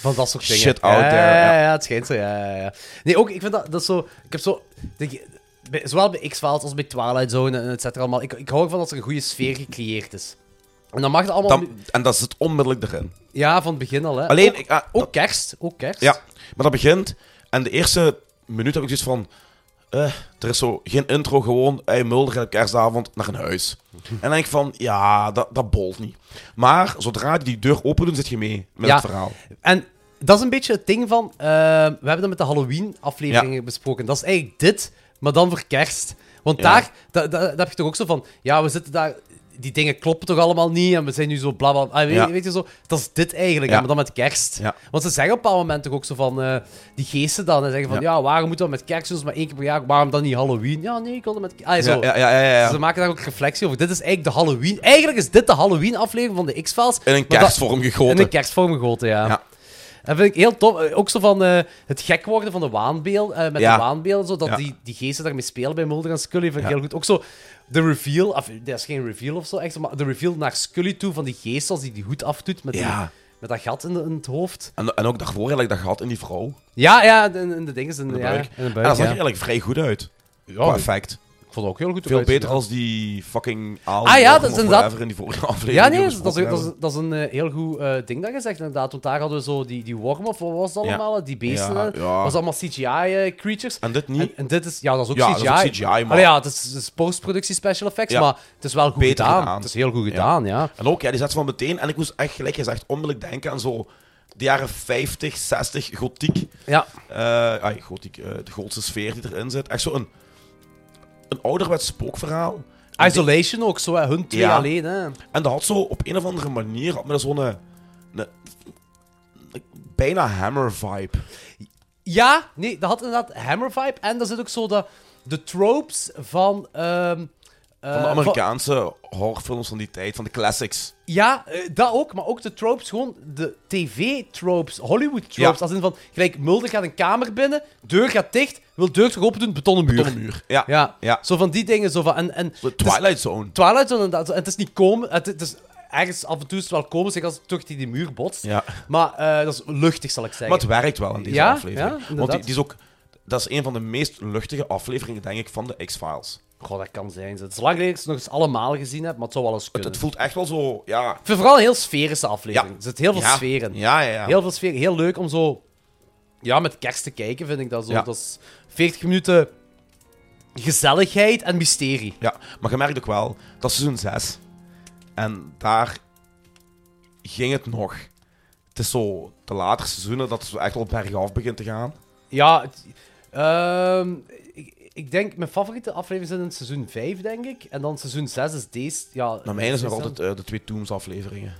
A: Van dat soort dingen.
B: shit out
A: ja,
B: there.
A: Ja,
B: ja.
A: ja, het schijnt zo. Ja, ja, ja. Nee, ook, ik vind dat, dat zo... Ik heb zo... de- bij- zowel bij X-Files als bij Twilight Zone en et cetera allemaal. Ik, ik hou ervan dat er een goede sfeer gecreëerd is. En dan mag dat allemaal...
B: Dan- en dat zit onmiddellijk erin.
A: Ja, van het begin al, hè.
B: Alleen,
A: Eh, Ook,
B: ik- ah,
A: ook kerst. Ook kerst.
B: Ja, maar dat begint. En de eerste minuut heb ik zoiets van. eh, er is zo geen intro, gewoon. Hey, Mulder gaat op kerstavond naar een huis. En dan denk ik van, ja, dat, dat bolt niet. Maar zodra die die deur open doen, zit je mee met
A: Ja.
B: het verhaal.
A: En dat is een beetje het ding van... eh, we hebben dat met de Halloween-afleveringen besproken. Dat is eigenlijk dit, maar dan voor kerst. Want
B: Ja.
A: daar, da, da- daar heb je toch ook zo van... Ja, we zitten daar... Die dingen kloppen toch allemaal niet en we zijn nu zo bla bla... ah, weet,
B: Ja.
A: weet je zo? Dat is dit eigenlijk,
B: Ja.
A: hè, maar dan met kerst.
B: Ja.
A: Want ze zeggen op een bepaald moment toch ook zo van... eh, die geesten dan, en zeggen van... Ja, waarom moeten we met kerst doen? Dat is maar één keer per jaar. Waarom dan niet Halloween? Ja, nee, ik wilde met... Ah, zo.
B: Ja, ja, ja, ja, ja.
A: Dus ze maken daar ook reflectie over. Dit is eigenlijk de Halloween... Eigenlijk is dit de Halloween-aflevering van de X-Files.
B: In een
A: maar dat-
B: kerstvorm gegoten.
A: In een kerstvorm gegoten, ja. Dat vind ik heel tof. Eh, Ook zo van eh, het gek worden van de waanbeeld, eh, met
B: Ja.
A: de waanbeelden, zo, dat
B: Ja.
A: die, die geesten daarmee spelen bij Mulder en Scully, vind ik heel goed. Ook zo de reveal, of dat is geen reveal of zo, echt, maar de reveal naar Scully toe van die geest als die die hoed afdoet met, die-
B: Ja.
A: met dat gat in, de- in het hoofd.
B: En, en ook daarvoor eigenlijk dat gehad in die vrouw.
A: Ja, ja, in, in de dingen, in,
B: In
A: de
B: de
A: ja,
B: buik.
A: in de
B: en
A: buik,
B: dat zag
A: ja.
B: er eigenlijk vrij goed uit.
A: ik-
B: Qua effect.
A: Ik vond het ook heel goed
B: Veel
A: eruit zien,
B: beter
A: ja.
B: als die fucking aal
A: Ah ja, dat is inderdaad...
B: in die vorige aflevering.
A: Ja,
B: die
A: nee,
B: we
A: dat is, dat, is,
B: besproken
A: dat, is, dat is een eh, heel goed eh, ding dat je zegt, inderdaad. Want daar hadden we zo die, die worm, of wat was dat
B: Ja.
A: allemaal? Die beesten.
B: Ja,
A: Dat
B: ja.
A: was allemaal CGI-creatures.
B: En dit niet?
A: En, en dit is... Ja, dat is ook
B: Ja, dat
A: CGI.
B: is ook CGI, maar-
A: Allee, ja, het is, het is postproductie special effects,
B: Ja.
A: maar het is wel goed
B: Beter
A: gedaan.
B: gedaan.
A: Het is heel goed gedaan, ja.
B: En ook, ja, die zet van meteen. En ik moest echt, gelijk gezegd, onmiddellijk denken aan zo de jaren 50, 60, gotiek.
A: Ja.
B: Eh, ai, gotiek, eh, de gootse sfeer die erin zit. Echt zo een, een ouderwets spookverhaal.
A: Isolation ook zo, hè. hun twee
B: Ja.
A: alleen. Hè.
B: En dat had zo op een of andere manier, had me dat zo'n eh, een- een bijna hammer vibe.
A: Ja, nee, dat had inderdaad Hammer vibe. En daar zit ook zo de, de tropes van... ehm, eh,
B: Van de Amerikaanse horrorfilms van die tijd, van de classics.
A: Ja, eh, dat ook, maar ook de tropes, gewoon de tv-tropes, Hollywood-tropes.
B: Ja.
A: Als in van, gelijk, Mulder gaat een kamer binnen, deur gaat dicht, wil deur terug open doen, betonnen muur.
B: Tot een muur. Ja.
A: Ja. Dus-
B: Ja.
A: zo van die dingen. Zo van, en, en,
B: De Twilight Zone.
A: Twilight Zone, inderdaad. zo- En het is niet komen, het, het is ergens af en toe is het wel komen, zeg als het terug die, die muur botst.
B: Ja.
A: Maar eh, dat is luchtig, zal ik zeggen.
B: Maar het werkt wel in deze
A: Ja, ja,
B: aflevering. Want die,
A: inderdaad.
B: die is ook, dat is een van de meest luchtige afleveringen, denk ik, van de X-Files.
A: Goh, dat kan zijn. Het is lang geleden dat ik ze nog eens allemaal gezien heb, maar het zou wel eens
B: Het,
A: kunnen.
B: het voelt echt wel zo, ja.
A: Ik vind vooral een heel sferische aflevering. Er zit heel veel
B: Ja.
A: sfeer in.
B: Ja, ja, ja.
A: Heel veel sfeer. Heel leuk om zo... Ja, met kerst te kijken, vind ik dat zo.
B: Ja.
A: Dat is 40 minuten gezelligheid en mysterie.
B: ja. Maar je merkt ook wel, dat is seizoen 6. En daar ging het nog. Het is zo, de latere seizoenen, dat het echt wel bergaf begint te gaan.
A: Ja, het- ehm, ik, ik denk... Mijn favoriete afleveringen zijn in seizoen 5, denk ik. En dan seizoen 6 is deze... Ja,
B: Naar mij is nog
A: dan-
B: altijd eh, de twee Tombs afleveringen.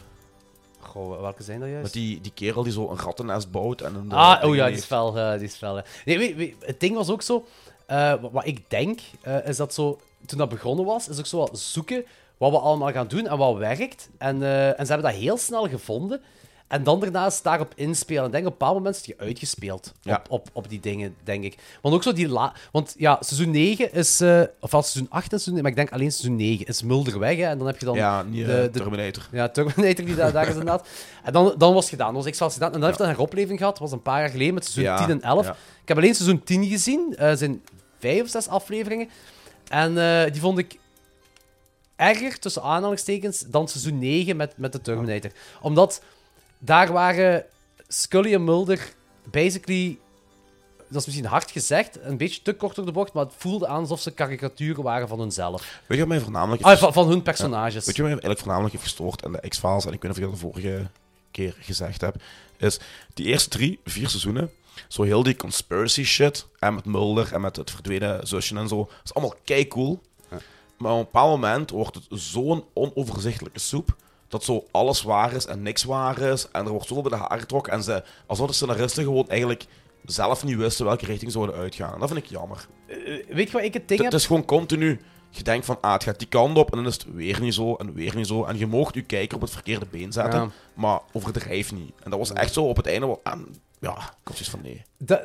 A: Goh, welke zijn dat juist?
B: Met die, die kerel die zo een rattennest bouwt. En een
A: Ah,
B: ding
A: oh ja, die
B: heeft.
A: is fel. eh, die is fel eh. nee, weet, weet- het ding was ook zo. eh, wat, wat ik denk, eh, is dat zo. Toen dat begonnen was, is ook zo wat zoeken wat we allemaal gaan doen en wat werkt. En, eh, en ze hebben dat heel snel gevonden. En dan daarnaast daarop inspelen. Ik denk op een bepaald moment is je uitgespeeld
B: Ja.
A: op, op, op die dingen, denk ik. Want ook zo die la... Want ja, seizoen 9 is... eh of wel seizoen 8 en seizoen 9, maar ik denk alleen seizoen 9 is Mulder weg. Hè, en dan heb je dan
B: Ja, niet, eh,
A: de, de,
B: Terminator.
A: ja, Terminator die daar, daar is inderdaad. En dan, dan was het gedaan, dan was X-Files gedaan. En dan heeft hij een heropleving gehad, was een paar jaar geleden met seizoen
B: Ja,
A: 10 en 11.
B: ja.
A: Ik heb alleen seizoen 10 gezien, eh zijn vijf of zes afleveringen. En eh, die vond ik erger, tussen aanhalingstekens, dan seizoen 9 met, met de Terminator. Omdat daar waren Scully en Mulder basically dat is misschien hard gezegd, een beetje te kort door de bocht, maar het voelde aan alsof ze karikaturen waren van hunzelf.
B: Weet je wat mij voornamelijk
A: Ah, van, van hun
B: Ja.
A: personages.
B: Weet je wat mij eigenlijk voornamelijk heeft gestoord aan de X-Files, en ik weet niet of ik dat de vorige keer gezegd heb, is die eerste drie, vier seizoenen, zo heel die conspiracy shit, en met Mulder en met het verdwenen zusje en zo, is allemaal kei cool. Maar op een bepaald moment wordt het zo'n onoverzichtelijke soep, dat zo alles waar is en niks waar is, en er wordt zoveel bij de haar getrokken, en ze, alsof de scenaristen gewoon eigenlijk zelf niet wisten welke richting ze zouden uitgaan. En dat vind ik jammer.
A: Eh, weet je wat ik het
B: Het-
A: ding heb?
B: Het is gewoon continu. Je denkt van, ah, het gaat die kant op en dan is het weer niet zo en weer niet zo. En je mocht je kijker op het verkeerde been zetten,
A: Ja.
B: maar overdrijf niet. En dat was echt zo op het einde. wel- En ja, ik was zoiets van nee.
A: Da-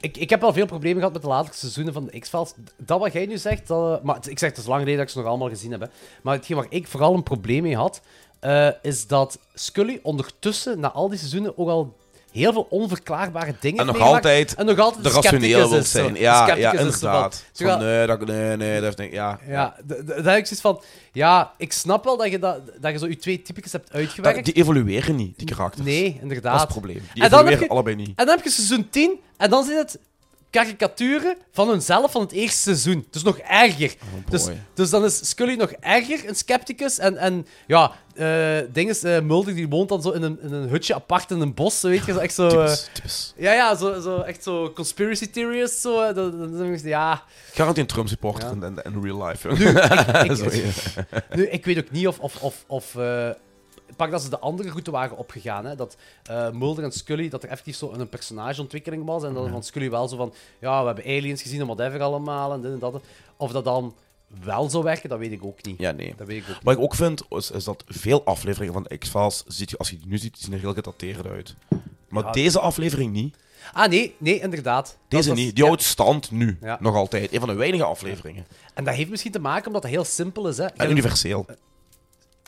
A: ik, ik heb wel veel problemen gehad met de latere seizoenen van de X-Files. Dat wat jij nu zegt, dat, maar het- ik zeg het is lang geleden dat ik ze nog allemaal gezien heb. Hè. Maar hetgeen waar ik vooral een probleem mee had, eh, is dat Scully ondertussen, na al die seizoenen, ook al heel veel onverklaarbare dingen
B: En nog
A: heeft meegemaakt.
B: altijd
A: en nog altijd
B: de
A: scepticus
B: rationeel
A: is,
B: wil
A: zo.
B: zijn.
A: De
B: Ja,
A: scepticus
B: ja
A: is zo van-
B: inderdaad.
A: terwijl-
B: Van, nee, dat, nee, nee, dat is niet. Ja.
A: ja, d- d- daar heb ik zoiets van... Ja, ik snap wel dat je, dat, dat je zo je twee typetjes hebt uitgewerkt.
B: Dat- die evolueren niet, die karakters.
A: Nee, inderdaad.
B: Dat is het probleem. Die
A: En dan heb
B: evolueren
A: je-
B: allebei niet.
A: En dan heb je seizoen 10 en dan zijn het karikaturen van hunzelf van het eerste seizoen. Dus nog erger. dus, dus dan is Scully nog erger, een scepticus. En, en ja, eh ding is, eh, Mulder die woont dan zo in een, in een hutje apart in een bos. Zo, weet je, zo echt zo... eh,
B: Typisch, typisch.
A: Ja, ja, zo, zo, echt zo conspiracy theorist. Zo, eh, dat- dat- dat- ja...
B: Garantie een Trump supporter in, in- in real life.
A: Nu, ik, ik-
B: Zo, ja.
A: nu, ik weet ook niet of. of, of, of eh, pak dat ze de andere route waren opgegaan. Hè? Dat eh, Mulder en Scully, dat er effectief zo een personageontwikkeling was. En dan van Scully wel zo van. Ja, we hebben aliens gezien en whatever allemaal. En dit en dat. Of dat dan wel zou werken, dat weet ik ook niet.
B: Ja, nee.
A: Dat weet ik ook niet.
B: Wat ik ook vind, is, is dat veel afleveringen van de X-Files, ziet je- als je die nu ziet, zien er heel gedateerd uit. Maar
A: Ja.
B: deze aflevering niet.
A: Ah, nee, nee, inderdaad. Dat
B: Deze
A: was-
B: niet. Die
A: ja.
B: houdt stand nu.
A: Ja.
B: Nog altijd. Een van de weinige afleveringen.
A: En dat heeft misschien te maken omdat het heel simpel is. Hè?
B: En universeel.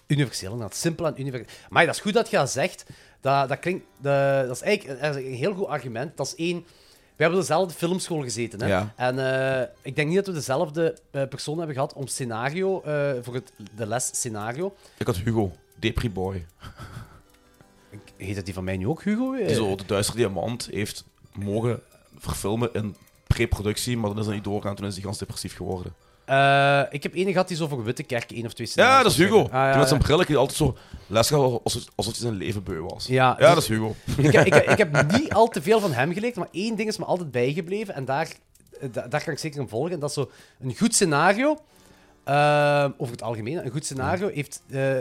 A: Universeel, inderdaad. Simpel en universeel. Maar dat is goed dat je dat zegt. Dat, dat, klinkt, de- dat is eigenlijk dat is een heel goed argument. Dat is één... We hebben op dezelfde filmschool gezeten. Hè?
B: Ja.
A: En eh, ik denk niet dat we dezelfde eh, persoon hebben gehad om scenario, eh, voor het, de les scenario.
B: Ik had Hugo, Depri Boy.
A: Heet dat die van mij nu ook, Hugo? Eh,
B: Die zo de Duistere Diamant heeft mogen verfilmen in pre-productie, maar dan is dat niet doorgaan. Toen is hij gans depressief geworden.
A: eh, ik heb ene gehad die zo voor Witte Kerk één of twee scenario's
B: Ja, dat is
A: had
B: Hugo.
A: geschreven. Ah, ja,
B: die met zijn
A: ja.
B: brilletje die altijd zo les gaf alsof, alsof hij zijn leven beu was.
A: Ja, dus-
B: ja dat is Hugo.
A: Ik, heb- ik, heb- ik heb niet al te veel van hem geleerd, maar één ding is me altijd bijgebleven. En daar, eh, da- daar kan ik zeker in volgen. En dat is zo een goed scenario. eh, over het algemeen, een goed scenario heeft, eh,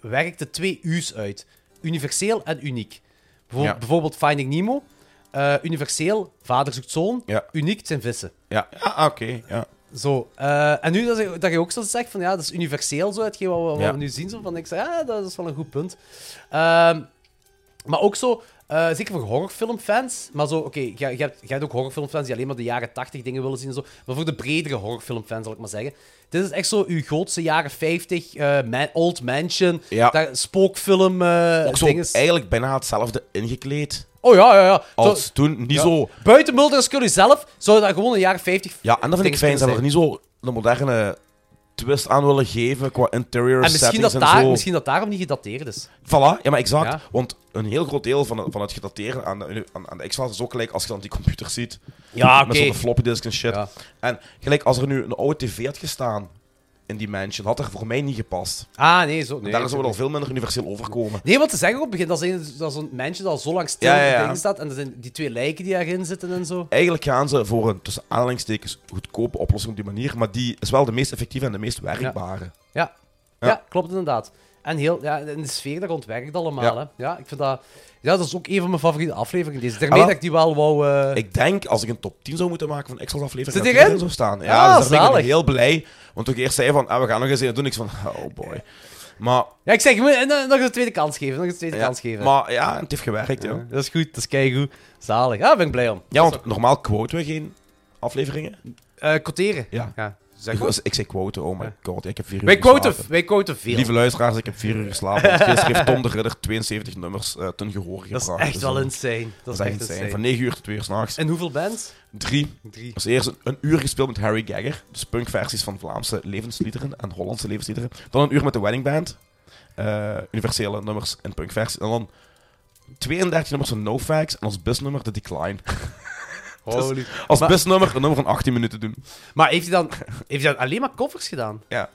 A: werkt de twee U's uit: universeel en uniek. Bijvo-
B: Ja.
A: Bijvoorbeeld Finding Nemo. eh, universeel, vader zoekt zoon.
B: Ja.
A: Uniek, het zijn vissen.
B: Ja, ja oké. ja.
A: Zo, eh, en nu dat je, dat je ook zo zegt van ja, dat is universeel zo, hetgeen wat, we- wat
B: Ja.
A: we nu zien. Zo, van, ik zeg, ja, dat is wel een goed punt. Ehm, maar ook zo, eh, zeker voor horrorfilmfans, maar zo, oké, jij jij hebt, jij hebt ook horrorfilmfans die alleen maar de jaren 80 dingen willen zien en zo, maar voor de bredere horrorfilmfans zal ik maar zeggen. Dit is echt zo uw grootste jaren 50, eh, Man- Old Mansion,
B: Ja.
A: daar, spookfilm, eh
B: Ook zo
A: dinges.
B: eigenlijk bijna hetzelfde ingekleed.
A: Oh ja, ja, ja. Zo-
B: Als toen, niet
A: ja.
B: zo...
A: Buiten Mulder en Scully zelf zou dat gewoon een jaren 50
B: Ja, en dat vind ik
A: dinges
B: fijn. Ze hebben
A: kunnen
B: er
A: zijn.
B: niet zo de moderne twist aan willen geven qua interior
A: En misschien
B: settings
A: dat,
B: en
A: daar,
B: zo.
A: misschien dat daarom niet gedateerd is.
B: Voilà, ja, maar exact.
A: Ja.
B: Want een heel groot deel van, het- van het gedateren aan de, aan, aan de X-Files is ook gelijk als je dan die computer ziet.
A: Ja,
B: Met
A: oké.
B: zo'n floppy disk en shit. En gelijk als er nu een oude tv had gestaan in die mansion, had er voor mij niet gepast.
A: Ah, nee, zo. Nee,
B: daar zou het al veel minder universeel overkomen.
A: Nee, want ze zeggen op het begin dat is een- dat is een mensje dat al zo lang stil
B: Ja,
A: in
B: ja,
A: de
B: ja.
A: ding staat. En er zijn die twee lijken die daarin zitten en zo.
B: Eigenlijk gaan ze voor een tussen aanhalingstekens goedkope oplossing op die manier, maar die is wel de meest effectieve en de meest werkbare.
A: Ja, ja.
B: Ja.
A: klopt inderdaad. En, heel, ja, en de sfeer daar rond werkt allemaal.
B: Ja.
A: Hè. ja, ik vind dat... Ja, dat is ook een van mijn favoriete afleveringen. Deze. Daarmee
B: Ah,
A: dat ik die wel wou... eh,
B: Ik denk, als ik een top 10 zou moeten maken van Excel afleveringen,
A: Zit die
B: dat die erin zou staan.
A: Ah,
B: Ja, dus daar ben ik
A: zalig.
B: nog heel blij. Want toen ik eerst zei van, ah, we gaan nog eens doen, ik van, oh boy. Maar,
A: Ja, ik zeg, je moet- en, dan nog eens een tweede kans geven. Nog eens een tweede
B: ja,
A: kans geven.
B: maar ja, het heeft gewerkt, ja.
A: Dat is goed, dat is keigoed. Zalig. Ja, daar ben ik blij om.
B: Ja, want normaal quoten we geen afleveringen.
A: Eh quoteren.
B: Ja.
A: ja.
B: Ik, was- ik zei quoten, oh my god, ik heb vier uur
A: Wij quoten,
B: geslapen.
A: wij quoten veel.
B: Lieve luisteraars, ik heb vier uur geslapen. Want Gisteren heeft Tom de Ridder 72 nummers eh, ten gehoor gebracht.
A: dat is echt
B: Dus,
A: wel
B: eh,
A: insane. Dat is echt insane.
B: Van 9 uur tot 2 uur s'nachts.
A: En hoeveel bands?
B: Drie.
A: Drie.
B: Als eerst een, een uur gespeeld met Harry Gagger. Dus punkversies van Vlaamse levensliederen en Hollandse levensliederen. Dan een uur met de Wedding Band. eh, universele nummers en punkversies. En dan 32 nummers van NoFax. En als busnummer The Decline. Dat
A: Holy.
B: is Als
A: Maar-
B: best nummer, een nummer van 18 minuten doen.
A: Maar heeft hij dan, heeft hij dan alleen maar covers gedaan?
B: Ja.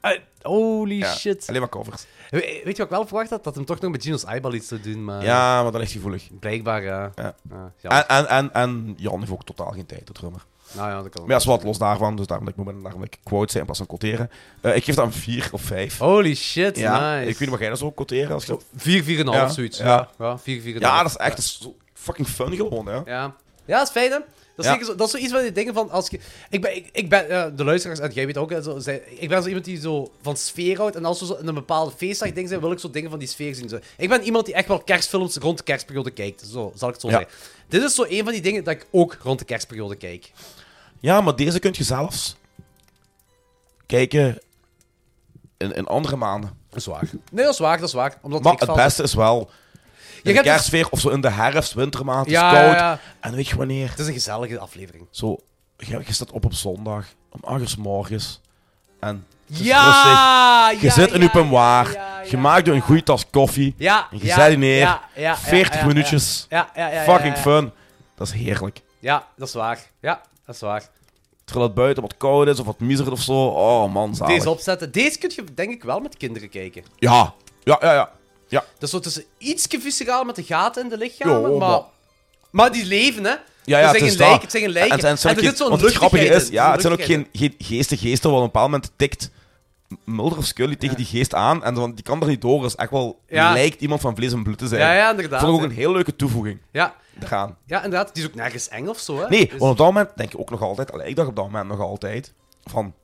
A: Eh, holy shit.
B: alleen maar covers.
A: We- weet je wat ik wel verwacht had? Dat hem toch nog met Gino's Eyeball iets zou doen, maar...
B: Ja, maar dat ligt gevoelig.
A: Blijkbaar, ja.
B: Ja. Ah.
A: Ja, jammer.
B: En, en, en, en Jan heeft ook totaal geen tijd, de drummer.
A: Nou ja, dat kan.
B: Maar ja, zwart, los daarvan. Dus daarom dat ik, moment, daarom dat ik quote zei in plaats van quoteren. Eh, ik geef dat een 4 of 5.
A: Holy shit,
B: ja,
A: Oh, nice.
B: Ik weet niet, mag jij dat zo quoteren? Als je... dat-
A: 4, 4,5
B: Ja,
A: zoiets.
B: Ja.
A: Ja, ja 4, 4,5.
B: Ja, dat is echt dat is zo fucking fun gewoon, hè.
A: Ja. Ja, dat is fijn, hè? Dat is,
B: Ja.
A: zeker zo, dat is zoiets van die dingen van als je... Ik ben, ik, ik ben eh, de luisteraars, en jij weet ook, hè, zo, zij- ik ben zo iemand die zo van sfeer houdt. En als we zo in een bepaalde feestdag dingen zijn, wil ik zo dingen van die sfeer zien. Zo. Ik ben iemand die echt wel kerstfilms rond de kerstperiode kijkt. Zo, zal ik het zo
B: Ja.
A: zeggen. Dit is zo een van die dingen dat ik ook rond de kerstperiode kijk.
B: Ja, maar deze kun je zelfs kijken in, in andere maanden.
A: Zwaar. Nee, dat is waar, dat is waar. Omdat
B: Maar
A: ik
B: het
A: val-
B: beste is wel
A: Je
B: in de
A: hebt dus-
B: kerstsfeer of zo in de herfst, wintermaand. Het
A: Ja,
B: is koud.
A: ja, ja.
B: En weet je wanneer?
A: Het is een gezellige aflevering.
B: Zo, je, je staat op op zondag, om 8 uur 's morgens. En het is
A: Ja,
B: rustig. Je
A: ja,
B: zit in
A: ja,
B: je pemoir. je maakt je een goede tas koffie.
A: Ja,
B: en je
A: ja,
B: zet je neer.
A: ja, ja, ja,
B: 40
A: ja, ja.
B: minuutjes.
A: Ja, ja, ja, ja,
B: Fucking
A: ja,
B: fun. Dat is heerlijk.
A: Ja, dat is waar. Ja, dat is waar.
B: Terwijl het buiten wat koud is of wat miserig of zo. Oh man, zalig.
A: Deze opzetten. Deze kun je denk ik wel met kinderen kijken.
B: Ja, ja, ja, ja. ja.
A: Dus zo tussen iets visceraal met de gaten in de lichamen,
B: Jo,
A: maar...
B: maar-
A: maar... die leven, hè?
B: Ja, ja,
A: het
B: het
A: zijn
B: is
A: geen
B: dat.
A: lijken, het zijn geen lijken.
B: En, en, het zijn ook
A: er
B: geen-
A: zit zo'n
B: want het grappige
A: luchtigheid
B: is,
A: in,
B: ja,
A: zo'n
B: het zijn ook
A: luchtigheid
B: geen, geen geesten, geesten, want op een bepaald moment tikt Mulder of Scully tegen die geest aan en dan, die kan er niet door, dus echt wel
A: Ja.
B: lijkt iemand van vlees en bloed te zijn.
A: Ja, ja, inderdaad,
B: Vond ik ook
A: hè.
B: een heel leuke toevoeging.
A: in. Ja.
B: Daaraan.
A: ja, inderdaad. Die is ook nergens eng of zo, hè?
B: Nee,
A: Dus-
B: want op dat moment denk ik ook nog altijd, allee, ik dacht op dat moment nog altijd, van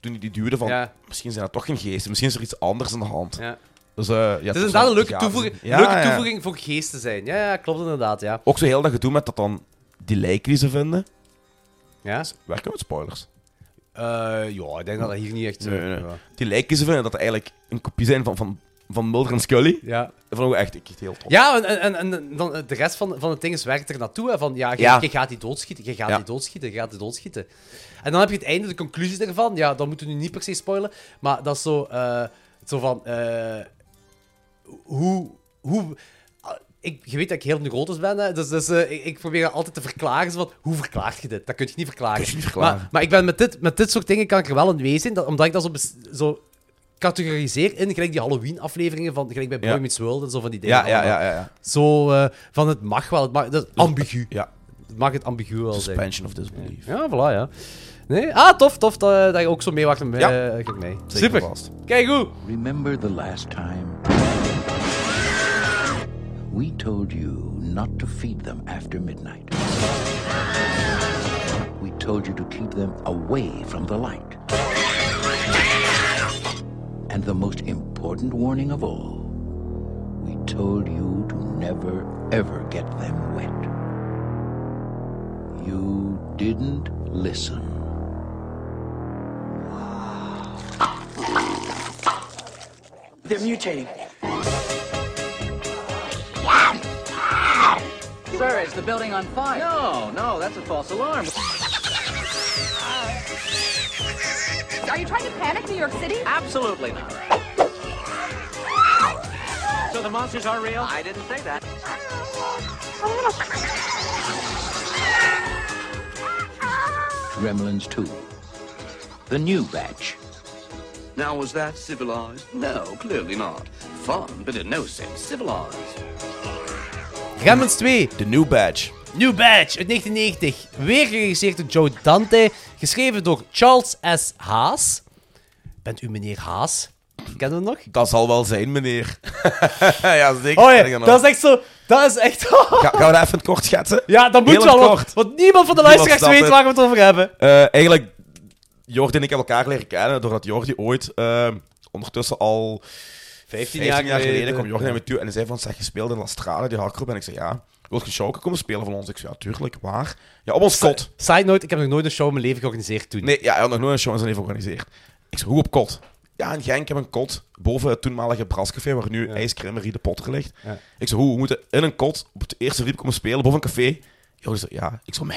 B: toen hij die duwde, van
A: Ja.
B: misschien zijn dat toch geen geesten, misschien is er iets anders aan de hand.
A: Ja.
B: Dus, eh, ja,
A: het is
B: was
A: inderdaad
B: wel-
A: een leuke,
B: ja,
A: toevoeging,
B: ja,
A: leuke
B: ja.
A: toevoeging voor geesten zijn. Ja, ja, klopt inderdaad, ja.
B: Ook zo heel dat gedoe met dat dan die lijken die ze vinden.
A: Ja,
B: Werken we met spoilers?
A: Eh, ja ik denk dat dat hier niet echt... eh,
B: Nee, nee.
A: ja.
B: Die lijken ze vinden dat het eigenlijk een kopie zijn van, van, van Mulder en Scully.
A: Ja.
B: Dat vond ik echt, echt heel tof.
A: Ja, en, en, en- en dan, eh, de rest van, van het ding is werkt er naartoe. Hè, van ja, je,
B: Ja.
A: je gaat die doodschieten, je gaat
B: Ja.
A: die doodschieten, je gaat die doodschieten. En dan heb je het einde, de conclusie ervan. Ja, dat moeten we nu niet per se spoilen. Maar dat is zo, eh, zo van. eh, hoe. hoe ah, ik, je weet dat ik heel neurotisch ben, hè? dus, dus eh, ik, ik probeer dat altijd te verklaren. Zo van, hoe verklaart je dit? Dat kun je niet verklaren.
B: Kun je niet verklaren.
A: Maar, maar ik ben met, dit, met dit soort dingen kan ik er wel een wezen in, dat, omdat ik dat zo, bes- zo categoriseer in gelijk die Halloween-afleveringen van gelijk bij Boy
B: Ja.
A: Meets World en zo van die dingen.
B: Ja, ja,
A: allemaal.
B: ja, ja. ja.
A: Zo eh, van het mag wel, het mag, dat is ambigu.
B: Ja.
A: Het mag het ambigu wel zijn.
B: Suspension of disbelief.
A: Ja, voilà, ja. Nee? Ah, tof, tof dat, dat je ook zo meewacht met
B: Ja.
A: eh, met mij.
B: Zeker
A: Super.
B: vast.
A: Kijk hoe.
M: Remember the last time? We told you not to feed them after midnight. We told you to keep them away from the light. And the most important warning of all, we told you to never, ever get them wet. You didn't listen.
D: They're mutating.
N: Sir, is the building on fire? No, no, that's a false alarm.
O: Are you trying to panic New York City?
N: Absolutely not. So the monsters are real? I didn't say that.
M: Gremlins 2. The new batch.
I: Now, was that civilized? No, clearly not. Fun, but in no sense civilized.
A: Gremlins 2.
B: The New Badge.
A: New Badge uit 1990. Weer geregisseerd door Joe Dante. Geschreven door Charles S. Haas. Bent u meneer Haas? Kennen we hem nog?
B: Dat zal wel zijn, meneer. ja, zeker.
A: Oh
B: Ken ik
A: ja,
B: hem
A: dat is
B: nog.
A: echt zo. Dat is echt.
B: Ga- gaan we dat even in het kort schetsen?
A: ja, dat moet
B: Heel in
A: wel.
B: het
A: Want,
B: kort.
A: want niemand van de
B: Niemand
A: luisteraars
B: snapt
A: weet
B: het.
A: waar we het over hebben.
B: Eh, eigenlijk, Jordi en ik hebben elkaar leren kennen doordat Jordi ooit, eh, ondertussen al
A: 15 jaar geleden
B: kwam Jordi naar me toe en hij zei van, zeg, je speelde in La Strada, die hardgroep. En ik zei, ja, wil je Sjouke komen spelen van ons? Ik zei, ja, tuurlijk, waar? Ja, op ons kot.
A: Side note, ik heb nog nooit een show in mijn leven georganiseerd toen.
B: Nee, ja, hij had nog nooit een show in zijn leven georganiseerd. Ik zei, hoe op kot? Ja, in Genk hebben we een kot boven het toenmalige Brascafé, waar nu IJskrimmerie de Potter ligt.
A: Ja.
B: Ik zei, hoe, we moeten in een kot op het eerste verdiep komen spelen, boven een café. Joris zei, ja, ik zei, meh.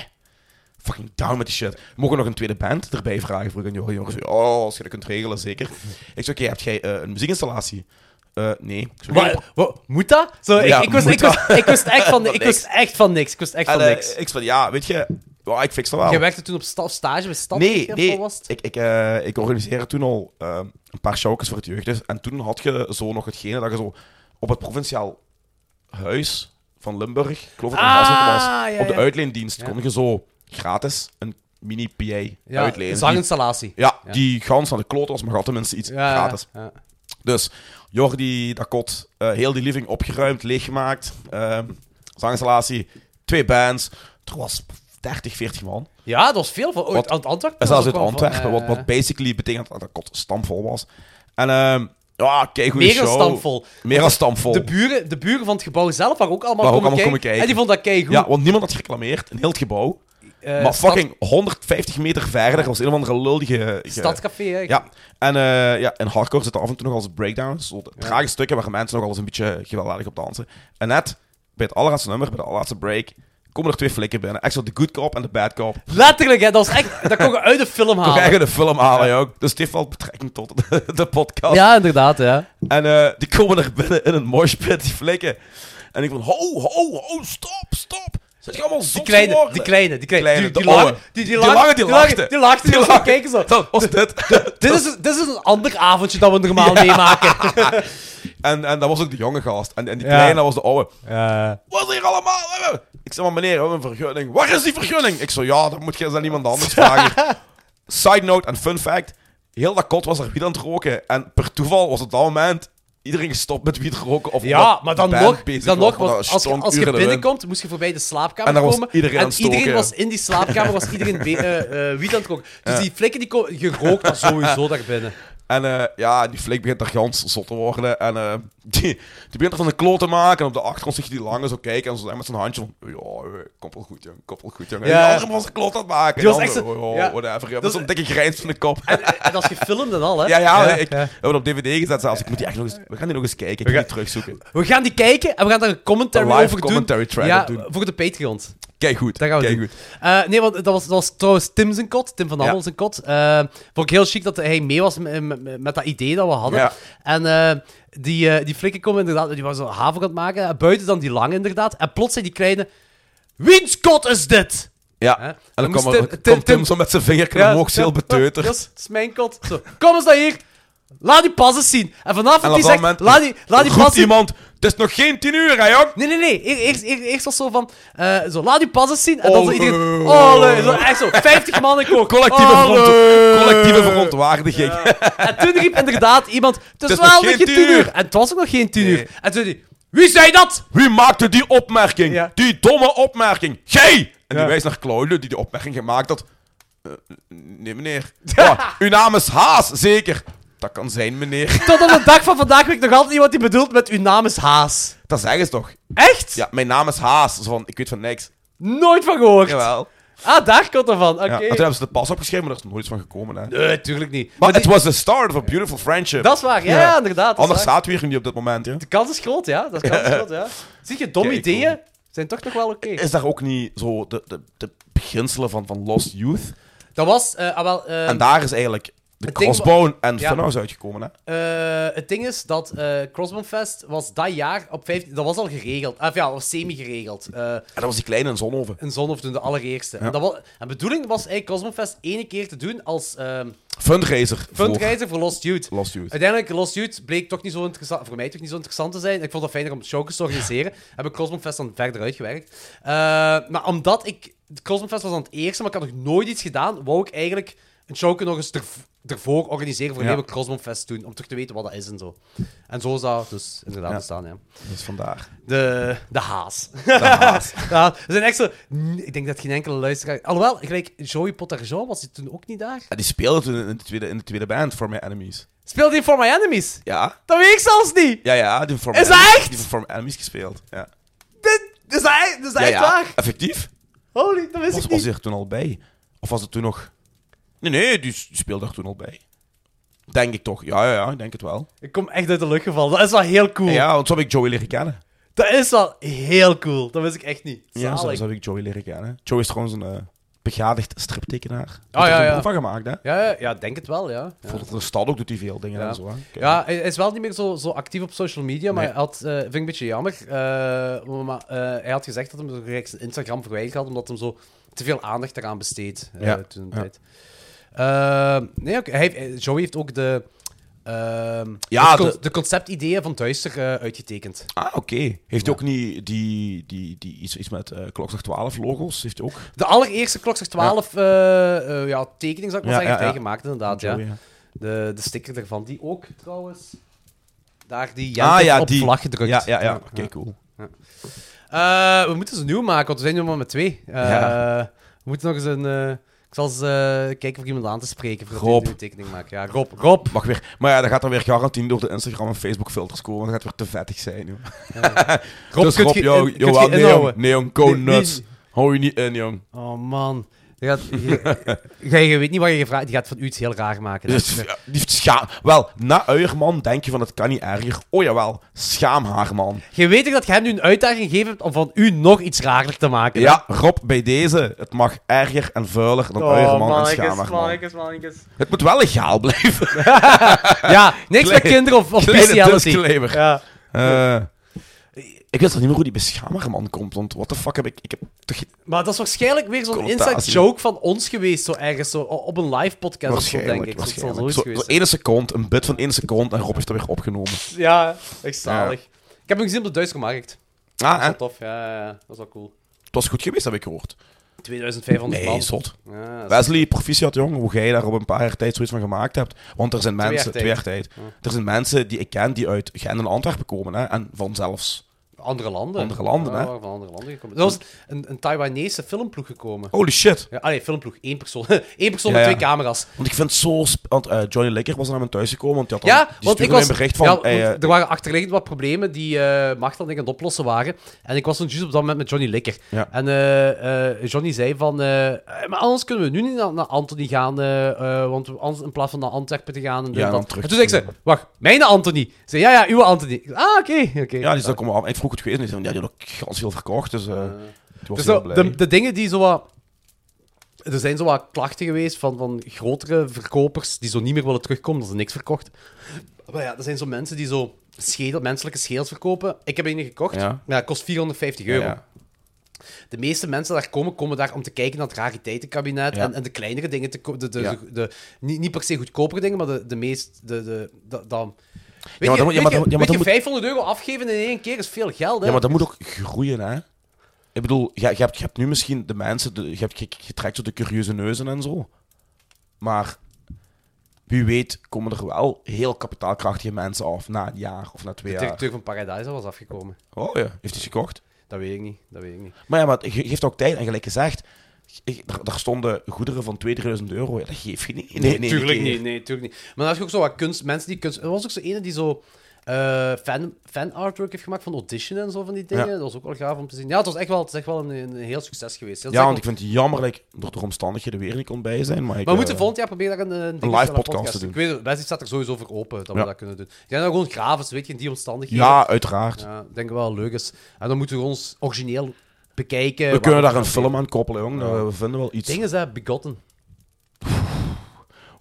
B: Fucking down met die shit. Mogen we nog een tweede band erbij vragen? Vroeg ik aan Joris. Joris zei, oh, als je dat kunt regelen, zeker. Ik zei, oké, heb jij eh, een muziekinstallatie? Eh, nee.
A: Maar, wa- moet dat? Zo, ik- ik wist-
B: moet
A: ik wist-
B: dat?
A: ik wist echt van- ik wist echt van niks, ik wist echt
B: En,
A: van
B: eh,
A: niks.
B: Ik van, ja, weet je, ja, ik fix dat wel.
A: Jij werkte toen op sta- stage bij Stad?
B: nee,
A: of
B: nee.
A: wat was het?
B: Ik, ik, eh, ik organiseerde toen al eh, een paar showkes voor het jeugd. dus, En toen had je zo nog hetgene dat je zo op het provinciaal huis van Limburg, ik geloof dat het in
A: Ah,
B: Hasselt was,
A: ja,
B: op de
A: ja.
B: uitleendienst
A: Ja.
B: kon je zo gratis een mini PA
A: Ja,
B: uitlenen.
A: zanginstallatie.
B: Die- Ja,
A: Ja.
B: die gans aan de kloot was, maar had tenminste iets
A: Ja, ja,
B: gratis.
A: ja.
B: Dus Jordi, dat kot, eh, heel die living opgeruimd, leeggemaakt. eh, zanginstallatie, twee bands. Er was 30, 40 man.
A: Ja, dat was veel. Voor, ooit, uit Antwerpen was
B: En zelfs
A: ook
B: uit
A: wel van,
B: Antwerpen, wat,
A: eh,
B: wat basically betekent dat dat kot stampvol was. En ehm ja, kijk hoe
A: Meer
B: show.
A: dan stampvol.
B: Meer dan stampvol.
A: De buren, de buren van het gebouw zelf waren ook allemaal,
B: Waar ook
A: komen,
B: allemaal
A: kijken.
B: komen kijken.
A: En die vonden dat keigoed.
B: Ja, want niemand had gereclameerd, een heel het gebouw.
A: Eh,
B: maar
A: stad-
B: fucking 150 meter verder was een of andere luldige... ge-
A: Stadscafé, hè?
B: Ja. En, eh, ja, en hardcore zitten af en toe nog als breakdowns. Zo de trage stukken waar mensen nog alles een beetje gewelddadig op dansen. En net, bij het allerlaatste nummer, bij de allerlaatste break, komen er twee flikken binnen. Echt zo de good cop en de bad cop.
A: Letterlijk, hè, dat, was echt, dat kon je uit de film
B: Toch
A: halen.
B: eigenlijk de film halen, ja. ook. Dus het heeft wel betrekking tot de, de podcast.
A: Ja, inderdaad, ja.
B: En eh, die komen er binnen in een moshpit, die flikken. En ik van, ho, ho, ho, stop, stop. Zijn jullie allemaal
A: Die
B: zot
A: kleine,
B: geworden?
A: die kleine, die kleine. die,
B: Kleine, de
A: die lange,
B: oude.
A: die,
B: Die
A: die lange,
B: lange, die
A: die lange,
B: lachte.
A: Die lachte, die
B: Die
A: was
B: lange.
A: kijken zo.
B: Dat was dit.
A: Dit is, dit is een ander avondje dat we normaal meemaken.
B: en, en dat was ook de jonge gast. En, en die
A: Ja.
B: kleine was de oude.
A: Ja.
B: Wat is hier allemaal? Ik zei, maar meneer, we hebben een vergunning. Waar is die vergunning? Ik zo, ja, dat moet je eens aan iemand anders vragen. Side note en fun fact. Heel dat kot was er wiet aan het roken. En per toeval was op dat moment iedereen gestopt met wiet roken. Of
A: Ja,
B: omdat
A: maar
B: de
A: dan
B: band
A: nog,
B: bezig
A: dan
B: was,
A: nog
B: want
A: was,
B: dat
A: als, je-
B: stonk
A: als je
B: uren de wind.
A: binnenkomt, moest je voorbij de slaapkamer
B: En daar was
A: komen.
B: iedereen aan
A: en
B: het
A: iedereen
B: stoken.
A: was in die slaapkamer, was iedereen be- eh, eh, wiet aan het roken. Dus
B: Ja.
A: die flikken, die ko- je rookt dat sowieso daar binnen.
B: En eh, ja, die flik begint daar gans zot te worden. En eh, die, die begint er van zijn kloot te maken. En op de achtergrond zit je die lange zo kijken. En zo met zijn handje van... Ja, eh, koppel goed, jong. Koppel goed, jong. En
A: Ja.
B: die andere was zijn kloot aan het maken.
A: Die
B: En
A: was
B: de
A: echt
B: andere,
A: zo-
B: oh,
A: ja.
B: whatever. Ja,
A: Dat
B: met
A: is-
B: zo'n dikke grijns van de kop.
A: En dat is gefilmd en al, hè?
B: ja, ja.
A: Ja,
B: ik,
A: ja.
B: We hebben op DVD gezet zelfs. Ik moet die echt nog eens... We gaan die nog eens kijken. Ik ga die terugzoeken.
A: We gaan die kijken en we gaan daar een commentary
B: Een live
A: over
B: commentary
A: doen.
B: track
A: ja,
B: op doen.
A: voor de Patreons.
B: Kijk goed.
A: Dat gaan we
B: kijk
A: doen.
B: goed.
A: Eh, nee, want dat was, dat was trouwens Tim zijn kot, Tim van Hammel
B: Ja.
A: zijn kot. Eh, vond ik heel chic dat hij mee was met, met, met dat idee dat we hadden.
B: Ja.
A: En eh, die, eh, die flikken komen inderdaad, die was zo haver aan het maken. En buiten dan die lange inderdaad. En plots zei die kleine, wiens kot is dit?
B: Ja.
A: Hè?
B: En
A: Dan
B: dan,
A: moest
B: kwam
A: Tim-
B: er-
A: Tim-
B: komt Tim,
A: Tim-
B: zo met zijn vingerken
A: Ja,
B: omhoog. Heel
A: ja,
B: beteuterd.
A: Dat is dat is mijn kot. Zo, kom eens naar hier. Laat die pas eens zien. En vanaf
B: En
A: dat
B: op
A: die
B: dat
A: zegt,
B: moment
A: laat die, laat die
B: roept
A: pas zien.
B: iemand... Het is nog geen tien uur, hè, jong?
A: Nee, nee, nee. Eer- Eerst, eerst, eerst was zo van... eh, zo, laat uw passes zien. En dan zo
B: Olé.
A: iedereen... Olé. Zo, echt zo. 50 mannen kook.
B: Collectieve,
A: Olé.
B: verontwa- collectieve verontwaardiging.
A: En toen riep inderdaad iemand... Het is
B: Het is
A: wel
B: nog
A: nog
B: geen
A: geen 10 uur.
B: uur.
A: En het was ook nog geen 10 uur. En toen die... Wie zei dat?
B: Wie maakte die opmerking? Die domme opmerking. Jij! En die wijst naar Claude die die opmerking gemaakt had. Eh, nee, meneer. Ja, uw naam is Haas, zeker. Dat kan zijn, meneer.
A: Tot op de dag van vandaag weet ik nog altijd niet wat hij bedoelt met uw naam is Haas.
B: Dat zeggen ze toch?
A: Echt?
B: Ja, mijn naam is Haas. Zo van, ik weet van niks.
A: Nooit van gehoord.
B: Jawel.
A: Ah, daar komt er van. Oké.
B: Ja, en toen hebben ze de pas opgeschreven, maar daar is nooit iets van gekomen. Hè.
A: Nee, tuurlijk niet.
B: Maar
A: Maar
B: het
A: die-
B: was the start of a beautiful friendship.
A: Dat is waar. Ja, inderdaad, dat is
B: Anders
A: waar.
B: staat we hier niet op dit moment. Ja.
A: De kans is groot, ja. Dat is kans is groot, ja. Zie je, domme
B: Kijk,
A: ideeën zijn toch nog wel oké.
B: Is daar ook niet zo de, de, de beginselen van, van Lost Youth?
A: Dat was... eh, ah, wel, eh,
B: en daar is eigenlijk de
A: het ding wa-
B: Crossbone en
A: Ja.
B: Funhouse uitgekomen. Hè?
A: Eh, het ding is dat eh Crossbone Fest was dat jaar op 15... Dat was al geregeld. Of ja, dat was semi-geregeld. Eh
B: En dat was die kleine in Zonhoven.
A: in Zonhof toen de allereerste.
B: Ja.
A: En, dat wa- en de bedoeling was eigenlijk Crossbone Fest één keer te doen als ehm
B: Fundraiser.
A: fundraiser voor Lost Youth.
B: voor Lost Youth.
A: Uiteindelijk, Lost Youth bleek toch niet zo interessant, voor mij toch niet zo interessant te zijn. Ik vond dat fijner om showcase te organiseren. Heb ik Crossbone Fest dan verder uitgewerkt. Eh, maar omdat ik... Crossbone Fest was dan het eerste, maar ik had nog nooit iets gedaan, wou ik eigenlijk een showcase nog eens erv- ervoor organiseren voor een
B: Ja.
A: hele Crossbone Fest doen, om toch te weten wat dat is en zo. En zo is dat dus inderdaad
B: Ja.
A: bestaan, ja.
B: Dus vandaar.
A: De, de haas.
B: De haas.
A: Ja, er zijn echt zo... Ik denk dat geen enkele luisteraar... Alhoewel, gelijk Joey Potterjean was hij toen ook niet daar.
B: Ja, die speelde toen in de tweede, in de tweede band, For My Enemies.
A: Speelde hij For My Enemies?
B: Ja.
A: Dat weet ik zelfs niet!
B: Ja, ja, die voor
A: Is dat echt?
B: Die heeft For My Enemies gespeeld. Ja.
A: Is dat, e- is dat
B: ja,
A: echt
B: ja.
A: waar?
B: Effectief.
A: Holy, dat wist
B: Was,
A: ik
B: was
A: niet.
B: hij er toen al bij? Of was het toen nog... Nee, nee, die, s- die speelde er toen al bij. Denk ik toch. Ja, ja, ja, ik denk het wel.
A: Ik kom echt uit de lucht gevallen. Dat is wel heel cool.
B: Ja, want zo heb ik Joey leren kennen.
A: Dat is wel heel cool. Dat wist ik echt niet.
B: Ja, zo,
A: Zalig.
B: zo heb ik Joey leren kennen. Joey is trouwens een eh,
K: begadigd striptekenaar.
A: Ah,
K: Heeft er
A: ja,
K: een
A: ja.
K: boel van gemaakt, hè?
A: Ja, ja, ja, denk het wel, ja. ja.
B: Voor de stad ook doet hij veel dingen en zo. Hè? Kijk.
A: Ja, hij hij is wel niet meer zo, zo actief op social media, maar
B: Nee.
A: hij had, eh, vind ik een beetje jammer. Eh, maar eh, hij had gezegd dat hij hem direct zijn Instagram verwijderd had, omdat hem zo te veel aandacht eraan besteedt eh,
B: Ja,
A: toen de
B: ja.
A: tijd. Eh, nee, oké, hij, heeft- Joey heeft ook de, ehm,
B: Ja,
A: het con- de,
B: de-
A: conceptideeën van Duister eh, uitgetekend.
B: Ah, oké. Heeft hij ook niet die, die, die, iets, iets met eh klokslag 12 logos? Heeft hij ook?
A: De allereerste Klokzak 12 eh, eh, ja, tekening, zou ik maar zeggen,
B: Ja, ja,
A: heeft
B: ja.
A: hij gemaakt, inderdaad.
B: Van Joey,
A: ja.
B: ja.
A: De, de sticker ervan, die ook trouwens. Daar die Jent
B: ah
A: heeft
B: ja,
A: op
B: die.
A: vlag gedrukt.
B: Ja, ja, ja.
A: Ja,
B: Oké,
A: ja.
B: cool.
A: Eh, we moeten ze nieuw maken, want we zijn nu maar met twee. Eh,
B: Ja.
A: We moeten nog eens een. eh, ik zal eens eh, kijken of ik iemand aan te spreken voor
B: Rob.
A: een nieuwe tekening maakt. Ja, Rob, Rob.
B: Mag weer. Maar ja, dat gaat dan weer garantie door de Instagram en Facebook filters komen. Dat gaat weer te vettig zijn, joh.
A: Rob,
B: dus
A: kunt
B: Rob,
A: je-
B: yo,
A: kunt
B: yo,
A: je
B: wel, nee, jong.
A: inhouden?
B: Nee, jong. Go
A: Nee, nee.
B: nuts. Hou je niet in, jong.
A: Oh man. Je, gaat, je, je- je weet niet wat je gevraagd Die gaat van u iets heel raar maken. hè.
B: Dus, ja, die heeft scha- Wel, na Uierman denk je van het kan niet erger. Oh jawel, schaam haar, man.
A: Je weet toch dat je hem nu een uitdaging gegeven hebt om van u nog iets raarder te maken? hè?
B: Ja, Rob, bij deze. Het mag erger en vuiler
A: Oh,
B: dan Uierman en schaam haar, Oh, man. Het moet wel legaal blijven.
A: Ja, niks met kinderen of- of
B: Kleine
A: bestiality.
B: disclaimer.
A: Ja.
B: Eh, ik wist nog niet meer hoe die beschamerman komt, want what the fuck heb ik... Ik heb toch geen-
A: Maar dat is waarschijnlijk weer zo'n
B: Connotatie.
A: inside joke van ons geweest, zo ergens, zo, op een live podcast of zo, denk ik. Dat zal
B: waarschijnlijk.
A: zoiets
B: Zo,
A: geweest
B: zo één seconde, een bit van één seconde, en Rob heeft dat weer opgenomen.
A: Ja, echt zalig. Ik heb hem gezien op de Duitse markt.
B: Ah,
A: dat is wel
B: hè?
A: tof, ja, ja, ja, dat is wel cool.
B: Het was goed geweest, heb ik gehoord.
A: 2500 man.
B: Nee, zot.
A: Ja, dat is-
B: Wesley, proficiat jong, hoe jij daar op een paar jaar tijd zoiets van gemaakt hebt. Want er zijn
A: Twee jaar
B: mensen,
A: tijd.
B: twee jaar tijd,
A: Ja.
B: er zijn mensen die ik ken die uit Gent en Antwerpen komen. Hè, en van zelfs
A: Andere landen.
B: andere landen.
A: Ja,
B: Hè.
A: waren van andere landen gekomen. Er was een, een Taiwanese filmploeg gekomen.
B: Holy shit.
A: Ja, ah, nee, filmploeg. Eén persoon. Eén persoon
B: Ja,
A: met
B: ja.
A: twee camera's.
B: Want ik vind het zo... sp- Want eh, Johnny Likker was naar hem thuis gekomen, want die had dan,
A: Ja,
B: die
A: want ik
B: stuurde
A: was...
B: mij een bericht van...
A: ja,
B: hey, eh,
A: want er waren achterliggend wat problemen die eh Martel en ik aan het oplossen waren. En ik was toen juist op dat moment met Johnny Likker.
B: Ja.
A: En eh, eh, Johnny zei van... eh, eh, maar anders kunnen we nu niet naar, naar Anthony gaan, eh, eh, want we- anders, in plaats van naar Antwerpen te gaan... En, dit
B: Ja,
A: en
B: dan
A: dat.
B: terug
A: en toen zei ik ze,
B: sturen.
A: wacht, mijn Anthony? Ze zei, ja, ja, uw Anthony. Ik zei, Ah, oké, oké.
B: ja, die is dan komen af. Ik vroeg het geweest en die zei, ja, die had ook gans veel verkocht, dus... eh die was
A: Dus
B: heel
A: zo,
B: blij.
A: de, de dingen die zo wat... Er zijn zo wat klachten geweest van, van grotere verkopers die zo niet meer willen terugkomen, dat ze niks verkocht. Maar ja, er zijn zo mensen die zo schedel, menselijke schedels verkopen. Ik heb een gekocht.
B: Ja.
A: Ja, dat kost 450
B: Ja,
A: euro.
B: ja.
A: De meeste mensen daar komen, komen daar om te kijken naar het rariteitenkabinet
B: Ja.
A: en, en de kleinere dingen. Te ko- de, de,
B: Ja.
A: de- de- niet, niet per se goedkopere dingen, maar de, de meest... De, de, da- dan-
B: maar
A: Weet je-
B: dan moet- ja, maar dan- ja, maar
A: weet je-
B: dan
A: weet je,
B: moet-
A: 500 euro afgeven in één keer is veel geld, hè?
B: Ja, maar dat moet ook groeien, hè? Ik bedoel, je, je, hebt, je hebt nu misschien de mensen, de, je, hebt, je, je trekt zo de curieuze neuzen en zo. Maar wie weet komen er wel heel kapitaalkrachtige mensen af na een jaar of na twee
A: De
B: jaar.
A: directeur van Paradise was afgekomen.
B: Oh ja, heeft hij het gekocht?
A: Dat weet ik niet, dat weet ik niet.
B: Maar ja, maar het ge- geeft ook tijd. En gelijk gezegd, ik- daar, daar stonden goederen van 2000 euro. Ja, dat geef je niet.
A: Nee, tuurlijk
B: keer.
A: niet. Nee, tuurlijk niet. Maar dan had je ook zo wat kunst, mensen die kunst... Er was ook zo ene die zo eh, fan, fan artwork heeft gemaakt van Audition en zo van die dingen.
B: Ja.
A: Dat was ook wel gaaf om te zien. Ja, het was echt wel, het is echt wel een, een heel succes geweest. Dat is
B: Ja,
A: echt
B: want ik
A: wel-
B: vind het jammer dat ik door de omstandigheden weer niet kon bij zijn. Maar,
A: Maar
B: ik,
A: we moeten
B: eh,
A: volgend jaar proberen daar een, een,
B: live podcast te doen.
A: Ik weet het, Wesley staat er sowieso voor open dat we
B: Ja.
A: dat kunnen doen. Ik denk dat gewoon graven, weet je, in die omstandigheden.
B: Ja, uiteraard.
A: Ja, ik denk wel leuk is. En dan moeten we ons origineel bekijken.
B: We
A: waar
B: kunnen daar
A: het
B: een film aan koppelen, jong.
A: Ja.
B: We vinden wel iets.
A: Ding is dat, begotten.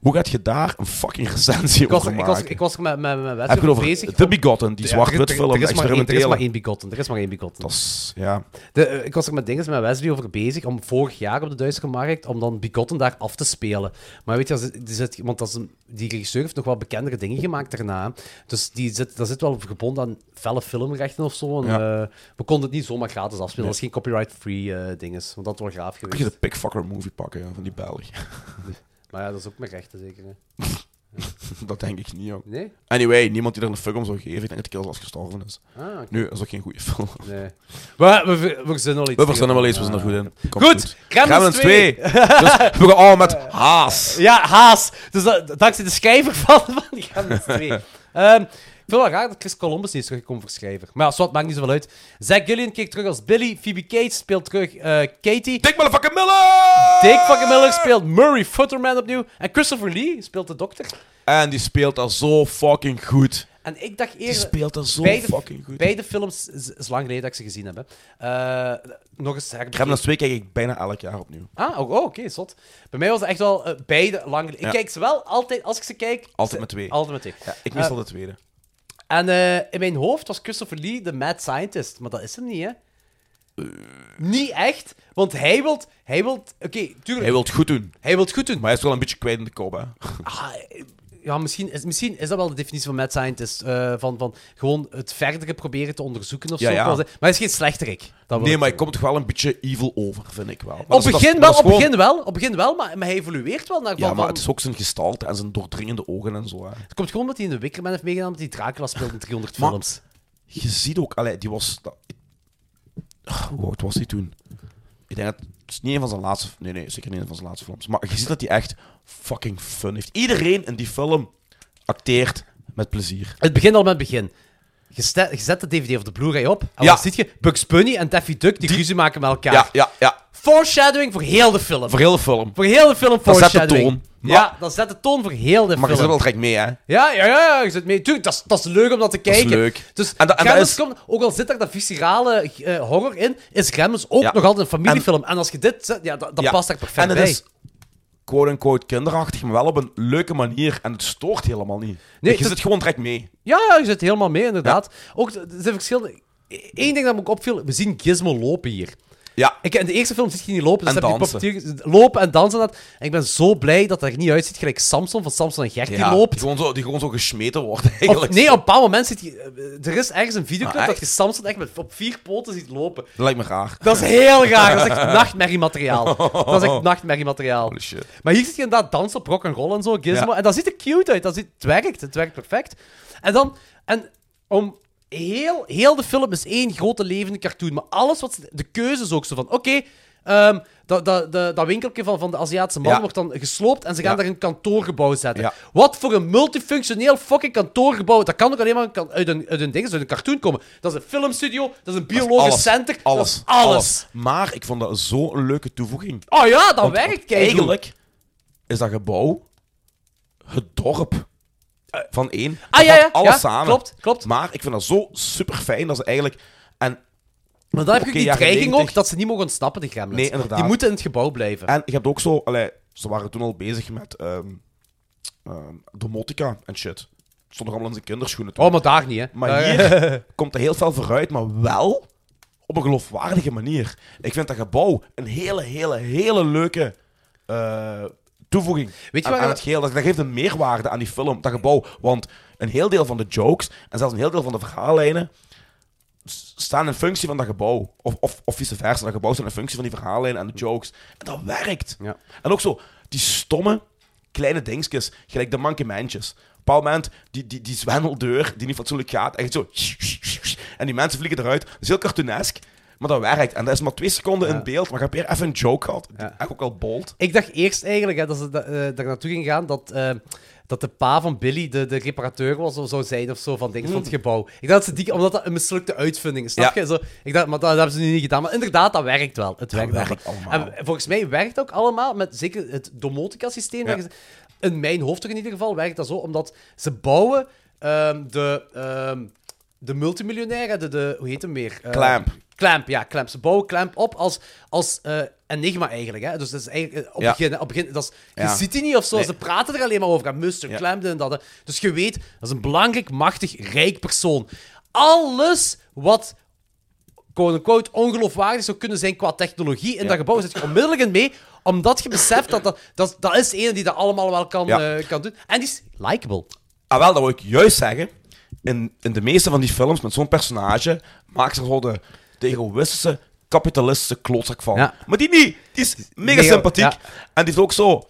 B: Hoe gaat je daar een fucking recensie
A: Ik was,
B: over
A: ik,
B: maken?
A: was, ik was er met, met, met
B: Heb je
A: Wesley
B: het over
A: bezig.
B: The Begotten, die
A: Ja,
B: zwart-wit
A: er- er-
B: film,
A: Er is, maar één, er is
B: experimentele.
A: maar één Begotten. Er is maar één Begotten.
B: Dat is, ja.
A: De, eh, ik was er met dingen met Wesley over bezig om vorig jaar op de Duitse markt om dan Bigotten daar af te spelen. Maar weet je, er zit- er zit- want dat is een- die regisseur heeft nog wel bekendere dingen gemaakt daarna. hè. Dus die zit, dat zit wel verbonden aan felle filmrechten of zo. En,
B: Ja.
A: eh, we konden het niet zomaar gratis afspelen.
B: Nee.
A: Dat is geen copyright-free eh dinges. Want dat wordt gaaf
B: Kun je
A: geweest.
B: de Pickfucker movie pakken ja, van die Belg?
A: Maar ja, dat is ook met rechten zeker. Hè.
B: dat denk ik niet, jong.
A: Nee?
B: Anyway, niemand die er een fuck om zou geven. Ik denk dat Kill als gestorven is.
A: Ah, oké.
B: Nu, dat is ook geen goede film.
A: Nee. Maar we, we, we verzinnen wel iets.
B: We verzinnen wel eens, we zijn er
A: Ah.
B: goed in. Komt
A: Goed, Gremlins 2.
B: dus we gaan allemaal met Haas.
A: Ja, Haas. Dus dat, dankzij de schrijver van, van Gremlins 2. Ehm, ik vind het wel raar dat Chris Columbus niet is teruggekomen voor schrijver. Maar ja, zwart, maakt niet zoveel uit. Zack Gillian keek terug als Billy. Phoebe Cates speelt terug eh, Katie.
B: Dick motherfucking Miller!
A: Dick fucking Miller speelt Murray Futterman opnieuw. En Christopher Lee speelt de dokter.
B: En die speelt dat zo fucking goed.
A: En ik dacht eerder...
K: speelt dat zo
A: beide,
K: fucking goed.
A: Beide films is is lang geleden dat ik ze gezien heb. hè. Eh, nog eens
B: Ik heb hem als twee kijk ik bijna elk jaar opnieuw.
A: Ah, oh, oh, oké, zot. Bij mij was het echt wel eh, beide lang geleden.
B: Ja.
A: Ik kijk ze wel altijd, als ik ze kijk... ze-
B: Altijd met twee.
A: Altijd met twee.
B: Ja, ik mis
A: Eh,
B: al de tweede.
A: En eh, in mijn hoofd was Christopher Lee de mad scientist, maar dat is hem niet, hè?
B: Eh.
A: Niet echt, want hij wilt... Hij wilt... Oké, tuurlijk.
B: Hij wil het goed doen.
A: Hij wil het goed doen.
B: Maar hij is wel een beetje kwijt in de kop, hè.
A: Ah, ja, misschien is, misschien is dat wel de definitie van mad scientist. eh, van, van gewoon het verdere proberen te onderzoeken of
B: Ja,
A: zo.
B: ja.
A: Maar hij is geen slechterik. Dat wil
B: Nee,
A: ik
B: maar hij komt toch wel een beetje evil over, vind ik wel. Maar
A: Op
B: dat is- dat is-
A: begin
B: dat
A: wel,
B: is
A: op
B: gewoon-
A: begin wel, op begin wel, maar, maar hij evolueert wel naar
B: Ja,
A: van-
B: maar
A: van-
B: het is ook zijn gestalte en zijn doordringende ogen en zo. Hè.
A: Het komt gewoon dat hij in de Wickerman heeft meegedaan, omdat hij Dracula speelt in 300
B: Maar-
A: films.
B: Je ziet ook, allee, die was. Dat, Ah, hoe oud was hij toen? Ik denk dat het is niet een van zijn laatste. Nee, nee, zeker niet een van zijn laatste films. Maar je ziet dat hij echt fucking fun heeft. Iedereen in die film acteert met plezier.
A: Het begint al met het begin. Je, ste- je zet de DVD of de Blu-ray op. En
B: Ja.
A: dan zie je Bugs Bunny en Daffy Duck die, ruzie maken met elkaar.
B: Ja, ja, ja.
A: Foreshadowing voor heel de film.
B: Voor heel de film.
A: Voor heel de film
B: Dat zet de
A: foreshadowing.
B: toon. Maar-
A: Ja, dat zet de toon voor heel de
B: Maar je
A: film.
B: zit wel direct mee, hè?
A: Ja, ja, ja, je zit mee. Tuurlijk, dat is, dat is leuk om dat te
B: is
A: kijken.
B: leuk.
A: Dus
B: En dat- en dat
A: Gremlins
B: is-
A: komt, ook al zit daar dat viscerale eh, horror in, is Gremlins ook nog altijd een familiefilm. En, als je dit zet, ja, dat, dat
B: Ja.
A: past daar perfect
B: En
A: bij.
B: het is quote-unquote kinderachtig, maar wel op een leuke manier. En het stoort helemaal niet.
A: Nee,
B: je
A: dat-
B: zit gewoon direct mee.
A: Ja, ja, je zit helemaal mee, inderdaad. Ook, er zijn verschillende... Eén E- ding dat me ook opviel, we zien Gizmo lopen hier.
B: Ja.
A: Ik, in de eerste film zie je niet lopen. Dus
B: En
A: heb je
B: dansen.
A: puppeteer- lopen en dansen. En, dat. en ik ben zo blij dat dat er niet uitziet gelijk Samson van Samson en Gert die loopt.
B: Die gewoon zo, die gewoon zo gesmeten wordt,
A: Of-
B: eigenlijk.
A: nee, op een bepaald moment zit je... eh, Er is ergens een videoclip
B: Ah,
A: dat
B: echt?
A: je Samson echt met, op vier poten ziet lopen.
B: Dat lijkt me raar.
A: Dat is heel raar. Dat is echt nachtmerriemateriaal. Dat is echt nachtmerriemateriaal.
B: Holy shit.
A: Maar hier zit je inderdaad dansen op rock en roll en zo, gizmo.
B: Ja.
A: En dat ziet er cute uit. Dat ziet, het werkt. Het werkt perfect. En dan... En om... Heel, heel de film is één grote levende cartoon. Maar alles wat... ze- De keuze is ook zo van... Oké... ehm, dat, dat, dat, dat winkeltje van, van de Aziatische man
B: Ja.
A: wordt dan gesloopt en ze gaan
B: Ja.
A: daar een kantoorgebouw zetten.
B: Ja.
A: Wat voor een multifunctioneel fucking kantoorgebouw. Dat kan ook alleen maar een kan- uit een, uit een, ding, uit een cartoon komen. Dat is een filmstudio, dat is een biologisch
B: Alles,
A: center. dat
B: Alles,
A: is alles.
B: Maar ik vond dat zo'n leuke toevoeging.
A: Oh ja, dat
B: Want-
A: werkt,
B: want
A: kijk.
B: Eigenlijk is dat gebouw het dorp van één.
A: ah,
B: Dat
A: ja, ja,
B: valt alles
A: ja,
B: samen.
A: klopt, klopt.
B: Maar ik vind dat zo super fijn dat ze eigenlijk. En,
A: Maar dan heb je
B: Oké,
A: ook die
B: jaren
A: dreiging
B: 90.
A: ook dat ze niet mogen ontsnappen, de gremlins.
B: Nee, inderdaad.
A: Die moeten in het gebouw blijven.
B: en je hebt ook zo. Allee, ze waren toen al bezig met ehm ehm, domotica en shit. Het stond nog allemaal in zijn kinderschoenen. toen.
A: Oh, maar daar niet, hè.
B: Maar
A: Daar-
B: hier komt er heel veel vooruit, maar wel op een geloofwaardige manier. Ik vind dat gebouw een hele, hele, hele leuke eh, toevoeging
A: Weet je
B: aan,
A: wat-
B: aan het geheel. Dat, dat geeft een meerwaarde aan die film, dat gebouw. Want een heel deel van de jokes en zelfs een heel deel van de verhaallijnen s- staan in functie van dat gebouw. Of, of, of vice versa, dat gebouw staat in functie van die verhaallijnen en de jokes. En dat werkt.
A: Ja.
B: En ook zo, die stomme kleine dingetjes, gelijk de mankementjes. Op een bepaald moment, die, die, die zwendeldeur die niet fatsoenlijk gaat, echt zo. En die mensen vliegen eruit. Dat is heel cartoonesk, maar dat werkt. En dat is maar twee seconden in beeld, maar je hebt weer even een joke gehad. Die Echt ook al bold.
A: Ik dacht eerst eigenlijk hè, dat ze da- eh, daar naartoe ging gaan dat, eh, dat de pa van Billy de, de reparateur was of zou zijn of zo van dingen van het
B: Mm.
A: gebouw. Ik dacht dat ze die, omdat dat een mislukte uitvinding is. Snap
B: Ja.
A: je? Zo, ik dacht, maar dat, dat hebben ze nu niet gedaan. Maar inderdaad, dat werkt wel. Het werkt,
B: werkt
A: wel.
B: allemaal.
A: En volgens mij werkt het ook allemaal met zeker het domotica-systeem. dat
B: Ja.
A: je- In mijn hoofd toch in ieder geval werkt dat zo, omdat ze bouwen ehm, de, ehm, de multimiljonair, hè, de, de, hoe heet hem meer? Eh,
B: Clamp.
A: Clamp, ja, Clamp. Ze bouwen Clamp op als, als eh, enigma eigenlijk. Hè? Dus dat is eigenlijk, eh, op,
B: Ja.
A: begin, hè, op begin, dat is, je
B: Ja.
A: ziet die niet of zo,
B: Nee.
A: ze praten er alleen maar over. hè. Muster,
B: Ja.
A: Clamp, dit en dat. hè. Dus je weet, dat is een belangrijk, machtig, rijk persoon. Alles wat quote-unquote ongeloofwaardig zou kunnen zijn qua technologie in dat gebouw, zit je onmiddellijk in mee, omdat je beseft dat dat, dat, dat is de ene die dat allemaal wel kan,
B: Ja.
A: eh, kan doen. En die is likable.
B: Ah, wel, dat wil ik juist zeggen. In, in de meeste van die films met zo'n personage maken ze zo de, de egoïstische, kapitalistische klootzak van.
A: Ja.
B: Maar die niet. Die is mega,
A: Mega-
B: sympathiek.
A: ja.
B: En die heeft ook zo...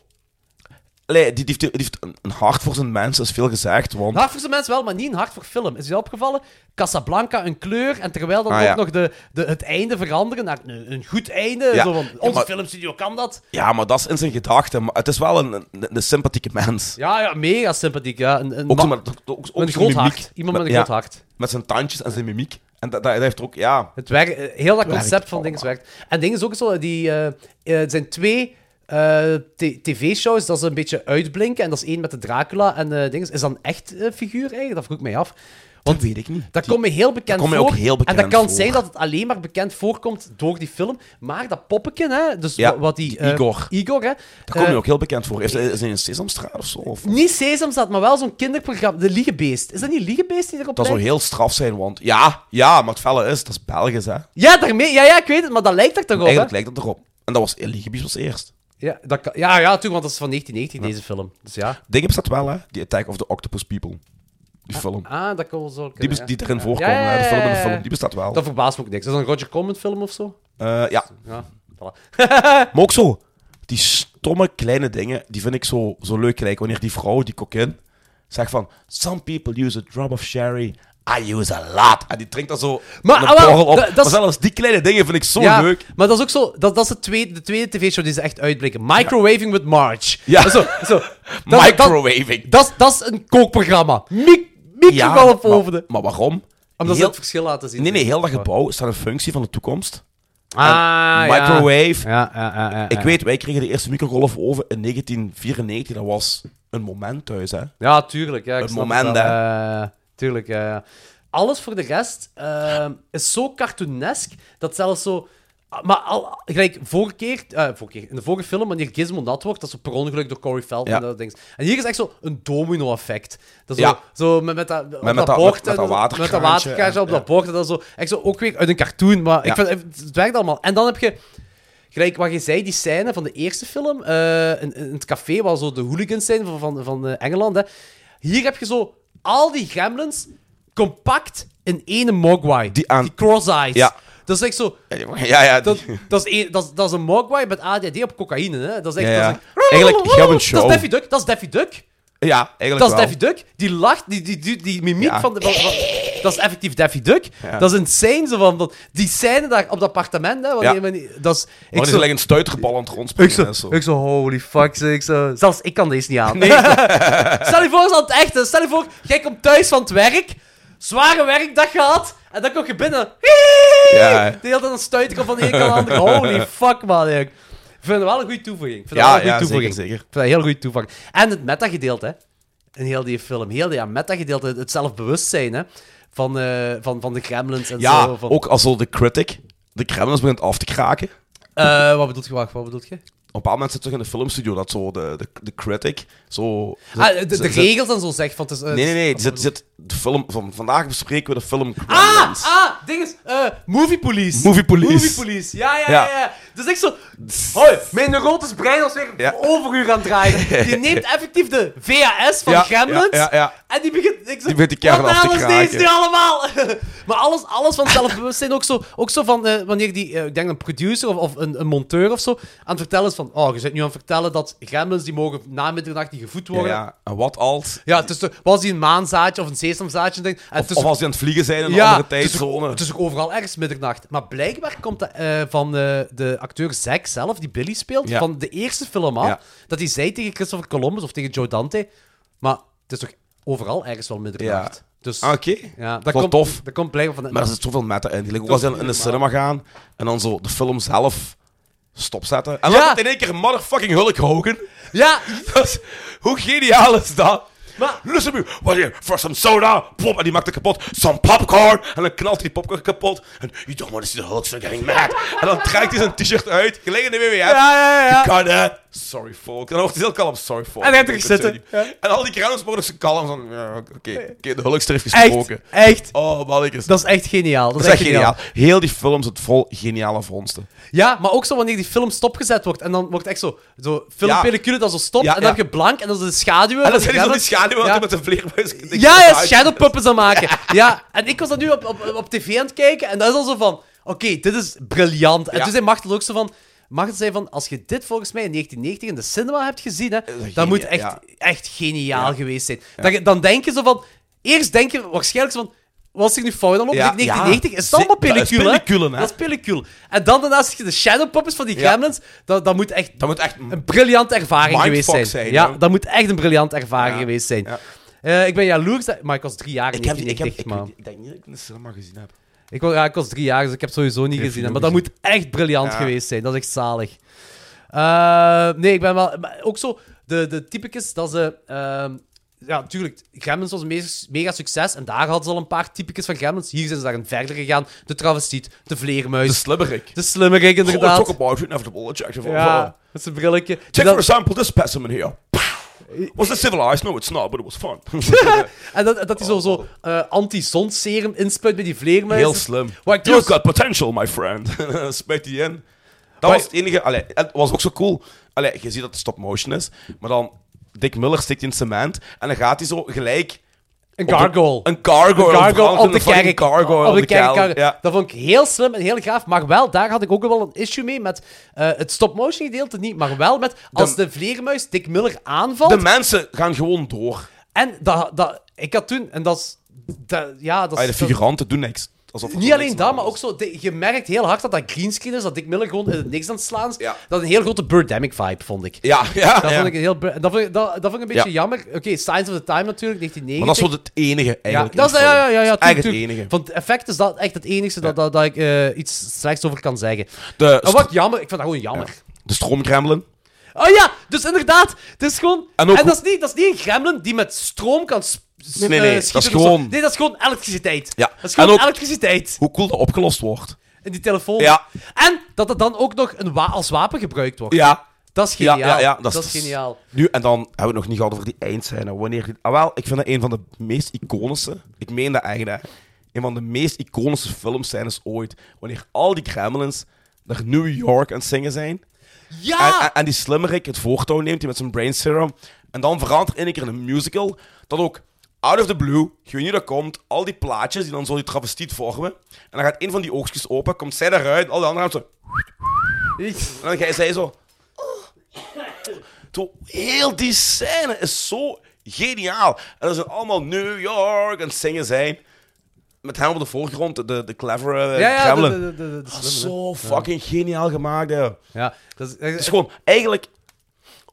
B: Allee, die, die, heeft, die heeft een, een hart voor zijn mensen, is veel gezegd. Want
A: Een hart voor zijn mens wel, maar niet een hart voor film. Is je opgevallen? Casablanca, een kleur. En terwijl dan
B: Ah,
A: ook
B: ja.
A: nog de, de, het einde veranderen naar een, een goed einde.
B: Ja.
A: Zo van,
B: Ja,
A: onze
B: maar-
A: filmstudio kan dat.
B: Ja, maar dat is in zijn gedachten. Maar het is wel een, een, een sympathieke mens.
A: Ja, ja, mega sympathiek. Ja. Een, een
B: Ook, zo
A: man-
B: met, ook, ook
A: een
B: zo'n
A: groot
B: mimiek.
A: hart. Iemand met een
B: Ja,
A: groot hart.
B: Met zijn tandjes en zijn mimiek. En dat, dat, dat heeft ook, ja...
A: Het werkt, eh, heel dat
B: Werkt
A: concept van
B: allemaal.
A: dingen werkt. En dingen is ook zo, die, eh, eh, er zijn twee eh, t- tv-shows dat ze een beetje uitblinken. En dat is één met de Dracula en eh dingen. Is dat een echt eh, figuur eigenlijk? Dat vroeg ik mij af. Want
B: dat weet ik niet.
A: Dat komt me heel bekend
B: komt mij
A: voor.
B: ook heel bekend
A: en dat kan
B: voor.
A: zijn dat het alleen maar bekend voorkomt door die film. Maar dat poppetje, hè, dus
B: Ja,
A: wa- wat die,
B: die
A: eh,
B: Igor.
A: Igor hè,
B: Daar kom je
A: eh,
B: ook heel bekend voor. Heeft hij is hij in Sesamstraat of zo? Of?
A: Niet Sesamstraat, maar wel zo'n kinderprogramma. De Liegebeest. Is dat niet Liegebeest die erop
B: Dat zou
A: lijkt?
B: heel straf zijn, want ja, ja, maar het felle is, dat is Belgisch, hè.
A: Ja, daarmee, ja, ja, ik weet het, maar dat lijkt er toch op,
B: Eigenlijk
A: hè?
B: lijkt het erop. En dat was Eligebies als eerst.
A: Ja, dat kan- ja, ja, toen, want dat is van 1990, deze film. Dus ja.
B: Ding bestaat wel, hè. Die Attack of the Octopus People. Die film.
A: Ah, dat kan wel zo kunnen,
B: Die, bes-
A: ja.
B: die erin
A: Ja.
B: voorkomen,
A: Ja, ja,
B: hè. De film en de
A: ja, ja.
B: film. Die bestaat wel.
A: Dat verbaast me ook niks. Is dat een Roger Corman film of zo?
B: Eh, ja.
A: Ja, voilà.
B: Maar ook zo, die stomme kleine dingen, die vind ik zo, zo leuk. Kijk, wanneer die vrouw, die kokin, zegt van... Some people use a drop of sherry, I use a lot. En die drinkt dan zo
A: Maar,
B: een
A: ah, wel,
B: borrel op.
A: dat- dat
B: Maar
A: is-
B: zelfs die kleine dingen vind ik zo
A: ja,
B: leuk.
A: Maar dat is ook zo, dat, dat is de tweede, de tweede tv-show die ze echt uitblikken. Microwaving with Marge.
B: Ja.
A: Dat is Zo, zo. Dat-
B: Microwaving.
A: Dat, dat, is- dat is een kookprogramma. Mik,
B: Ja,
A: microwave
B: maar-
A: ovende.
B: Maar waarom?
A: Omdat ze
B: Heel-
A: het verschil laten zien.
B: Nee, nee, heel dat gebouw staat een functie van de toekomst.
A: Ah,
B: En
A: ja.
B: Microwave.
A: Ja, ja, ja, ja,
B: ik
A: ja.
B: weet, wij kregen de eerste microgolfoven in 1994. Dat was een moment thuis, hè.
A: Ja, tuurlijk. Ja, ik
B: Het
A: snap
B: moment,
A: wel.
B: hè.
A: Eh, tuurlijk, ja, ja. Alles voor de rest ehm, is zo cartoonesk dat zelfs zo... ah, Maar al, gelijk, vorige keer, eh, vorige keer, in de vorige film, wanneer Gizmo nat wordt, dat is zo per ongeluk door Corey Feldman.
B: Ja.
A: en Dat ding. En hier is echt zo een domino-effect. Dat is
B: Ja.
A: zo, zo met, met dat, op
B: met
A: dat
B: dat-
A: bord,
B: met- met
A: en
B: dat waterkraantje
A: Met dat waterkraantje
B: en-
A: op dat bord. en Dat is zo, echt zo ook weer uit een cartoon, maar
B: Ja.
A: ik vind, het werkt allemaal. En dan heb je... Gelijk, wat je zei, die scène van de eerste film, eh, in, in het café, waar zo de hooligans zijn van, van, van eh, Engeland, hè. hier heb je zo al die gremlins compact in één mogwai. Die, cross-eyes.
B: Ja.
A: Dat is echt zo...
B: ja, ja,
A: Dat,
B: die-
A: dat, is een, dat, is- dat is een mogwai met ADD op cocaïne, hè. Dat is echt...
B: Ja,
A: Dat
B: ja.
A: is echt-
B: Eigenlijk, jij hebt een show.
A: Dat is Daffy Duck, dat is Daffy Duck.
B: Ja,
A: dat
B: eigenlijk
A: is
B: wel.
A: Daffy Duck. Die lacht, die, die, die, die mimiek
B: Ja.
A: van, de, van- van- Dat is effectief Daffy Duck.
B: Ja.
A: Dat is insane, zo van... Dat, die scène daar op dat appartement, hè. Wanneer,
B: Ja.
A: wanneer- dat is... ik
B: Maar die
A: zo-
B: is een stuiterbal aan het
A: ik
B: rondspringen.
A: zo,
B: en zo.
A: ik zo, holy fuck, zeg ik zo. Zelfs ik kan deze niet aan.
B: Nee.
A: stel je voor, is dat het echt. is. Stel je voor, jij komt thuis van het werk, zware werkdag gehad, en dan kom je binnen.
B: Ja.
A: De hele tijd een stuit komt van de ene kant naar de andere. Holy fuck, man. Ik vind het wel een goede toevoeging. Ik vind het
B: Ja,
A: wel een goede
B: ja,
A: toevoeging.
B: zeker, zeker.
A: Ik vind dat een heel goede toevoeging. En het meta-gedeelte, hè. In heel die film. Heel die meta-gedeelte, het zelfbewustzijn, hè. Van, eh, van, van de gremlins en
B: Ja,
A: zo. Van,
B: ook als zo de critic, de Kremlins begint af te kraken. Op
A: Eh, wat bedoelt je? Wacht, wat bedoelt je?
B: een bepaald moment zit toch in de filmstudio dat zo de, de, de critic zo...
A: Ah, de, de
B: zit- zit-
A: regels en zo zegt. Van, het is, eh,
B: Nee, nee, nee. die Zit, zit de film, van, vandaag bespreken we de film
A: Ah,
B: Gremlins.
A: ah, ding is, eh, Movie Police.
B: Movie Police.
A: Movie Police, ja, ja, ja.
B: Ja.
A: ja. Dus ik zo... Hoi, mijn neurotisch brein was weer
B: Ja.
A: overuur aan het draaien. Die neemt effectief de VHS van
B: Ja,
A: Gremlins.
B: ja, ja, ja.
A: En die begint... Ik zo,
B: Die begint die kern
A: wat
B: af te
A: de hel is deze
B: kraken.
A: nu allemaal? maar alles, alles van zelfbewustzijn. Ook zo, ook zo van eh, wanneer die, eh, ik denk een producer of, of een, een monteur of zo, aan het vertellen is van... Oh, je zit nu aan het vertellen dat Gremlins, die mogen na middernacht niet gevoed
B: Ja,
A: worden. Ja,
B: ja. En wat als...
A: het is de- was die een maanzaadje of een sesamzaadje? denk ik. En
B: Of,
A: tussen-
B: of als die aan het vliegen zijn in een andere
A: het is ook-
B: tijdzone.
A: Het is ook overal ergens middernacht. Maar blijkbaar komt dat, eh, van eh, de acteur Zack zelf, die Billy speelt,
B: Ja.
A: van de eerste film af,
B: Ja.
A: dat hij zei tegen Christopher Columbus of tegen Joe Dante, maar het is toch overal ergens wel middernacht.
B: Ja.
A: Dus,
B: Ah, oké.
A: ja, dat
B: Vond
A: komt,
B: ik tof.
A: Dat komt blijkbaar van... de-
B: Maar er zit zoveel meta in. Gelijk ook als ze in de cinema gaan en dan zo de film zelf stopzetten. En dan
A: Ja.
B: komt in één keer motherfucking Hulk Hogan.
A: Ja!
B: Dat is- hoe geniaal is dat?
A: Maar-
B: Listen to me, what here for some soda? Pop, en die maakt het kapot. Some popcorn. En dan knalt die popcorn kapot. En you don't want to see the Hulk, so you're getting mad. en dan trekt hij zijn t-shirt uit. Gelijk in de WWF.
A: Ja, ja, ja.
B: You can, eh, Sorry, folk. En dan wordt hij heel kalm. Sorry, folk.
A: En hij gaat terug zitten.
B: En al die kruimers worden zo kalm. van, ja, Oké, oké, de Hulkster heeft gesproken.
A: echt.
B: Oh, mannetjes.
A: Dat is echt geniaal.
B: Dat is echt geniaal. Heel die film zit vol geniale vondsten.
A: Ja, maar ook zo wanneer die film stopgezet wordt. En dan wordt echt zo... zo
B: Ja.
A: filmpelicule dat zo stopt.
B: Ja,
A: en dan
B: ja.
A: heb je blank en dat is de schaduwen.
B: En
A: van de
B: dan zijn die van die
A: gremlins.
B: schaduwen
A: Ja.
B: ja. met een vleermuis.
A: Ja, ja, shadow puppets aan maken. Ja, en ik was dat nu op, op, op tv aan het kijken en dat is al zo van... Oké, dit is briljant. En
B: Ja.
A: toen zei Martel ook zo van... Martel zei van, als je dit volgens mij in 1990 in de cinema hebt gezien, hè, dat,
B: geniaal,
A: moet echt,
B: ja.
A: echt geniaal geweest zijn. Dat je- dan denk je zo van... Eerst denk je waarschijnlijk zo van... Wat is er nu fout aan op?
B: Ja,
A: 1990
B: ja.
A: is dat allemaal
B: Dat is
A: pellicule,
B: pellicule, hè?
A: Dat is pellicule. En dan daarnaast je de shadow puppets van die
B: Ja.
A: gremlins. Dat, dat moet echt
B: Dat moet echt...
A: een briljante ervaring
B: Mindfuck
A: geweest zijn.
B: zijn,
A: ja,
B: hè?
A: dat moet echt een briljante ervaring
B: Ja,
A: geweest zijn.
B: ja.
A: Eh, ik ben jaloers, dat- maar ik was drie jaar in
B: Ik, heb, die- ik, heb,
A: 1990,
B: ik,
A: man.
B: ik denk niet dat ik het in de cinema gezien heb.
A: Ik, wa- ja, ik was drie jaar, dus ik heb sowieso niet
B: Heeft
A: gezien.
B: je
A: hè, Maar
B: nog
A: dat moet echt briljant
B: Ja.
A: geweest zijn. Dat is echt zalig. Eh, nee, ik ben wel... maar ook zo, de, de typicus dat ze... ehm, ja, natuurlijk, Gremlins was een mes- mega succes. En daar hadden ze al een paar typicus van Gremlins. Hier zijn ze daarin verder gegaan. De travestiet, de vleermuis. De
B: slimmerik.
A: De slimmerik, inderdaad.
B: Oh, talk about inevitable objection.
A: Ja, met zijn brilletje.
B: Check
A: Dat-
B: uh, for example this specimen here. Was it civilized? No, it's not, but it was fun.
A: en dat, dat hij zo, zo eh, anti-zonserum inspuit bij die vleermuis.
B: Heel slim.
A: Wat ik
B: You've
A: trouwens-
B: got potential, my friend. Spuit die in. Dat was het enige. Allee, en het was ook zo cool. Allee, je ziet dat het stop-motion is. Maar dan, Dick Miller stikt in cement. En dan gaat hij zo gelijk...
A: Een
B: op de-
A: gargoyle.
B: Een gargoyle.
A: Een gargoyle
B: verandert
A: op de
B: in een fucking
A: kerk.
B: gargoyle
A: op de kerk.
B: kelder. Ja.
A: Dat vond ik heel slim en heel gaaf. Maar wel, daar had ik ook wel een issue mee met eh, het stop-motion gedeelte niet. Maar wel met als de, vleermuis Dick Miller aanvalt.
B: De mensen gaan gewoon door.
A: En dat, dat, ik had toen, en dat is. dat- ja, dat is-
B: Allee, Ah, de figuranten doen niks. Alsof er
A: Niet
B: zo
A: alleen dat, maar ook zo. de- je merkt heel hard dat dat greenscreen is, dat Dick Miller gewoon in het niks aan het slaan is. Dat een heel grote Birdemic vibe, vond ik.
B: Ja, ja,
A: Dat
B: ja.
A: vond ik een heel. bir- Dat vond ik, dat, dat vond ik een beetje
B: Ja.
A: jammer. Oké, Signs of the Time natuurlijk, 1990.
B: Maar dat is wel het enige eigenlijk.
A: Ja, dat is,
B: in de
A: ja, ja,
B: film.
A: ja, ja,
B: Dat is eigenlijk
A: tuurlijk,
B: het enige.
A: tuurlijk. Van het effect is dat echt het enige dat, dat, dat ik eh, iets slechts over kan zeggen.
B: De
A: En wat jammer, ik vind dat gewoon jammer.
B: De stroomgremlin.
A: Oh ja, dus inderdaad, het is gewoon... En,
B: En ook-
A: dat, is niet, dat is niet een gremlin die met stroom kan sp- s-
B: Nee, nee,
A: eh,
B: dat is
A: schieten of
B: gewoon-
A: zo. Nee, dat is gewoon elektriciteit.
B: Ja.
A: Dat is gewoon
B: En ook-
A: elektriciteit
B: Hoe cool dat opgelost wordt.
A: in die telefoon.
B: Ja.
A: En dat het dan ook nog een wa- als wapen gebruikt wordt.
B: Ja.
A: Dat is geniaal.
B: Ja, ja, ja,
A: dat, is geniaal.
B: Nu, en dan hebben we het nog niet gehad over die eindscène. Wanneer die- ah, wel, ik vind dat een van de meest iconische... Ik meen dat eigenlijk, hè. Een van de meest iconische filmscènes ooit. Wanneer al die gremlins naar New York aan het zingen zijn.
A: Ja!
B: En, en, en die slimmerik het voortouw neemt, die met zijn brain serum. En dan verandert in een keer in een musical. Dat ook... Out of the blue, je weet niet hoe dat komt, al die plaatjes die dan zo die travestiet vormen. En dan gaat een van die oogstjes open, komt zij eruit, al die anderen gaan zo... En dan jij zei zo. Zo, heel die scène is zo geniaal. En dat zijn allemaal New York en zingen zijn. Met hem op de voorgrond, de- de, de
A: Ja,
B: clevere
A: ja,
B: Eh, gremlin.
A: de- de- de- de- de
B: Ah,
A: slimme,
B: zo
A: hè.
B: fucking geniaal gemaakt, hè.
A: Ja, dat is,
B: Het is gewoon, eigenlijk,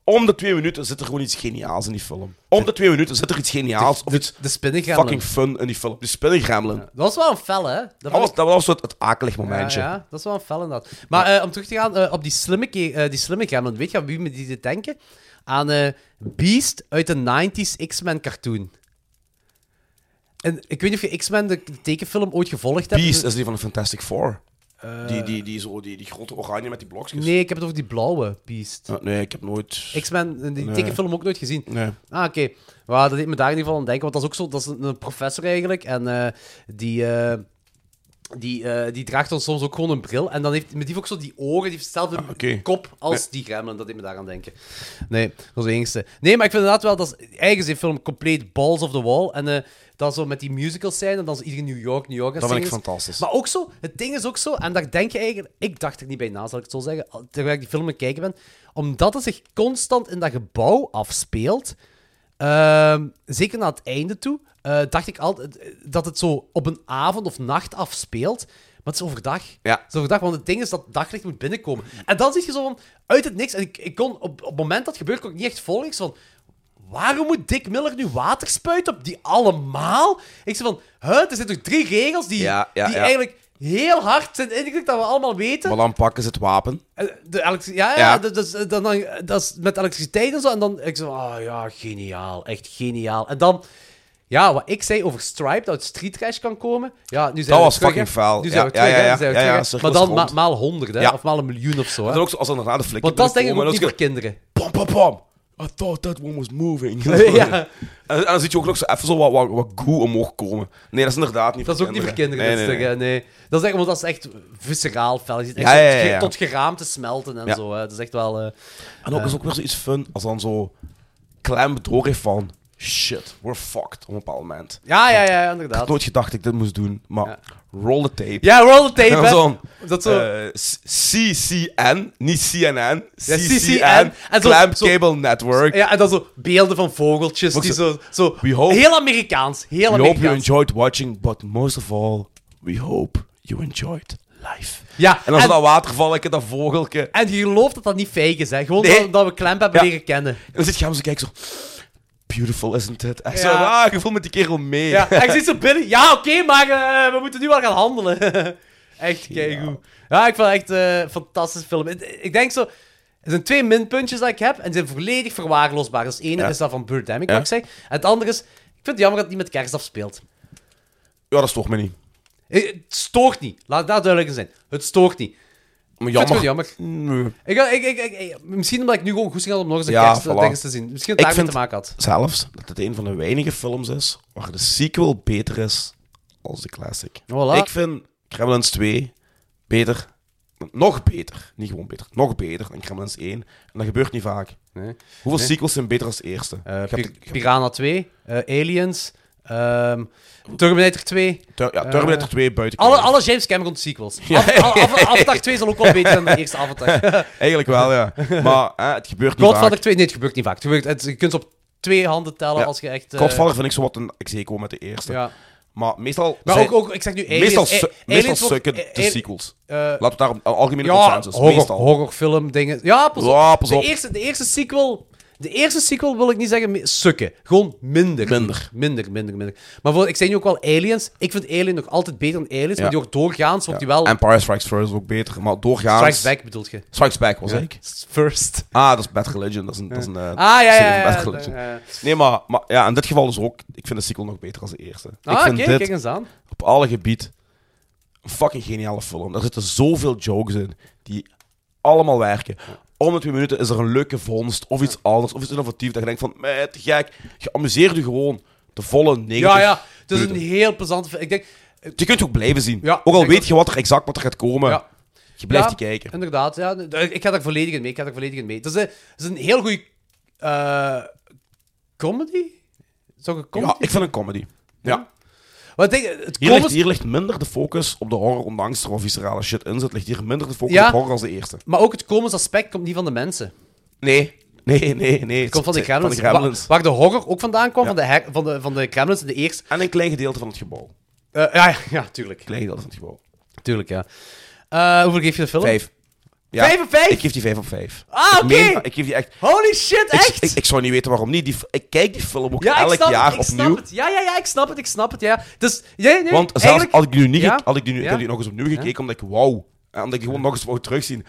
B: om de twee minuten zit er gewoon iets geniaals in die film. Om de twee minuten zit er iets geniaals of iets
A: de spinnengremlin.
B: fucking fun in die film. Die spinningremlin.
A: Dat was wel een fel, hè?
B: Dat,
A: vond ik-
B: was, dat was zo het, het akelig momentje.
A: Ja, ja, dat is wel een fel inderdaad. Maar eh, om terug te gaan eh, op die slimme, ke- eh, die slimme gremlin, weet je aan wie me die te denken? Aan eh, Beast uit de 90s X-Men cartoon. En ik weet niet of je X-Men, de de tekenfilm, ooit gevolgd hebt.
B: Beast is die van de Fantastic Four.
A: Eh,
B: die, die, die, zo, die, die grote oranje met die blokjes.
A: Nee, ik heb het over die blauwe Beast.
B: Ah, nee, ik heb nooit...
A: X-Men, eh, die
B: Nee.
A: tekenfilm ook nooit gezien.
B: Nee.
A: Ah, oké. Maar dat deed me daar in ieder geval aan denken. Want dat is ook zo, dat is een, een professor eigenlijk. En eh, die, eh, die, eh, die draagt dan soms ook gewoon een bril. En dan heeft, maar die heeft ook zo die oren, die heeft dezelfde
B: Ah, oké.
A: kop als die gremlin. Dat deed me daar aan denken. Nee, dat was de enigste. Nee, maar ik vind inderdaad wel, dat is eigen zijn film compleet balls of the wall. En eh dat zo met die musicals zijn en dan zo iedereen New York, New York. en
B: Dat vind ik
A: zingen is.
B: fantastisch.
A: Maar ook zo, het ding is ook zo, en daar denk je eigenlijk, ik dacht er niet bij na, zal ik het zo zeggen, al- terwijl ik die film aan het kijken ben, omdat het zich constant in dat gebouw afspeelt, ehm, zeker naar het einde toe, eh, dacht ik altijd eh, dat het zo op een avond of nacht afspeelt. Maar het is overdag.
B: Ja.
A: Het is overdag, want het ding is dat daglicht moet binnenkomen. En dan zit je zo van, uit het niks. En ik, ik kon op, op het moment dat het gebeurt, kon ik niet echt volgen. Ik zo van, Waarom moet Dick Miller nu water spuiten op die allemaal? Ik zei van, huh, er zijn toch drie regels die,
B: Ja, ja,
A: die
B: ja.
A: eigenlijk heel hard zijn ingedrukt, dat we allemaal weten.
B: Maar dan pakken ze het wapen.
A: Eh, De elektri- ja, ja,
B: Ja.
A: Dat, dat, is- dan, dan, dat is met elektriciteit en zo. En dan, ik zei, ah ja, geniaal, echt geniaal. En dan, ja, wat ik zei over Stripe, dat het street trash kan komen. Ja, nu zijn
B: Dat
A: we
B: was
A: terug,
B: fucking
A: hè.
B: faal.
A: Nu zijn we
B: Ja, ja,
A: terug, hè.
B: ja,
A: Nu zijn we
B: ja,
A: terug,
B: ja,
A: hè.
B: cirkel
A: Maar
B: is
A: dan
B: rond.
A: ma- maal honderd, hè.
B: Ja.
A: Of maal een miljoen of zo, hè.
B: Dat is ook zo, als er na de flikker
A: Want dat is denk ik ook
B: binnenkomen,
A: niet voor
B: dan is
A: kinderen.
B: het- Pam, pam, pam. I thought that one was moving.
A: Ja.
B: En, en dan zie je ook nog zo even zo wat, wat, wat goo omhoog komen. Nee, dat is inderdaad niet
A: Dat is ook niet voor kinderen,
B: Nee,
A: dat
B: nee,
A: stuk, hè, nee. Dat is echt, want dat is echt visceraal fel. Je ziet echt
B: Ja,
A: zo
B: ja, ja, ja.
A: tot geraamte smelten en
B: Ja.
A: zo. Hè. Dat is echt wel... eh,
B: En ook
A: eh,
B: is ook weer zoiets fun als dan zo klem door heeft van shit, we're fucked op een bepaald moment.
A: Ja, ja, ja,
B: Ik had
A: inderdaad.
B: nooit gedacht dat ik dit moest doen, maar roll the tape. Eh,
A: Ja, roll the tape,
B: En
A: hè.
B: dan
A: Dat
B: dat
A: zo-
B: CCN, niet CNN,
A: Ja,
B: CCN,
A: CCN. En zo-
B: Clam
A: zo-
B: Cable Network.
A: Ja, en dan zo beelden van vogeltjes
B: Ook
A: die
B: zo-
A: zo... zo
B: We hope-
A: heel Amerikaans. Heel
B: we hope you
A: Amerikaans.
B: enjoyed watching, but most of all, we hope you enjoyed life.
A: Ja,
B: en dan
A: en-
B: zo dat watervalletje, dat vogeltje. En
A: En je gelooft dat dat niet fake is, hè. Gewoon
B: Nee.
A: dat, dat we Clamp hebben
B: Ja.
A: leren kennen.
B: dan zit je hem zo kijken, zo... Beautiful, isn't it? Echt zo,
A: Ja.
B: ah, je voelt met die kerel mee.
A: Ja, en ik zit zo binnen. Ja, oké, maar eh, we moeten nu wel gaan handelen. echt keigoed. Ja, ik vond het echt eh, een fantastische film. Ik- Ik denk zo... Er zijn twee minpuntjes dat ik heb en die zijn volledig verwaarloosbaar. Dus het ene
B: Ja.
A: is dat van Birdemic,
B: Ja.
A: wat ik zei. En het andere is, ik vind het jammer dat het niet met kerst afspeelt.
B: Ja, dat stoort me niet.
A: Eh, Het stoort niet. Laat daar duidelijk in zijn. Het stoort niet.
B: Maar
A: Ik vind het
B: jammer. Mm,
A: gewoon
B: jammer.
A: Ik, ga- ik, ik, ik- ik- misschien omdat ik nu gewoon goed zin had om nog eens een
B: Ja,
A: kerstding
B: voilà.
A: te zien. Misschien
B: Ik
A: dat het daarmee
B: vind
A: te maken had.
B: Zelfs dat het een van de weinige films is waar de sequel beter is als de classic.
A: Voilà.
B: Ik vind Gremlins 2 beter. Nog beter. Niet gewoon beter. Nog beter dan Gremlins 1. En dat gebeurt niet vaak.
A: Nee.
B: Hoeveel
A: Nee. Eh,
B: sequels zijn beter als de eerste? Je hebt
A: Pir-
B: de- je hebt-
A: Piranha 2, eh, Aliens, ehm, Terminator 2.
B: Ter- ja, Terminator
A: eh,
B: 2 buiten
A: Alle,
B: kijf.
A: alle James Cameron sequels.
B: Ja.
A: Af- af- af- Avatar 2 zal ook wel beter dan de eerste Avatar.
B: Eigenlijk wel, ja. Maar eh, het gebeurt niet
A: Godfather
B: vaak.
A: 2, nee, het gebeurt niet vaak. Het gebeurt, het, je kunt ze op twee handen tellen
B: Ja.
A: als je echt... eh,
B: Godfather vind ik zo wat een execo met de eerste.
A: Ja.
B: Maar meestal...
A: Maar
B: zijn-
A: ook- ook- ik zeg nu Aliens-
B: Meestal,
A: A-
B: su-
A: Aliens
B: meestal
A: wordt-
B: sukken
A: eh,
B: de
A: Ali-
B: sequels.
A: eh,
B: Laten we daar een algemene
A: Ja,
B: consensus.
A: horror,
B: meestal.
A: horrorfilm, dingen. Ja, pas op.
B: Ja, pas op.
A: De, eerste, de eerste sequel... De eerste sequel wil ik niet zeggen me- sukken. Gewoon minder. Minder. Minder, minder, minder. Maar voor, ik zei nu ook wel Aliens. Ik vind Alien nog altijd beter dan Aliens,
B: Ja.
A: maar die wordt doorgaans wordt die wel...
B: Empire Strikes First is ook beter, maar doorgaans...
A: Strikes Back bedoelt je?
B: Strikes Back, was
A: Ja.
B: ik.
A: First.
B: Ah, dat is Bad Religion. Dat is een, dat is een eh,
A: Ah, ja, ja,
B: serie van
A: ja, Ah,
B: Bad
A: ja,
B: Religion.
A: ja, ja.
B: Nee, maar, maar ja, in dit geval dus ook... Ik vind de sequel nog beter als de eerste. ik
A: Ah,
B: vind
A: oké,
B: dit
A: kijk eens aan.
B: op alle gebied een fucking geniale film. Daar zitten zoveel jokes in die allemaal werken. Om de twee minuten is er een leuke vondst of iets anders, of iets innovatiefs. Dat je denkt van, meh, te gek. Je amuseert je gewoon de volle 90
A: Ja, ja. Het is een
B: minuten.
A: heel plezante film. Ik denk...
B: Je kunt het ook blijven zien.
A: Ja,
B: ook al
A: ik-
B: weet je wat er exact wat er gaat komen.
A: Ja.
B: Je blijft
A: Ja,
B: die kijken.
A: Inderdaad, ja. Ik ga daar volledig in mee. Ik ga daar volledig in mee. Het is een, het is een heel goede comedy. Zou ik een comedy?
B: Ja, ik vind een comedy. Ja.
A: Want ik denk, het
B: Hier ligt,
A: comedy-
B: hier ligt minder de focus op de horror, ondanks er wel viscerale shit in zit, ligt hier minder de focus
A: Ja.
B: op horror als de eerste.
A: Maar ook het komisch aspect komt niet van de mensen.
B: Nee. Nee, nee, nee.
A: Het komt van de Gremlins.
B: Van de Gremlins.
A: Waar, waar de horror ook vandaan kwam, van, de her- van, de, van de Gremlins in de eerste.
B: En een klein gedeelte van het gebouw.
A: Eh, ja, ja, ja, tuurlijk.
B: Klein gedeelte van het gebouw.
A: Tuurlijk, ja. Eh, hoeveel geef je de film?
B: Vijf.
A: Vijf op vijf?
B: Ik geef die vijf op vijf.
A: Ah,
B: Ik
A: oké.
B: meen- Ik geef die echt...
A: Holy shit,
B: Ik-
A: echt?
B: Ik, ik zou niet weten waarom niet. Die, f- ik kijk die film ook
A: ja, ik
B: elk
A: snap
B: jaar
A: het, ik
B: opnieuw.
A: snap het. Ja, ja, ja, ik snap het, ik snap het, ja. Dus, ja, nee,
B: Want zelfs
A: eigenlijk-
B: had ik die nu niet...
A: Ja,
B: gek- Had ik die nu, ik
A: ja.
B: heb die nog eens opnieuw gekeken, omdat ik wauw. En omdat ik gewoon nog eens wou terugzien.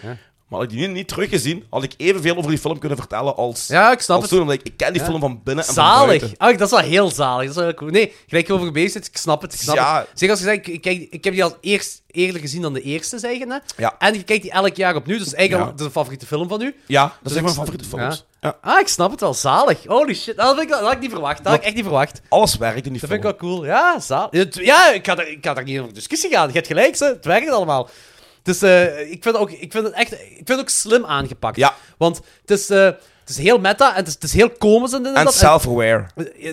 B: Maar had ik die nu niet teruggezien, had ik evenveel over die film kunnen vertellen als...
A: Ja, ik snap
B: als
A: het.
B: toen, omdat ik, ik ken die
A: Ja.
B: film van binnen en van
A: zalig.
B: buiten.
A: Ah, dat is wel heel zalig. Dat is wel heel cool. Nee, gelijk je over bezig bent, ik snap het. Ik snap
B: Ja.
A: het. Zeg als je zegt, ik, kijk, ik heb die al eerst eerder gezien dan de eerste, zeg je net.
B: Ja.
A: En je kijkt die elk jaar opnieuw, dus eigenlijk
B: Ja.
A: al de favoriete film van u.
B: Ja, dat is
A: ik
B: een van mijn
A: snap-
B: favoriete films.
A: Ah, ik snap het wel. Zalig. Holy shit. Dat, vind ik, wel- dat had ik niet verwacht. Dat had ik echt niet verwacht.
B: Alles werkt in die
A: Dat
B: film.
A: vind ik wel cool. Ja, zalig. Het- Ja, ik ga daar, ik ga daar niet over discussie gaan. Je hebt gelijk, ze. het werkt allemaal. Dus eh, ik, vind ook, ik, vind het echt, ik vind het ook slim aangepakt.
B: Ja.
A: Want het is, eh, het is heel meta en het is, het is heel komisch. En, dit
B: En
A: dat.
B: self-aware.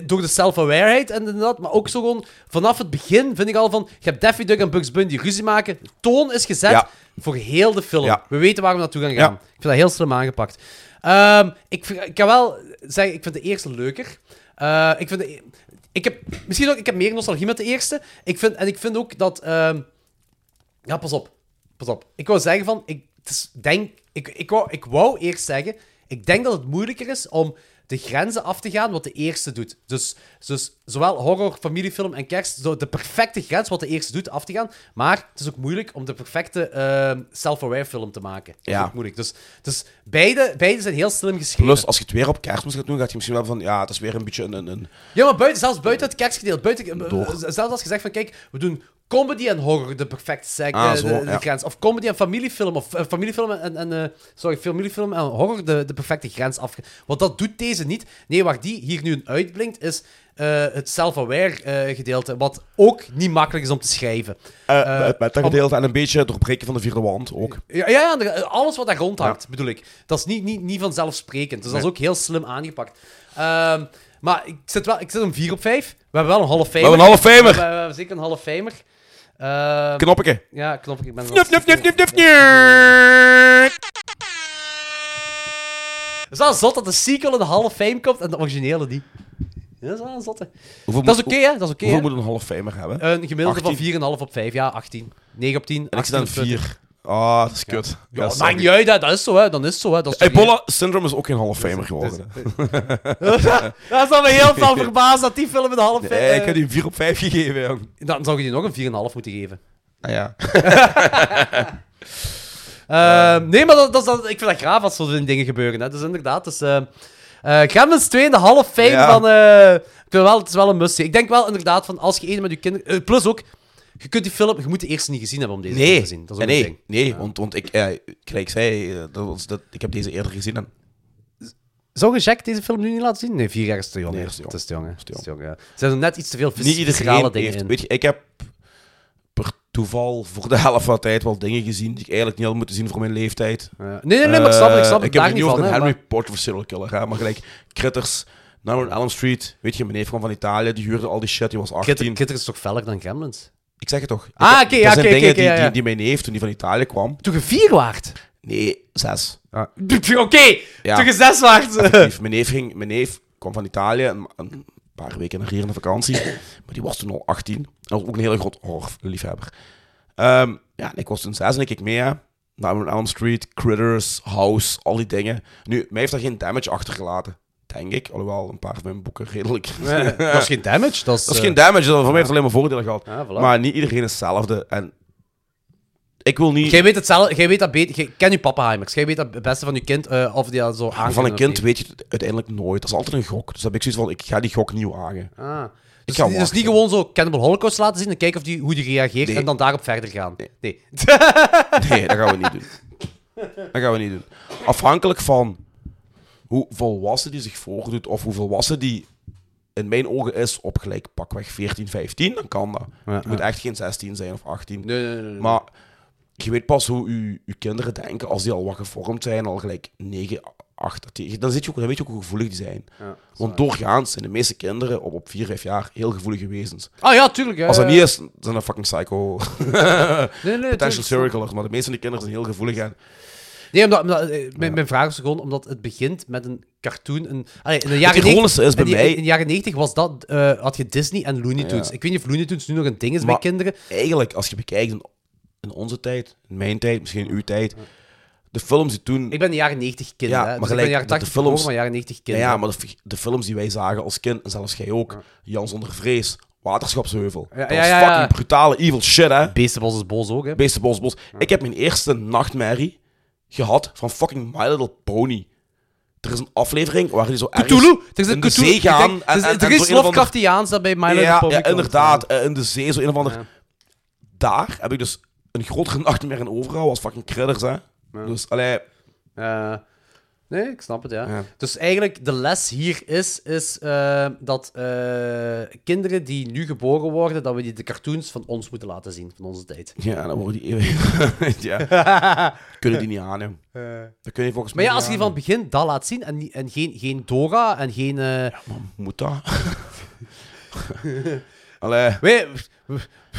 A: Door de self-awareheid en inderdaad, maar ook zo gewoon vanaf het begin vind ik al van: je hebt Daffy Duck en Bugs Bunny die ruzie maken. De toon is gezet
B: Ja.
A: voor heel de film.
B: Ja.
A: We weten waar we naartoe gaan gaan.
B: Ja.
A: Ik vind dat heel slim aangepakt. Ehm, ik, vind- ik kan wel zeggen, ik vind de eerste leuker. Eh, ik vind de- ik heb, misschien ook, ik heb meer nostalgie met de eerste. Ik vind, en ik vind ook dat. ehm, ja, pas op. Pas op. Ik wou zeggen van, ik het is- denk, ik, ik, wou, ik wou eerst zeggen, ik denk dat het moeilijker is om de grenzen af te gaan wat de eerste doet. Dus, dus zowel horror, familiefilm en kerst, zo de perfecte grens wat de eerste doet af te gaan. Maar het is ook moeilijk om de perfecte ehm, self-aware film te maken. Dat is
B: Ja.
A: ook moeilijk. Dus, dus beide, beide zijn heel slim geschreven.
B: Plus, als je het weer op kerstmis gaat doen, gaat je misschien wel van... Ja, het is weer een beetje een... een, een
A: Ja, maar buiten, zelfs buiten het kerstgedeelte. Buiten,
B: Door.
A: eh, zelfs als je zegt van, kijk, we doen comedy en horror, de perfecte sec,
B: Ah,
A: eh,
B: zo,
A: de, de
B: ja.
A: grens. Of comedy en familiefilm, of eh, familiefilm en, en eh, sorry, familiefilm en horror, de, de perfecte grens af. Want dat doet deze niet. Nee, waar die hier nu een uitblinkt, is eh, het self-aware eh, gedeelte, wat ook niet makkelijk is om te schrijven.
B: eh,
A: Eh,
B: het
A: om-
B: metagedeelte en een beetje het doorbreken van de vierde wand ook.
A: ja, ja, ja, er- alles wat daar rond hangt, bedoel ik. Dat is niet, niet, niet vanzelfsprekend. Dus dat is
B: Nee.
A: ook heel slim aangepakt. Ehm, maar ik zit, wel, ik zit een 4 op 5. We hebben wel een half famer.
B: hebben een half famer.
A: We hebben, we hebben zeker een half famer. Ehm,
B: Knoppeke.
A: Ja, knoppeke. Ik ben
B: Fnuf, fnuf, fnuf, fnuf, fnuf,
A: Het is wel zot dat de sequel in de half fame komt en de originele niet. Dat is wel een zotte.
B: Hoeveel
A: dat is
B: moet-
A: oké, Eh, hè? Dat is oké.
B: Hoeveel
A: hè?
B: moet een half famer hebben?
A: Een gemiddelde
B: 18.
A: van 4,5 op 5. Ja, 18. 9 op 10.
B: En ik zit aan
A: 18 op 20.
B: 4. Ah, dat is kut. Ja,
A: Ja,
B: sorry.
A: maakt niet uit, hè. dat is zo, hè. Dan is het zo, hè. Dat is toch niet-
B: Ebola syndroom is ook geen half famer geworden.
A: Dat zou me heel veel verbaasd dat die film een half...
B: Nee,
A: eh,
B: ik heb die een 4 op 5 gegeven, jong.
A: Ah, Dan zou je die nog een 4,5 moeten geven.
B: Ah ja.
A: Eh, nee, maar dat, dat, is dan- ik vind dat graaf als zo'n dingen gebeuren. Hè. Dus inderdaad, dus, eh eh, Gremlins 2 in de half fame
B: Ja.
A: van... eh, ik vind wel, het is wel een must. Ik denk wel inderdaad van als je één met je kinderen... eh, plus ook, je kunt die film... Je moet de eerste niet gezien hebben om deze
B: Nee,
A: film te zien. Dat is ook
B: nee,
A: een ding.
B: nee want, want ik, eh, gelijk ik zei, eh, dat was, dat, ik heb deze eerder gezien. En,
A: Zou je Jack deze film nu niet laten zien? Nee, vier jaar is te jong.
B: Nee,
A: hè.
B: is te jong.
A: Het is te jong. hè. Het is te jong, ja. Er zijn er net iets te veel vis-
B: niet
A: viscerale
B: iedereen
A: dingen
B: heeft.
A: in.
B: Weet je, ik heb per toeval voor de helft van de tijd wel dingen gezien die ik eigenlijk niet had moeten zien voor mijn leeftijd.
A: nee, nee, maar ik snap het, ik snap het,
B: Eh, Ik heb
A: daar
B: het
A: niet
B: niet over
A: van,
B: een
A: hè,
B: Henry Potter of serial killer, hè, maar gelijk Critters, Nightmare on Elm Street, weet je, mijn neef kwam van Italië, die huurde al die shit, die was 18.
A: Critter- Critters is toch feller dan Gremlins?
B: Ik zeg het toch. Ik
A: Ah,
B: heb-
A: oké,
B: dat
A: ja,
B: zijn
A: oké,
B: dingen
A: oké,
B: die,
A: ja, ja.
B: Die, die mijn neef, toen die van Italië kwam...
A: Toen je vier waard?
B: Nee, zes.
A: Oké, toen je zes waard.
B: Effectief. Mijn neef, ging, mijn neef kwam van Italië een, een paar weken naar hier in de vakantie. Maar die was toen al 18. En was ook een hele groot horrorliefhebber. Ehm, ja, en ik was toen zes en ik keek mee, hè. Nightmare on Elm Street, Critters, House, al die dingen. Nu, mij heeft daar geen damage achtergelaten. Denk ik. Alhoewel, een paar van mijn boeken redelijk...
A: Nee, dat is geen damage, dat is,
B: dat is
A: eh,
B: geen damage. Dat, voor mij heeft het alleen maar voordelen gehad.
A: Ja, voilà.
B: Maar niet iedereen is hetzelfde. En ik wil niet...
A: Jij weet het zelf, jij weet dat beter. Jij ken je pappenheimers. Jij weet dat het beste van je kind eh, of die dat zo aan.
B: van een kind weet je het uiteindelijk nooit. Dat is altijd een gok. Dus dan heb ik zoiets van, ik ga die gok niet wagen.
A: Ah.
B: Ik
A: Dus,
B: ga
A: dus niet gewoon zo Cannibal Holocaust laten zien en kijken of die, hoe die reageert en dan daarop verder gaan. Nee. Nee,
B: Nee, dat gaan we niet doen. Dat gaan we niet doen. Afhankelijk van hoe volwassen die zich voordoet of hoe volwassen die in mijn ogen is op gelijk pakweg 14, 15, dan kan dat.
A: Ja,
B: je moet
A: ja.
B: echt geen 16 zijn of 18.
A: nee, nee, nee.
B: Maar je weet pas hoe je, je kinderen denken als die al wat gevormd zijn, al gelijk 9, 8, 10. Dan, zit je ook, dan weet je ook hoe gevoelig die zijn. Want doorgaans zijn de meeste kinderen op, op 4, 5 jaar heel gevoelige wezens.
A: Ah ja, tuurlijk, ja,
B: Als dat
A: ja,
B: niet
A: ja.
B: is, dan zijn dat fucking psycho.
A: tuurlijk,
B: Potential
A: snap
B: serial killers. Maar de meeste van die kinderen zijn heel gevoelig. En
A: Nee, omdat, omdat, eh, mijn, mijn vraag is gewoon omdat het begint met een cartoon. Een, allee, in de jaren
B: ironische is bij
A: in die-
B: mij-
A: In de jaren 90 was dat, eh, had je Disney en Looney Tunes.
B: Ja.
A: Ik weet niet of Looney Tunes nu nog een ding is
B: Maar
A: bij kinderen.
B: Eigenlijk, als je bekijkt in, in onze tijd, in mijn tijd, misschien in uw tijd, de films die toen...
A: Ik ben de jaren 90 kind,
B: Ja,
A: hè. Dus
B: maar
A: ik ben
B: gelijk,
A: de jaren
B: dat
A: 80 geboren, maar jaren 90 kind,
B: Ja, ja,
A: hè.
B: maar de, fi- de films die wij zagen als kind, en zelfs jij ook, Jan zonder vrees, Waterschapsheuvel. dat
A: ja,
B: was
A: ja, ja.
B: fucking brutale evil shit, hè.
A: Beestenbos is bos dus ook, hè.
B: Beestenbos is bos. Ik heb mijn eerste nachtmerrie gehad van fucking My Little Pony. Er is een aflevering waar die zo ergens
A: Cthulhu! Er is een
B: in de
A: Cthulhu-
B: zee
A: ik denk-
B: gaan. en-
A: er is-
B: en- en
A: er
B: zo
A: is
B: een of ander-
A: Lovecraftiaans dat bij My Little
B: ja,
A: Pony
B: Ja,
A: komt.
B: inderdaad. eh, In de zee, zo een of ander... Daar heb ik dus een grotere nachtmerrie in overgehouden als fucking critters, hè. Dus, allee...
A: Eh, nee, ik snap het, ja. Dus eigenlijk, de les hier is, is eh, dat eh, kinderen die nu geboren worden, dat we die de cartoons van ons moeten laten zien, van onze tijd.
B: Ja, dan worden die eeuwig... ja. Kunnen die niet aan, hè.
A: Eh.
B: Dat kun je volgens
A: Maar
B: mij
A: ja, als je
B: niet
A: die
B: aan,
A: van het begin dat laat zien en, niet- en geen, geen Dora en geen... eh,
B: hè. Moet dat? Allee.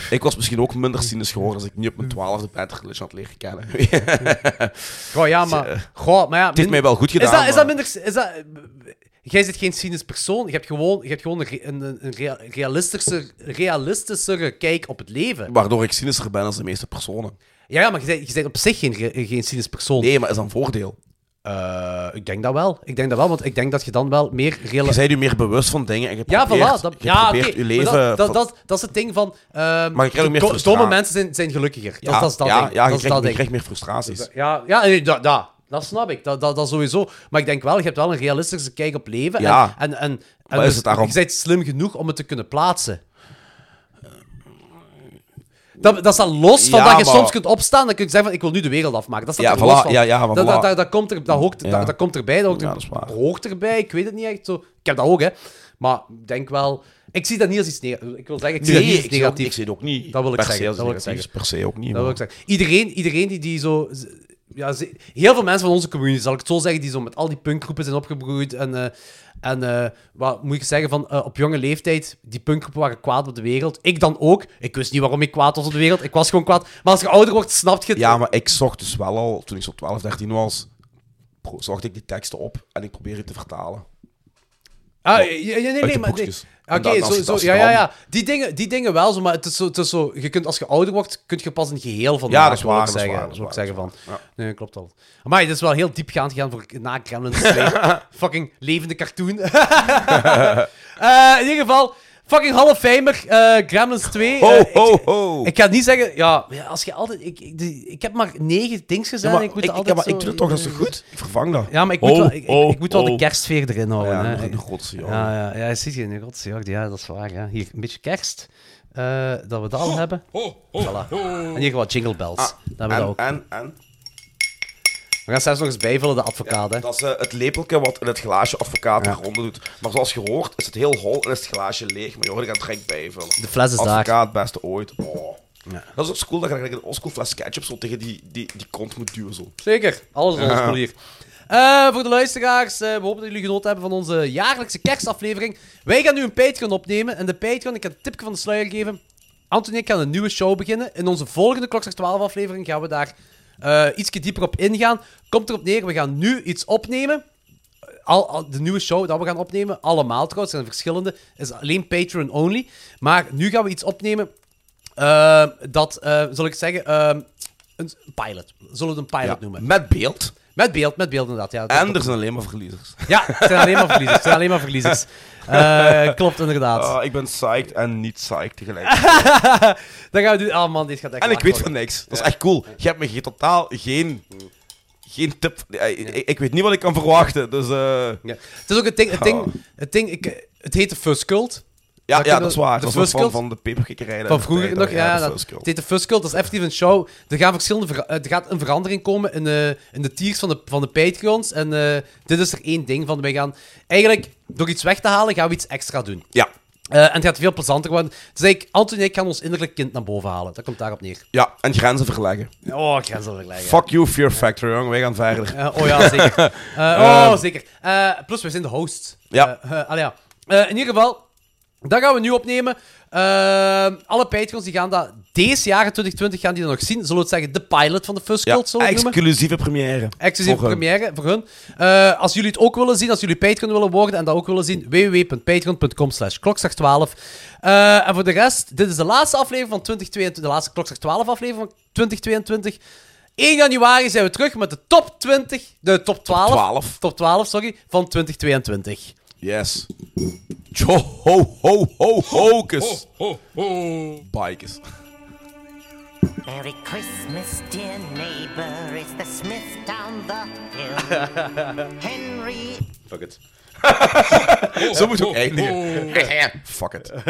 B: Ik was misschien ook minder cynisch geworden als ik niet op mijn twaalfde bed religion had leren kennen.
A: Goh, ja, maar... Goh, maar ja,
B: eh, Het heeft
A: min-
B: mij wel goed gedaan,
A: Is dat, is
B: maar-
A: dat minder... Is dat, jij zit geen cynisch persoon. Je hebt gewoon, je hebt gewoon een, re- een, een- een rea- realistischer, realistischere kijk op het leven.
B: Waardoor ik cynischer ben dan de meeste personen.
A: Ja, ja maar je bent, je bent op zich geen, re- geen cynisch persoon.
B: Nee, maar is dat een voordeel? Eh,
A: ik denk dat wel. Ik denk dat wel, want ik denk dat je dan wel meer...
B: Je
A: Reali-
B: bent je meer bewust van dingen en je
A: ja,
B: probeert,
A: voilà. Dat,
B: je,
A: ja,
B: probeert
A: oké,
B: je
A: maar
B: leven...
A: Dat, dat,
B: van-
A: dat, dat is het ding van... ehm,
B: Maar je krijgt ook meer
A: do- Domme
B: frustratie.
A: mensen zijn, zijn gelukkiger.
B: Ja,
A: dat, dat is dat
B: ja,
A: ding.
B: ja, je
A: dat is
B: krijgt-
A: dat
B: je
A: ding.
B: krijgt meer frustraties.
A: Ja, ja nee, dat, dat, dat snap ik. Dat, dat, dat sowieso. Maar ik denk wel, je hebt wel een realistische kijk op leven.
B: Ja.
A: En, en, en, en
B: Maar is
A: dus
B: het daarom-
A: je bent slim genoeg om het te kunnen plaatsen. Dat, dat staat los van
B: Ja,
A: dat je
B: maar-
A: soms kunt opstaan en kun je zeggen van ik wil nu de wereld afmaken. Dat staat
B: Ja,
A: er
B: voilà,
A: los van.
B: ja, ja, maar
A: dat,
B: voilà.
A: dat, dat, dat komt er, dat, hoort,
B: Ja.
A: dat, dat komt erbij, dat hoort,
B: Ja, dat is waar.
A: hoort erbij. Ik weet het niet echt zo. Ik heb dat ook, hè. Maar ik denk wel... Ik zie dat niet als iets negatiefs. Ik wil zeggen, ik zie dat niet als iets
B: Nee, ik zie dat-
A: negatiefs.
B: ik zie het ook niet
A: Dat wil ik
B: per
A: zeggen.
B: se als
A: dat wil ik
B: negatiefs,
A: zeggen.
B: per se ook niet,
A: Dat wil
B: maar-
A: ik zeggen. Iedereen, iedereen die, die zo. z- Ja, ze- heel veel mensen van onze community, zal ik het zo zeggen, die zo met al die punkgroepen zijn opgebroeid. En, eh, en eh, wat moet ik zeggen, van, eh, op jonge leeftijd, die punkgroepen waren kwaad op de wereld. Ik dan ook. Ik wist niet waarom ik kwaad was op de wereld. Ik was gewoon kwaad. Maar als je ouder wordt, snap je het.
B: Ja, maar ik zocht dus wel al, toen ik zo 12, 13 was, pro- zocht ik die teksten op en ik probeerde het te vertalen.
A: Ah, ja, ja, nee, nee,
B: Uit de
A: maar... nee.
B: boekjes. En
A: Oké,
B: dan- als je-
A: zo, zo,
B: als je
A: ja,
B: dan-
A: ja, ja. Die dingen, die dingen wel zo, maar het is zo, het is zo... Je kunt, als je ouder wordt, kun je pas een geheel van
B: Ja,
A: maken,
B: dat is
A: wil ik
B: waar, dat is
A: zeggen.
B: waar,
A: Dat
B: dat
A: wil ik
B: is
A: zeggen van...
B: waar, dat is waar,
A: Nee, klopt al. Maar dit is wel heel diep gaan gegaan voor na Gremlins 2. Fucking levende cartoon. Eh, in ieder geval, Fucking Hall of Famer, eh, Gremlins 2.
B: Ho,
A: eh, ik-
B: ho, ho.
A: Ik ga niet zeggen, ja, ja, als je altijd... Ik, ik, die- ik heb maar negen dings gezegd
B: maar
A: en ik moet
B: ik-
A: altijd
B: ja, maar
A: zo-
B: ik doe het toch, dat is toch goed? Ik vervang dat.
A: Ja, maar ik
B: Ho,
A: moet wel, ik, ik-
B: ho,
A: ik moet wel de
B: ho.
A: kerstsfeer erin houden.
B: Ja,
A: hè.
B: een rotse, joh.
A: Ja, ja, ja, je ziet je in de rotse joh. Ja, dat is waar. Ja. Hier, een beetje kerst. eh, dat we dat al hebben. Voilà. En hier wat jingle bells.
B: Ah,
A: dat hebben we dat
B: en,
A: ook.
B: en, en?
A: We gaan zelfs nog eens bijvullen, de advocaat. hè.
B: Dat is eh, het lepeltje wat in het glaasje advocaat eronder doet. Maar zoals je hoort is het heel hol en is het glaasje leeg. Maar joh, ik ga het gek bijvullen.
A: De fles is daar.
B: Advocaat, beste ooit. Oh. Dat is ook school dat je eigenlijk een oldschool fles ketchup zo tegen die, die, die kont moet duwen. Zo.
A: Zeker, alles op
B: Ja.
A: onze manier. Eh, voor de luisteraars, eh, we hopen dat jullie genoten hebben van onze jaarlijkse kerstaflevering. Wij gaan nu een Patreon opnemen. En de Patreon, ik ga een tipje van de sluier geven. Anton en ik gaan een nieuwe show beginnen. In onze volgende Klokzak 12 aflevering gaan we daar eh ietsje dieper op ingaan. Komt erop neer, we gaan nu iets opnemen. Al, al- de nieuwe show dat we gaan opnemen, allemaal trouwens, er zijn verschillende, is alleen Patreon only. Maar nu gaan we iets opnemen eh, dat, eh, zal ik zeggen, eh, een pilot. Zullen we het een pilot
B: Ja,
A: noemen?
B: Met beeld.
A: Met beeld, met beeld inderdaad. Ja,
B: En er zijn alleen maar verliezers.
A: Ja, het zijn alleen maar verliezers. Het zijn alleen maar verliezers. Eh, klopt, inderdaad.
B: Ah, ik ben psyched en niet psyched tegelijk.
A: Dan gaan we doen. Oh man, dit gaat echt
B: en ik
A: laag
B: weet van
A: worden.
B: niks. Dat is echt cool. Je hebt me ge- totaal geen, geen tip. Eh, Ik, ik, ik weet niet wat ik kan verwachten. Dus, eh,
A: Het is ook het ding, het ding,
B: Ah.
A: het ding, ik, het heet de Fuskult.
B: Ja, ja, dat is waar. Dat is nog van,
A: Fuskult-
B: van de peperkikkerij.
A: Van vroeger nog, ja.
B: dat
A: dat- Het heet de Fuskult, dat is effectief een show. Er, gaan verschillende vera- eh, er gaat een verandering komen in de, in de tiers van de, van de Patreons. En eh, dit is er één ding van. Wij gaan eigenlijk, door iets weg te halen, gaan we iets extra doen.
B: Ja.
A: Eh, en het gaat veel plezanter worden. Dus eigenlijk, Anton en ik gaan ons innerlijk kind naar boven halen. Dat komt daarop neer.
B: Ja, en grenzen verleggen.
A: Oh, grenzen verleggen.
B: Fuck you, Fear Factory, jongen. Wij gaan verder.
A: Eh, oh ja, zeker. Eh,
B: Ehm,
A: oh, zeker. Eh, plus, we zijn de hosts.
B: Ja.
A: Eh, eh, allee, ja. Eh, in ieder geval, dat gaan we nu opnemen. Ehm, alle Patreons die gaan dat deze jaren 2020 gaan die dat nog zien. Zullen we het zeggen, de pilot van de First
B: ja, Ah,
A: Cult, zullen we het noemen?
B: exclusieve première.
A: Exclusieve
B: Voor hun.
A: première voor hun. Eh, als jullie het ook willen zien, als jullie Patreon willen worden en dat ook willen zien, www.patreon.com slash klokslag12. en voor de rest, dit is de laatste aflevering van 2022, de laatste klokslag 12 aflevering van 2022. 1 januari zijn we terug met de top 20, de top 12, top
B: 12.
A: sorry, van 2022.
B: Yes. Jo, ho, ho, ho, hocus. Bikes.
P: Merry Christmas, dear neighbor. It's the Smith down the hill. Henry
B: Fuck it. Zo moet het ook eindigen. Fuck it.